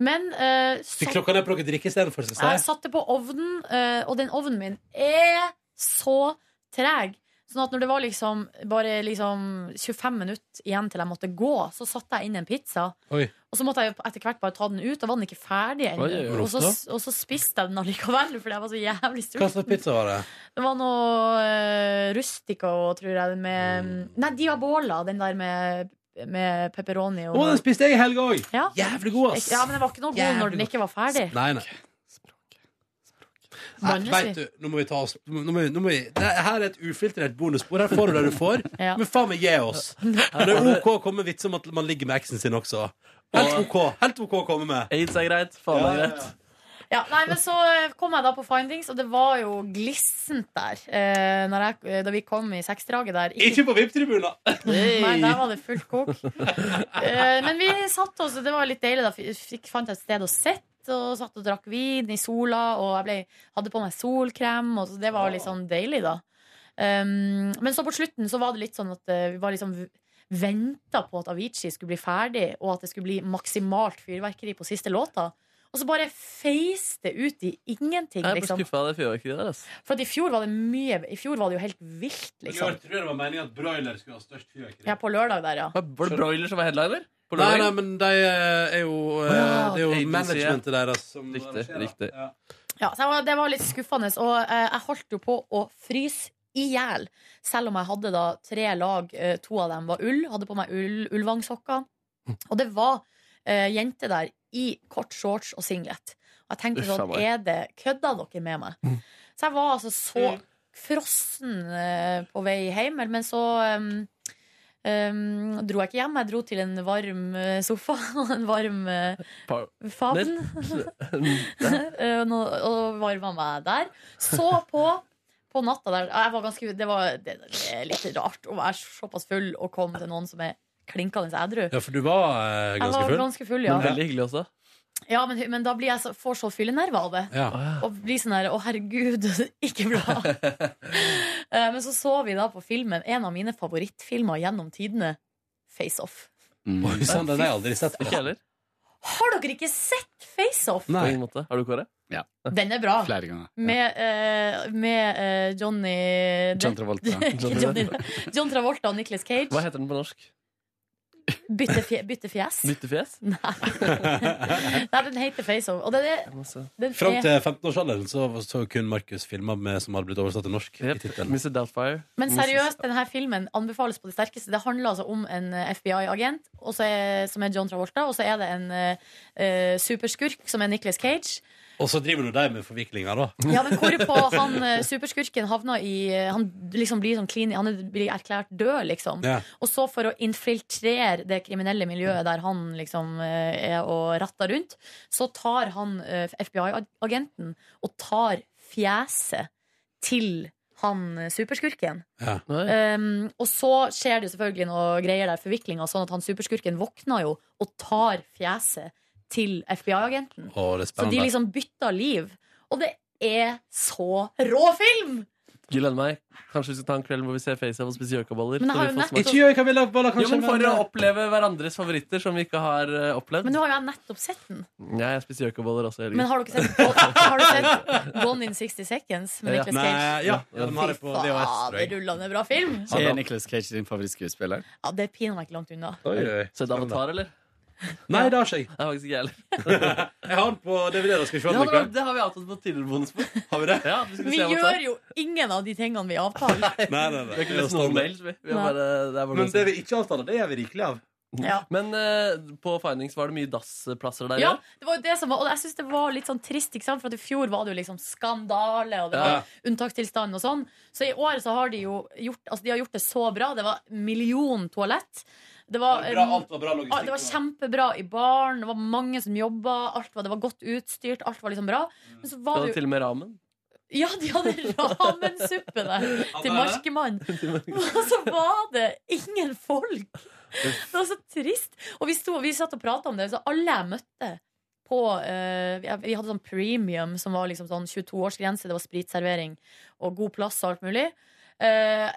C: Men eh,
B: Fikk
C: satt-
B: klokka ned på noe drikke istedenfor, syns
C: jeg
B: jeg.
C: satte på ovnen, eh, og den ovnen min er så treg. Sånn at når det var liksom bare liksom 25 minutter igjen til jeg måtte gå, så satte jeg inn en pizza.
B: Oi.
C: Og så måtte jeg jo etter hvert bare ta den ut. Da var den ikke ferdig ennå.
B: Oi, oi, oi.
C: Og, så-
B: Rosta.
C: og så spiste jeg den allikevel, fordi jeg var så jævlig
B: Hva slags
C: sulten.
B: pizza var det?
C: Det var noe uh, rustico, tror jeg, med
B: Mm.
C: Nei, diabola, den der med, med pepperoni
B: Å,
C: og
B: den spiste jeg i helga òg!
C: ja.
B: Jævlig god, ass!
C: Ja, men den var ikke noe god
B: Jævlig
C: når den
B: god.
C: ikke var ferdig.
B: Nei, nei.
C: Vanlig,
B: Nei, vet
C: sier.
B: du, nå må vi ta oss nå må vi, nå må vi, det, Her er et ufiltrert bonusspor. Her får du det du får. Men faen meg, gi oss! Men det er OK å komme med vitser om at man ligger med eksen sin også. Helt OK, helt OK å komme med.
D: Aids er greit. Faen er greit.
C: Ja, nei, men så eh, kom jeg da på Findings, og det var jo glissent der eh, når jeg, eh, da vi kom i seksdraget der.
B: Ikke på VIP-tribunen!
C: Nei, der var det fullt kok. Eh, men vi satt oss, og det var litt deilig. Da F- fikk, fant jeg et sted å sitte. Og satt og drakk vin i sola, og jeg ble, hadde på meg solkrem. Og så det var litt sånn deilig, da. Um, men så på slutten så var det litt sånn at eh, vi var liksom venta på at Avicii skulle bli ferdig, og at det skulle bli maksimalt fyrverkeri på siste låta. Og så bare feis det ut i ingenting,
D: Jeg ble
C: liksom.
D: skuffa av det fyrverkeriet der. ass.
C: For at i fjor var det mye I fjor var det jo helt vilt, liksom.
B: tror jeg det var meningen at broiler skulle ha størst fyrverkeri.
C: Ja, på lørdag der, ja.
D: Var det broiler som var headliner? På
B: Nei,
D: lørdag?
B: nei, men de eh, er jo, eh,
D: Ja,
B: det er jo
D: agency,
B: managementet deres som
D: Riktig,
B: arrangerer.
D: riktig.
B: Ja.
C: Ja, så jeg var, det var litt skuffende, og eh, jeg holdt jo på å fryse i hjel. Selv om jeg hadde da tre lag, eh, to av dem var ull, hadde på meg ull, ullvangsokker. Og det var eh, jenter der i kort shorts og singlet. Og jeg tenkte
K: Uffa
C: sånn,
K: meg.
C: er det kødda dere med meg? Så jeg var altså så frossen eh, på vei hjem, men så eh, eh, dro jeg ikke hjem. Jeg dro til en varm eh, sofa og en varm eh,
D: Par-
C: favn. Eh, nå- og varma meg der. Så på på natta der Jeg var ganske Det var det, det er litt rart å være såpass full og komme til noen som er klinkende edru.
B: ja, for du var eh,
C: Jeg
B: ganske
C: var
B: full?
C: ganske full, ja.
D: Men veldig hyggelig også.
C: Ja, men, men da blir jeg så, får så fyllenerver av det.
B: Ja.
C: Og blir sånn her Å, herregud, ikke bra. Eh, men så så vi da på filmen en av mine favorittfilmer gjennom tidene, Face Off.
B: Oi, sann, den har jeg aldri sett.
D: Ikke heller.
C: Har dere ikke sett Face Off?
D: På ingen måte. Har du Kåre?
O: Ja.
C: Den er bra.
O: Flere ganger.
C: Med, eh, med eh, Johnny
O: John Travolta.
C: Ikke Johnny, John Travolta og Nicolas Cage.
D: Hva heter den på norsk?
C: Bytte, fje, bytte fjes.
D: Byttefjes?
C: Nei, den heter Face Off. Og den er, den
B: Fram
C: er
B: til 15-årsalderen så, så kun Markus filmer med som hadde blitt oversatt til norsk. i tittelen.
C: Men seriøst, denne filmen anbefales på det sterkeste. Det handler altså om en eh, FBI-agent og så er- som er John Travolta, og så er det en eh, eh, superskurk som er Nicolas Cage.
B: Og så driver nå de med forviklinger, da.
C: Ja, men hvorpå han eh, superskurken havner i eh, Han liksom blir sånn clean, han er- blir erklært død, liksom.
B: Ja.
C: Og så for å infiltrere det kriminelle miljøet der han liksom eh, er og ratter rundt, så tar han eh, FBI-agenten og tar fjeset til han eh, superskurken. Um, og så skjer det jo selvfølgelig noe greier der, forviklinger, sånn at han superskurken våkner jo og tar fjeset til FBI-agenten.
B: Å, det er
C: Så de
B: spennende.
C: liksom bytter liv. Og det er så rå film!
D: Gleder meg. Kanskje vi skal ta en kveld hvor vi ser FaceApp og spiser gjøkaboller.
C: Men jeg
D: så
C: har
D: vi
C: jo
D: får
C: nettopp-
D: smake.
C: Ikke gjøkaboller, kanskje,
D: Jo, men For å
C: men-
D: oppleve hverandres favoritter som vi ikke har eh, opplevd.
C: Men nå har jo jeg nettopp sett den.
D: Nei, jeg spiser gjøkaboller også. i helgen.
C: Men har dere sett, har dere sett Gone in 60 Seconds med
D: Ja.
C: Nicolas
D: Nei,
C: Cage?
D: ja. Ja, den har jeg på
C: Fy
D: VHS, tror jeg.
C: fader, rullende bra film!
O: Er Nicolas Cage din favorittskuespiller?
C: Ja, det er pinadø ikke langt unna.
D: Sett Avatar, eller?
G: Nei, det har ikke jeg.
D: Nei, faktisk ikke jeg heller.
G: jeg har den på DVD. da skal vi se
D: Ja,
G: den i
D: det, var,
G: kveld.
D: det har vi avtalt på tidligere bonusbord. Har vi det? Ja, vi skulle
C: Vi
D: se Avatar.
C: gjør jo ingen av de tingene vi avtaler.
G: Nei, nei, nei.
D: Vi har ikke lest noen mails, vi. vi har
C: Nei.
D: bare, det er bare
G: Men det vi ikke avtaler, det er vi rikelig av.
D: Men eh, på Findings var det mye dassplasser der.
C: Ja, det var jo det som var, og jeg synes det var litt sånn trist, ikke sant? for at i fjor var det jo liksom skandale, og det var
D: Ja.
C: unntakstilstand og sånn. Så i år så har de jo gjort, altså de har gjort det så bra. Det var million toalett. Det var,
G: Det var bra, alt var bra logistikk.
C: Ah, Det var kjempebra i baren, det var mange som jobba, alt var, det var godt utstyrt, alt var liksom bra. Men så
D: Det
C: var
D: var
C: det jo
D: til og med ramen.
C: Ja, de hadde ramensuppe der til Markemann. Og så var det ingen folk! Det var så trist. Og vi, sto, vi satt og prata om det, så alle jeg møtte på eh, vi- Vi hadde sånn premium som var liksom sånn 22-årsgrense, det var spritservering og god plass og alt mulig. Eh,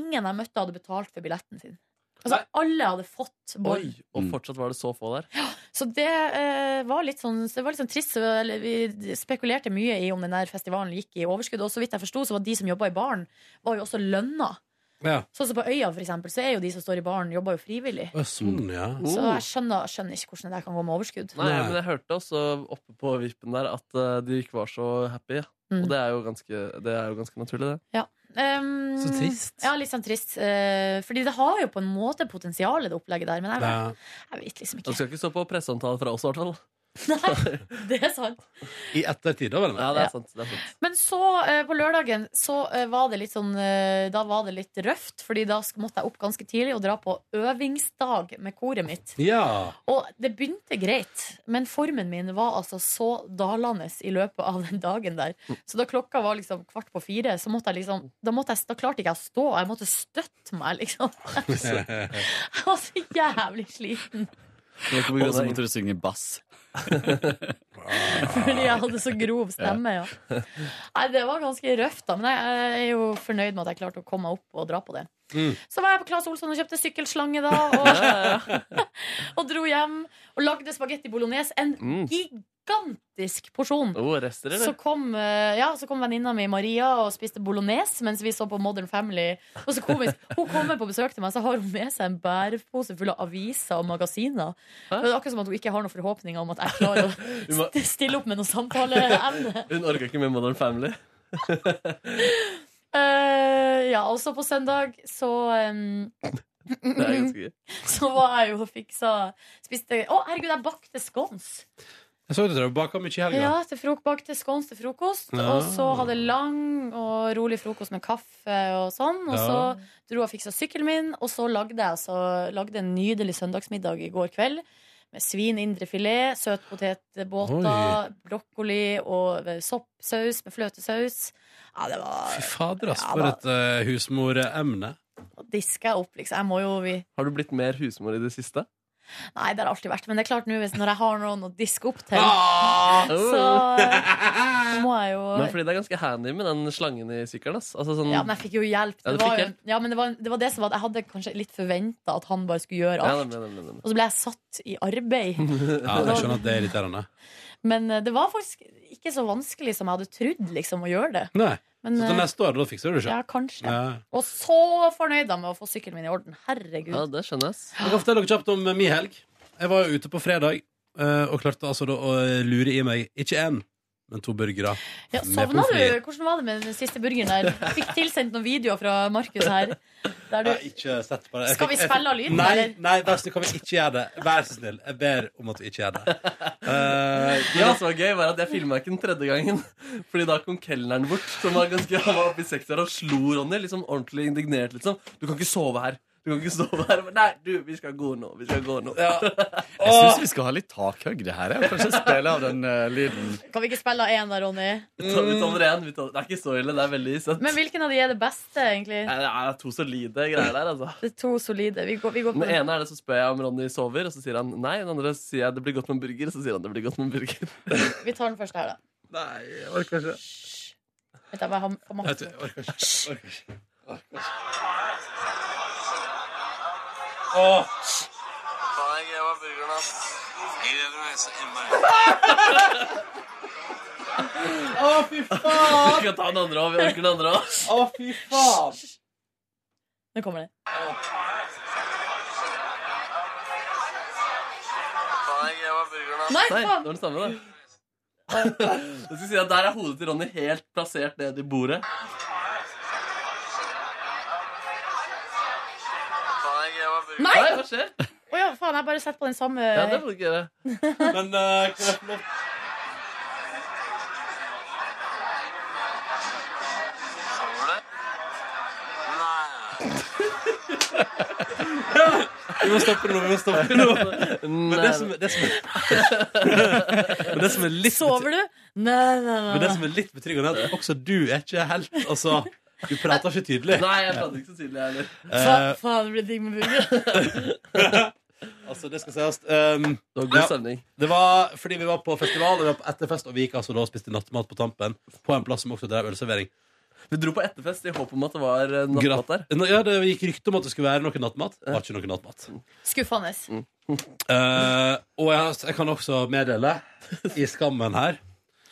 C: ingen jeg møtte, hadde betalt for billetten sin. Altså, alle hadde fått boll.
D: Oi, og fortsatt var det så få der.
C: Så det, eh, var litt sånn, så det var litt sånn trist. Så eller, vi spekulerte mye i om den der festivalen gikk i overskudd. Og så vidt jeg forsto, så var de som jobba i baren, var jo også lønna.
G: Ja.
C: Sånn som på Øya, for eksempel, så er jo de som står i baren, jobber jo frivillig.
G: Å, Sånn, ja.
C: Så
O: Oh.
C: jeg skjønner, skjønner ikke hvordan det der kan gå med overskudd.
D: Oh. Nei, men jeg hørte også oppe på vippen der at eh, de ikke var så happy. Og det er jo ganske, det er jo ganske naturlig, det.
C: Ja. Ehm,
D: Så trist.
C: Ja, litt sånn trist. Eh, fordi det har jo på en måte potensial, det opplegget der, men jeg,
D: Ja.
C: jeg vet liksom
D: Du
C: ikke.
D: skal ikke stå på presseomtale fra oss, i hvert fall. Altså-
C: Det er sant.
G: I ettertid, da, vel?
D: Ja, det er sant. Det er sant.
C: Men så, eh, på lørdagen, så eh, var det litt sånn eh, Da var det litt røft, fordi da sk- måtte jeg opp ganske tidlig og dra på øvingsdag med koret mitt.
G: Ja.
C: Og det begynte greit, men formen min var altså så dalende i løpet av den dagen der. Så da klokka var liksom kvart på fire, så måtte jeg liksom Da, måtte jeg, da klarte ikke jeg å stå, jeg måtte støtte meg, liksom. Jeg var så jævlig sliten
O: Og så måtte du synge bass.
C: fordi jeg hadde så grov stemme, ja. Nei, det var ganske røft, da. Men jeg er jo fornøyd med at jeg klarte å komme meg opp og dra på det. Så var jeg på Claes Olsson og kjøpte sykkelslange da, og, og dro hjem og lagde spagetti bolognese. En
D: Mm.
C: gigantisk porsjon.
D: Oh, rester, eller?
C: Så kom, eh, ja, så kom venninna mi Maria og spiste bolognese mens vi så på Modern Family. Og så komisk, Hun kommer på besøk til meg, så har hun med seg en bærepose full av aviser og magasiner. Og Det er akkurat som at hun ikke har noen forhåpninger om at jeg klarer
D: Hun
C: å
D: var-
C: st- stille opp med noe samtaleemne.
D: Hun orka ikke med Modern Family.
C: Eh, ja, og så på søndag så em,
D: Det er ganske gøy.
C: Så var jeg jo og fiksa Spiste Å, herregud, jeg bakte scones!
G: Jeg så at dere baka mye i helga.
C: Ja, til frok bakte scones til frokost.
G: Ja.
C: Og så hadde lang og rolig frokost med kaffe og sånn. Og så
G: Ja.
C: dro jeg og fiksa sykkelen min, og så lagde jeg altså, lagde en nydelig søndagsmiddag i går kveld. Med svin, indrefilet, søtpotetbåter,
G: Oi.
C: brokkoli og soppsaus med fløtesaus. Ja, det var
G: Fy fader, ass,
C: Ja,
G: for
C: da.
G: et eh, husmoremne.
C: Diska jeg opp, liksom. Jeg må jo vi
D: Har du blitt mer husmor i det siste?
C: Nei, det har alltid vært. Men det er klart nå, hvis når jeg har noen å diske opp til,
D: Ah!
C: så eh, må jeg jo
D: Men fordi det er ganske handy med den slangen i sykkelen. ass. Altså, sånn,
C: Ja, men jeg fikk jo hjelp.
D: Ja,
C: Det
D: du
C: var
D: fikk
C: jo, ja, men det var, det var det som var at jeg hadde kanskje litt forventa at han bare skulle gjøre
D: Ja,
C: alt.
D: nemlig, nemlig, nemlig.
C: Og så ble jeg satt i arbeid.
G: Ja, jeg skjønner at det er irriterende.
C: Men eh, det var faktisk ikke så vanskelig som jeg hadde trodd liksom, å gjøre det.
G: Nei.
C: Men,
G: så til
C: eh,
G: neste år, da fikser du det ikke?
C: Ja, kanskje.
G: Ja.
C: Og så fornøyd da med å få sykkelen min i orden. Herregud.
D: Ja, det skjønner jeg.
G: Jeg kan fortelle dere kjapt om eh, min helg. Jeg var jo ute på fredag eh, og klarte altså da å lure i meg ikke én, men to burgere.
C: Ja,
G: med
C: sovna
G: pommes
C: du?
G: frites.
C: Hvordan var det med den siste burgeren der? Fikk tilsendt noen videoer fra Markus her. Der du
G: Jeg har ikke sett på det. Jeg
C: Skal
G: fikk-
C: vi spille av lyden,
G: Nei,
C: eller?
G: nei, vær så snill, kan vi ikke gjøre det? Vær så snill. Jeg ber om at vi ikke gjør det. Eh,
D: Men Det som var gøy, var at jeg filma ikke den tredje gangen. Fordi da kom kelneren bort, som var ganske han var oppe i 60 år, og slo Ronny. liksom Ordentlig indignert, liksom. Du kan ikke sove her. Du kan ikke sove her. Nei, du, vi skal gå nå. Vi skal gå nå.
O: Jeg syns vi skal ha litt takhøyde her. Jeg kanskje spille av den eh, lyden.
C: Kan vi ikke spille av én da, Ronny?
D: Vi tåler- vi tåler en, vi tåler- Det er ikke så ille. Det er veldig søtt.
C: Men hvilken av de er det beste, egentlig?
D: Nei, Det er to solide greier der, altså.
C: Det er to solide. Vi går, vi går på
D: Den ene er det som spør jeg om Ronny sover, og så sier han nei. Den andre sier jeg det blir godt med en burger, og så sier han det blir godt med en burger.
C: Vi tar den første her, da.
G: Nei, jeg orker ikke.
C: Vet du, jeg bare har
B: Jeg
C: på
B: vet
C: matten.
B: ikke, orker ikke. Orker ikke. Orker ikke.
G: Åh.
P: Faen, jeg greva burgeren, ass. Jeg gleder meg så
G: Å, fy faen!
D: Vi kan ta den andre òg. Vi orker den andre òg.
B: Å, fy faen!
C: Nå kommer det.
P: Faen, jeg greva burgeren, ass.
D: Nei, det var den samme, det. Jeg skal si at Der er hodet til Ronny helt plassert ned i bordet.
P: Faen, jeg greva burgeren.
C: Nei!
D: Nei, hva skjer?
C: Å ja, faen, jeg bare setter på den samme
D: Ja, det må du ikke gjøre.
B: Men eh, kan jeg få lov
P: Sover du?
B: Vi må stoppe nå, vi må stoppe nå. Men det som, det som, men det som er litt
C: Sover du? Nei, nei, nei.
B: Men det som er litt betryggende, er at også du er ikke helt Altså, du prater ikke tydelig.
D: Nei, jeg prater ikke så tydelig, jeg heller.
B: Eh,
C: Fa- Faen, det blir digg med burger.
B: altså, det skal sies. Um,
D: det var god stemning.
B: Det var fordi vi var på festival, vi var på etterfest, og vi gikk altså da og spiste nattmat på tampen. På en plass som også drev ølservering.
D: Vi dro på etterfest i håp om at det var eh, nattmat der.
B: Nå- Ja, det gikk rykte om at det skulle være noe nattmat. Det var ikke noe nattmat.
C: Skuffende.
B: Eh, og jeg, jeg kan også meddele, i skammen her,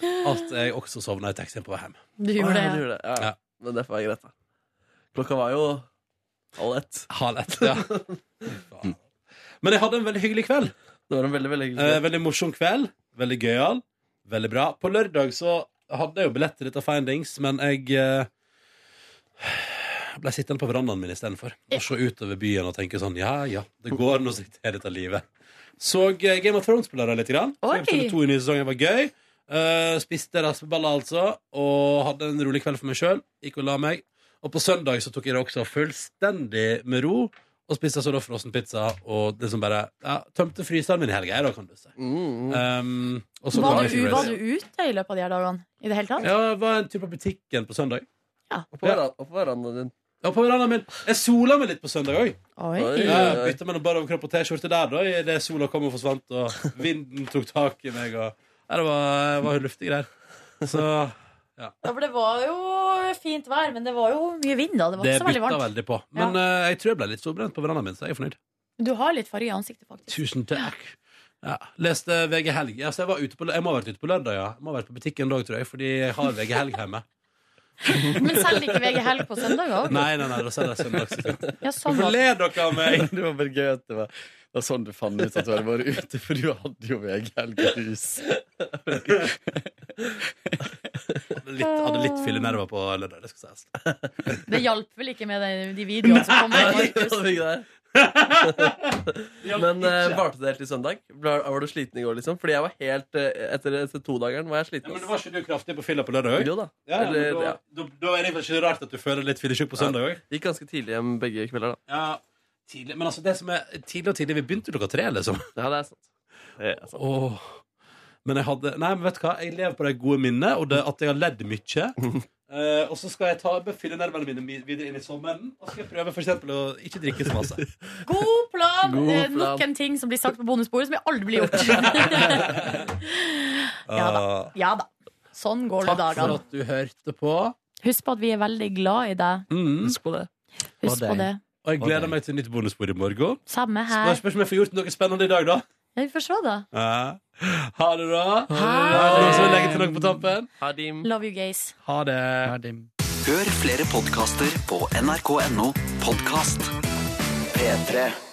B: at jeg også sovna i taxien på vei hjem.
C: Du gjorde
D: Å,
C: det,
D: ja,
C: ja.
D: du gjorde det. Ja. Men det får være greit, da. Klokka var jo halv ett.
B: Halv ett, ja. Men jeg hadde en veldig hyggelig kveld.
D: Det var en veldig, veldig hyggelig
B: Eh, veldig morsom kveld. Veldig gøyal. Veldig bra. På lørdag så hadde jeg jo billett til dette Findings, men jeg eh, ble sittende på verandaen min istedenfor. Og se utover byen og tenke sånn Ja, ja, det går an å sitte her dette livet. Så eh, Game of Thrones-spillere litt. Grann. Så
G: Oi!
B: Episode to i nye sesongen var gøy. Eh, spiste raspeballer, altså, og hadde en rolig kveld for meg sjøl. Gikk og la meg. Og på søndag så tok jeg det også fullstendig med ro. Og spiste så da frossenpizza og det som bare ja, tømte fryseren min i helga. jeg, Da, kan du si.
D: Mm,
B: Um, og så
C: Var
B: det Amazing
C: du, var du
B: Race.
C: ute i løpet av de her dagene? I det hele tatt?
B: Ja, jeg var en tur på butikken på søndag.
D: Og på veran- og på verandaen din.
B: Ja, på verandaen min. Jeg sola meg litt på søndag òg.
C: Oi.
B: Bytta mellom bare overkropp og T-skjorte der, da, i det sola kom og forsvant, og vinden tok tak i meg, og ja, det var, det var luftige greier. Så ja.
C: Ja, for det var jo fint vær, men det var jo mye vind, da. Det var
B: Det
C: ikke så veldig
B: bytta
C: varmt.
B: veldig på. Men eh, jeg tror jeg ble litt solbrent på verandaen min, så jeg er fornøyd.
C: Du har litt farge i ansiktet, faktisk.
B: Tusen takk. Ja. Leste VG Helg. Ja, så jeg, var ute på, lø- jeg må ha vært ute på lørdag, ja. Jeg må ha vært på butikken da, tror jeg, fordi jeg har VG Helg hjemme.
C: Men selger ikke VG helg på søndag òg?
B: Nei, nei, nei, da selger jeg søndagsutgang.
C: Ja, sånn
B: Hvorfor
C: var
B: ler dere av meg?
O: Det var bare gøy at det var, det var sånn du fant ut at du hadde vært ute, for du hadde jo VG Helgehus.
B: Litt, hadde litt fyllenerver på lørdag, det skal sies.
C: Det hjalp vel ikke med de- de videoene som kom?
D: Nei,
C: Markus?
D: det var ikke det. Men eh, varte det helt til søndag? Var, var du sliten i går, liksom? Fordi jeg var helt eh, Etter, etter todageren var jeg sliten.
B: men var ikke du kraftig på fylla på lørdag
D: Jo da.
B: Ja, ja, men
D: Eller,
B: da,
D: ja.
B: da, da er det kanskje rart at du føler litt fyllesyk på søndag òg.
D: Gikk ganske tidlig hjem begge kvelder, da.
B: Ja, tidlig. Men altså, det som er tidlig og tidlig Vi begynte klokka tre, liksom.
D: Ja, det er sant.
B: Åh. Men jeg hadde Nei, men vet du hva? Jeg lever på de gode minnene, og det at jeg har ledd mye. Eh, og så skal jeg ta befylle nervene mine mi- videre inn i sommeren. Og skal jeg prøve for eksempel å ikke drikke så masse.
C: God plan!
B: God
C: Eh,
B: plan.
C: Nok en ting som blir sagt på bonusbordet som jeg aldri blir gjort. ja da. Ja da. Sånn går det
B: Takk for
C: dagene.
B: at du hørte på.
C: Husk på at vi er veldig glad i deg.
B: Husk
D: på det.
C: Husk på det.
B: Mm. Og jeg gleder meg til nytt bonusbord i morgen.
C: Samme her.
B: Spørs om jeg får gjort noe spennende i dag, da.
C: Ja, Vi får se, da.
B: Ja. Ha det bra. Ha
C: det.
B: Så legger til noe på tampen.
C: Love you, gays.
B: Ha det.
Q: Hør flere podkaster på nrk.no podkast. P3.